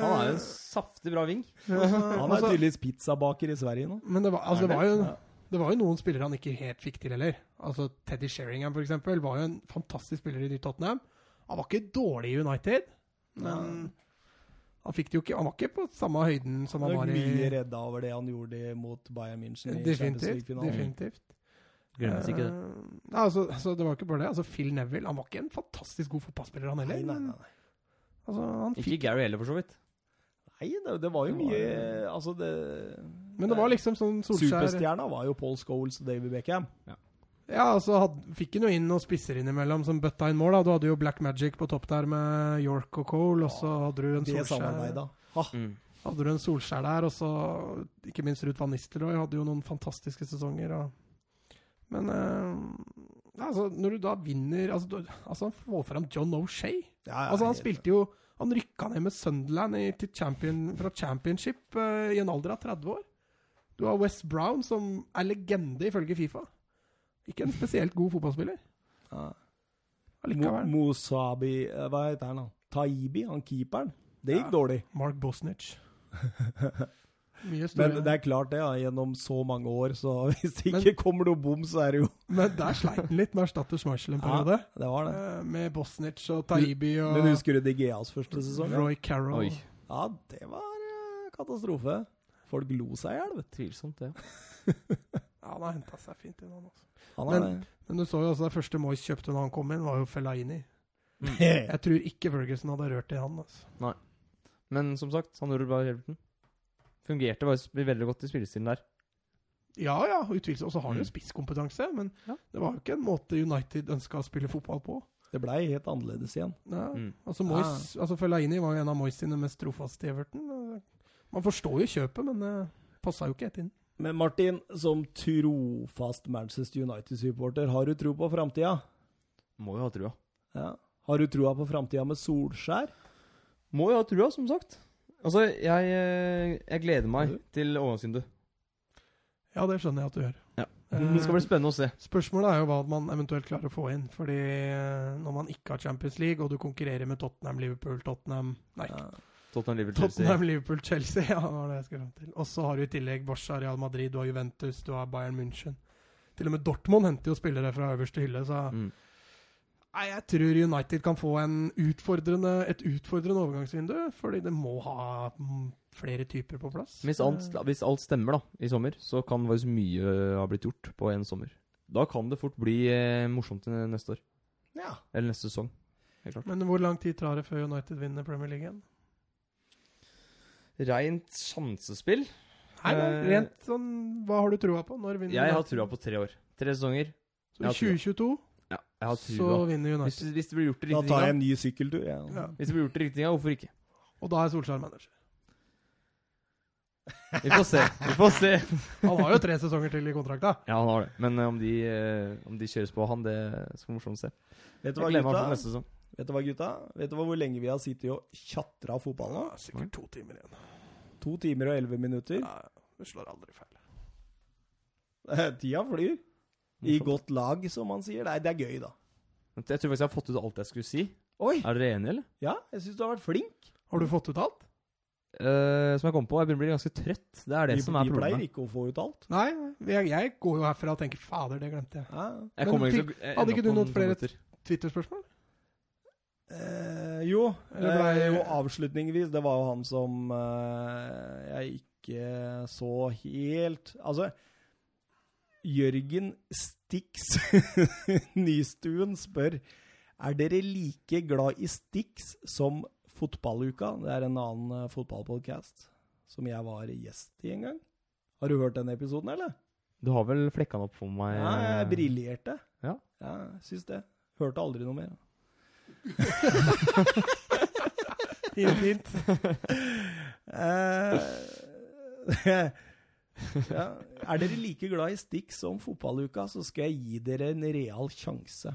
Han er jo en saftig bra ving.
Han
altså-
er tydeligvis pizzabaker i Sverige nå.
Men det var, altså,
Er
det
det?
var jo det var jo noen spillere han ikke helt fikk til heller. Altså Teddy Sheringham for eksempel, var jo en fantastisk spiller i Tottenham. Han var ikke dårlig i United, men han fikk det jo ikke Han var ikke på samme høyden som
Han
han
er nok
var
mye
i
redda over det han gjorde mot Bayern München i Champions
Definitivt.
League-finalen.
definitivt.
Glemmes ikke det.
Eh, nei, altså, altså, det var ikke bare det. Altså, Phil Neville han var ikke en fantastisk god fotballspiller, han heller.
Nei, nei,
men,
nei.
Altså, han fikk,
Ikke Gary heller, for så vidt.
Nei, det, det var jo
Det var
mye
jo-
Altså, det
men det var liksom sånn Solskjær
Superstjerna var jo Paul Scholes og David Beckham.
Ja, altså had, fikk han jo inn noen spisser innimellom som bøtta inn mål. da. Du hadde jo Black Magic på topp der med York og Cole, og så hadde du en
Det Ah,
Solskjær.
samarbeida. Ha,
Mm.
hadde du en Solskjær der, og så ikke minst Ruud van Nistelrooy hadde jo noen fantastiske sesonger. Og, men eh, altså, når du da vinner Altså, du, altså han får fram John O'Shay.
Ja, ja,
Altså, han
helt-
spilte jo Han rykka ned med Sunderland i, til champion, fra championship eh, i en alder av 30 år. Du har West Brown, som er legende ifølge Fifa. Ikke en spesielt god fotballspiller.
Ja. Mo
Allikevel.
Mosabi eh, Hva heter han, da? Taibi, han keeperen. Det gikk
Ja.
dårlig.
Mark Bosnich. Mye
Men
store
det er klart det, da. Gjennom så mange år, så hvis det
Men-
ikke kommer noe bom, så er det jo
Men der sleit han litt med å erstatte Schmeichel en
Ja,
periode.
det var det.
Eh, Med Bosnic og Taibi og
Men husker du DGAs første sesong? Ja,
Roy Carroll.
Oi.
ja det var eh, katastrofe. Folk lo seg i hjel, vet du.
Tvilsomt, det.
Ja, han har henta seg fint inn, han også.
Han er
Men- Men du så jo også det første Moyes kjøpte når han kom inn, var jo
det.
Fellaini.
Mm.
Jeg tror ikke Ferguson hadde rørt i han. altså.
Men som sagt, han gjorde det bra i Everton. Fungerte faktisk veldig godt i spillestilen der.
Ja ja, utvilsomt. Og så har han
Mm.
jo spisskompetanse, men
Ja.
det var jo ikke en måte United ønska å spille fotball på.
Det blei helt annerledes igjen.
Ja.
Mm.
Altså, Moyes, altså Fellaini var jo en av Moyes sine mest trofaste i Everton. Man forstår jo kjøpet, men det passa jo ikke helt inn.
Men Martin, som trofast Manchester United-supporter, har du tro på framtida?
Må jo ha trua.
Ja. Har du troa på framtida med Solskjær?
Må jo ha trua, som sagt. Altså, jeg, eh, jeg gleder meg
Mhm.
til overgangsvinduet.
Ja, det skjønner jeg at du gjør.
Ja.
Eh,
Det skal bli spennende å se.
Spørsmålet er jo hva man eventuelt klarer å få inn. Fordi eh, når man ikke har Champions League, og du konkurrerer med Tottenham, Liverpool, Tottenham Nei,
Ja.
Tottenham Liverpool Chelsea.
Tottenham, Liverpool, Chelsea. Ja, det var det jeg skulle fram til. Og så har du i tillegg Barca, Real Madrid, du har Juventus, du har Bayern München. Til og med Dortmund henter jo spillere fra øverste hylle, så
Mm.
Nei, jeg tror United kan få en utfordrende, et utfordrende overgangsvindu, fordi det må ha mm, flere typer på plass. Eh,
Hvis, alt, hvis alt stemmer da, i sommer, så kan faktisk mye eh, ha blitt gjort på en sommer. Da kan det fort bli eh, morsomt til neste år.
Ja.
Eller neste sesong. Helt klart.
Men hvor lang tid tar det før United vinner Premier League igjen?
Rent sjansespill.
Nei, nei,
Eh,
rent sånn, Hva har du trua på? Når vinner
Jeg har
United?
trua på tre år. Tre sesonger.
Så i
Jeg har
2022
Ja, jeg har trua.
så vinner
Hvis,
United.
hvis det blir gjort i
Da
riktig
tar jeg
gang,
en ny sykkeltur. Ja.
Ja.
hvis det blir gjort i riktig gang, hvorfor ikke?
Og da er Solskjær manager.
Vi får se. Vi får se.
Han har jo tre sesonger til i kontrakta.
Ja, han har det. Men eh, om de, eh, om de kjøres på han, det skal bli morsomt å se.
Vet du
Jeg
hva,
gleder meg til
gutta?
neste sesong.
Vet du hva, gutta? Vet du hva, hvor lenge vi har sittet og tjatra fotball nå?
Sikkert to timer igjen.
To timer og elleve minutter. Eh,
Ja, du slår aldri feil.
Tida flyr. I godt lag, som man sier. Nei, det er gøy, da.
Jeg tror faktisk jeg har fått ut alt jeg skulle si.
Oi!
Er dere enige, eller?
Ja, jeg syns du har vært flink.
Har du fått ut alt?
Eh, som jeg kom på, jeg begynner å bli ganske trøtt. Det er det
Vi,
som er
vi pleier
problemet.
ikke å få ut alt.
Nei, jeg, jeg går jo herfra og tenker 'fader, det glemte jeg'.
Ja.
Jeg
Men
kommer
fikk-
ikke til å- jeg
hadde
ender
ikke
opp
du
om
noen
to
flere-
minutter.
Twitter-spørsmål?
Eh, jo,
Eller ble-
eh, jo, avslutningsvis. Det var jo han som eh, jeg ikke så helt Altså Jørgen Stix Nystuen spør Er dere like glad i Stix som Fotballuka. Det er en annen eh, fotballpodcast som jeg var gjest i en gang. Har du hørt den episoden, eller?
Du har vel flekka den opp for meg?
Ja, jeg briljerte.
Ja.
ja, jeg syns det. Hørte aldri noe mer.
Helt fint.
Eh, ja. Er dere like glad i Stix som fotballuka, så skal jeg gi dere en real sjanse.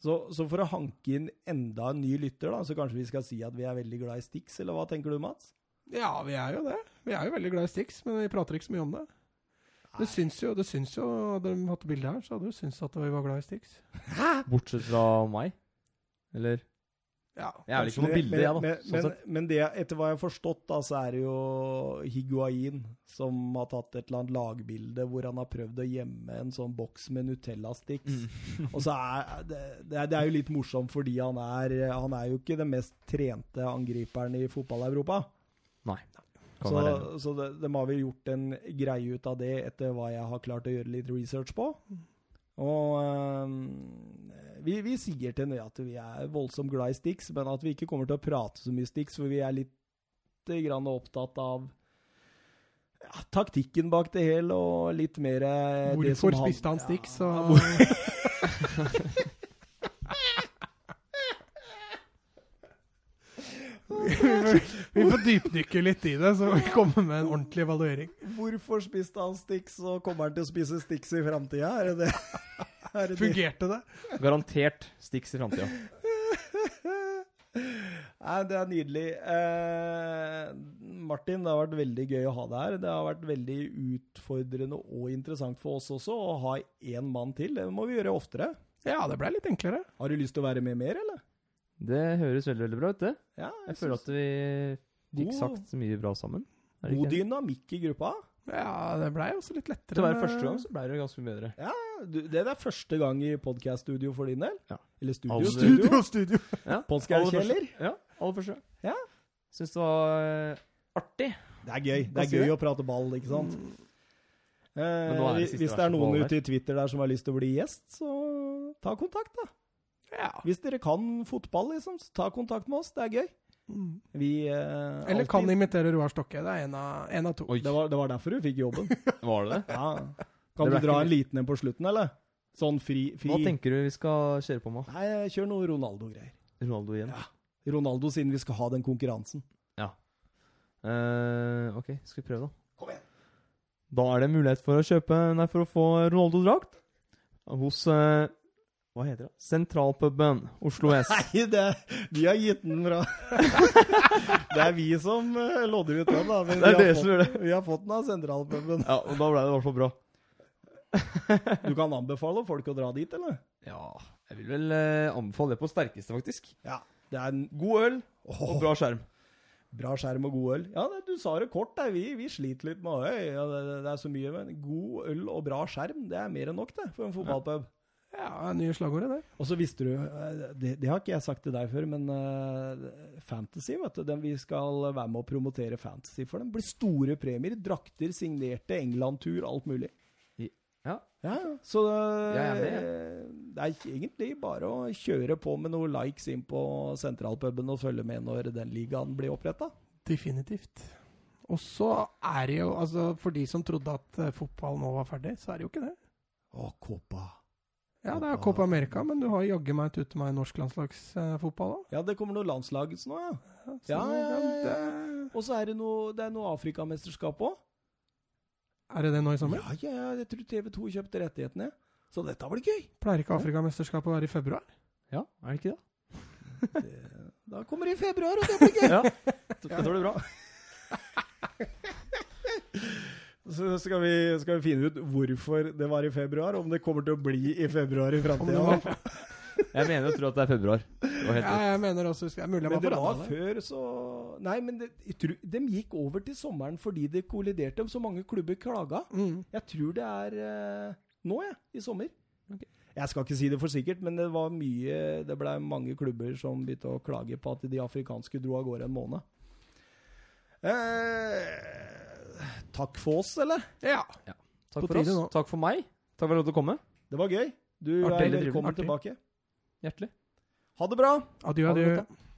Så, så for å hanke inn enda en ny lytter, da, så kanskje vi skal si at vi er veldig glad i Stix, eller hva tenker du, Mats?
Ja, vi er jo det. Vi er jo veldig glad i Stix, men vi prater ikke så mye om det. Det syns jo, det syns jo Hadde de hatt bilde her, så hadde du syntes at vi var glad i Stix.
eh, Bortsett fra meg? Eller?
Ja.
Jeg er vel ikke på bildet, jeg, da.
Men,
sånn
men,
sett.
men det, etter hva jeg har forstått, da, så er det jo Higuain som har tatt et eller annet lagbilde hvor han har prøvd å gjemme en sånn boks med Nutella-sticks.
Mm.
Og så er det, det, er- det er jo litt morsomt fordi han er, han er jo ikke den mest trente angriperen i fotball-Europa.
Nei. Kan
Så,
være enig.
så de, de har vel gjort en greie ut av det etter hva jeg har klart å gjøre litt research på. Og øhm, vi, vi sier til Nøya at vi er voldsomt glad i Stix, men at vi ikke kommer til å prate så mye Stix, for vi er litt eh, grann opptatt av ja, taktikken bak det hele, og litt mer eh, det som
Hvorfor spiste han Stix?
Ja,
og-
hvor-
Vi får dypdykke litt i det, så vi kommer med en ordentlig evaluering.
Hvorfor spiste han Stix, og kommer han til å spise Stix i framtida? Er det det? Er det det?
Fungerte det?
Garantert Stix i framtida.
Nei, det er nydelig. Eh, Martin, det har vært veldig gøy å ha deg her. Det har vært veldig utfordrende og interessant for oss også å ha én mann til. Det må vi gjøre oftere.
Ja, det ble litt enklere.
Har du lyst til å være med mer, eller?
Det høres veldig veldig bra ut, det.
Ja,
Jeg føler at vi fikk sagt mye bra sammen. Er det
Oh. God
ikke det?
dynamikk i gruppa.
Ja, det blei også litt lettere.
Til å være
med-
første gang så ble det ganske mye bedre.
Du, det er første gang i podkaststudio for din del?
Ja.
Eller studio?
Aller-
Studio, Mm, studio.
Ja, aller første-
Podkastkjeller?
Ja, aller første.
Ja.
Syns det var eh, artig.
Det er gøy. Det
Hva
er
sier
gøy
du?
å prate ball, ikke sant? Eh,
Mm. nå er det
hvis-
siste
hvis det er
verset på
noen
ball
ute i Twitter der som har lyst til å bli gjest, så ta kontakt, da.
Ja.
Hvis dere kan fotball, liksom, så ta kontakt med oss. Det er gøy.
Mm.
Vi eh,
Eller kan
alltid-
imitere Roar Stokke. Det er en av, en av to.
Oi.
det var, det var derfor du fikk jobben.
Var det det?
Ja. Kan
Det
du
ble
dra
ikke
en liten en på slutten, eller? Sånn fri, fri.
Hva tenker du vi skal kjøre på med?
Nei, kjør noe Ronaldo-greier.
Ronaldo igjen?
Ronaldo, siden vi skal ha den konkurransen.
Eh, ok, skal vi prøve, da?
Kom igjen.
Da er det mulighet for å kjøpe Nei, for å få Ronaldo-drakt hos eh, Hva heter det? Sentralpuben Oslo S.
Nei, det, vi har gitt den fra Det er vi som eh, lodder ut den, da. Men
Det er
vi,
dere
har
som
fått,
gjør det.
vi har fått den av sentralpuben.
Ja, og da ble det i hvert fall bra.
Du kan anbefale folk å dra dit, eller?
Ja, jeg vil vel eh, anbefale det på sterkeste, faktisk.
Ja. Det er en
God øl og
Åh,
bra skjerm.
bra skjerm og god øl. Ja, det, du sa det kort, der. Vi, vi sliter litt med øy. Ja, det, det er så mye, men god øl og bra skjerm, det er mer enn nok, det, for en fotballpub.
Ja, nye slagordet, det.
Og så visste du eh, det, det har ikke jeg sagt til deg før, men eh, Fantasy, vet du. Den vi skal være med å promotere Fantasy for. Den blir store premier. Drakter signerte, England-tur, alt mulig.
Ja.
Ja, så eh,
Jeg er
det er ikke egentlig bare å kjøre på med noen likes inn på sentralpuben og følge med når den ligaen blir oppretta.
Definitivt. Og så er det jo, altså for de som trodde at eh, fotball nå var ferdig, så er det jo ikke det.
Å, Copa.
Ja, det er Copa America, men du har jaggu meg et ute meg norsk landslagsfotball òg.
Ja, det kommer noe landslag nå, ja. Ja, ja, ja,
eh,
Og så er det noe, det er noe Afrikamesterskap òg.
Er det det nå i sommer?
Ja, ja, ja, jeg tror TV2 kjøpte rettighetene. Så dette blir gøy.
Pleier ikke Afrikamesterskapet å være i februar?
ja, er det ikke det?
Da kommer det i februar, og det blir gøy.
Ja. Jeg tror det er bra.
Så skal vi, skal vi finne ut hvorfor det var i februar, om det kommer til å bli i februar i
Om det
framtida.
var,
Jeg mener og tror at det er februar. Det var helt
ja,
rett.
jeg mener også, det er mulig
Men
jeg var
det var
forandret det.
før, så Nei, men det, jeg tror, de gikk over til sommeren fordi det kolliderte. Så mange klubber klaga.
Mm.
Jeg tror det er eh, nå, jeg. I sommer.
Ok.
Jeg skal ikke si det for sikkert, men det var mye Det blei mange klubber som begynte å klage på at de afrikanske dro av gårde en måned. Eh, takk for oss, eller?
Ja. på
Takk for oss.
tide nå.
Takk for meg. Takk for at du ville komme.
Det var gøy. Du
Artig.
er
Veldig
velkommen
trivelig.
tilbake.
Hjertelig.
Ha det bra!
Adjø,
Ha det
adjø.
godt, da.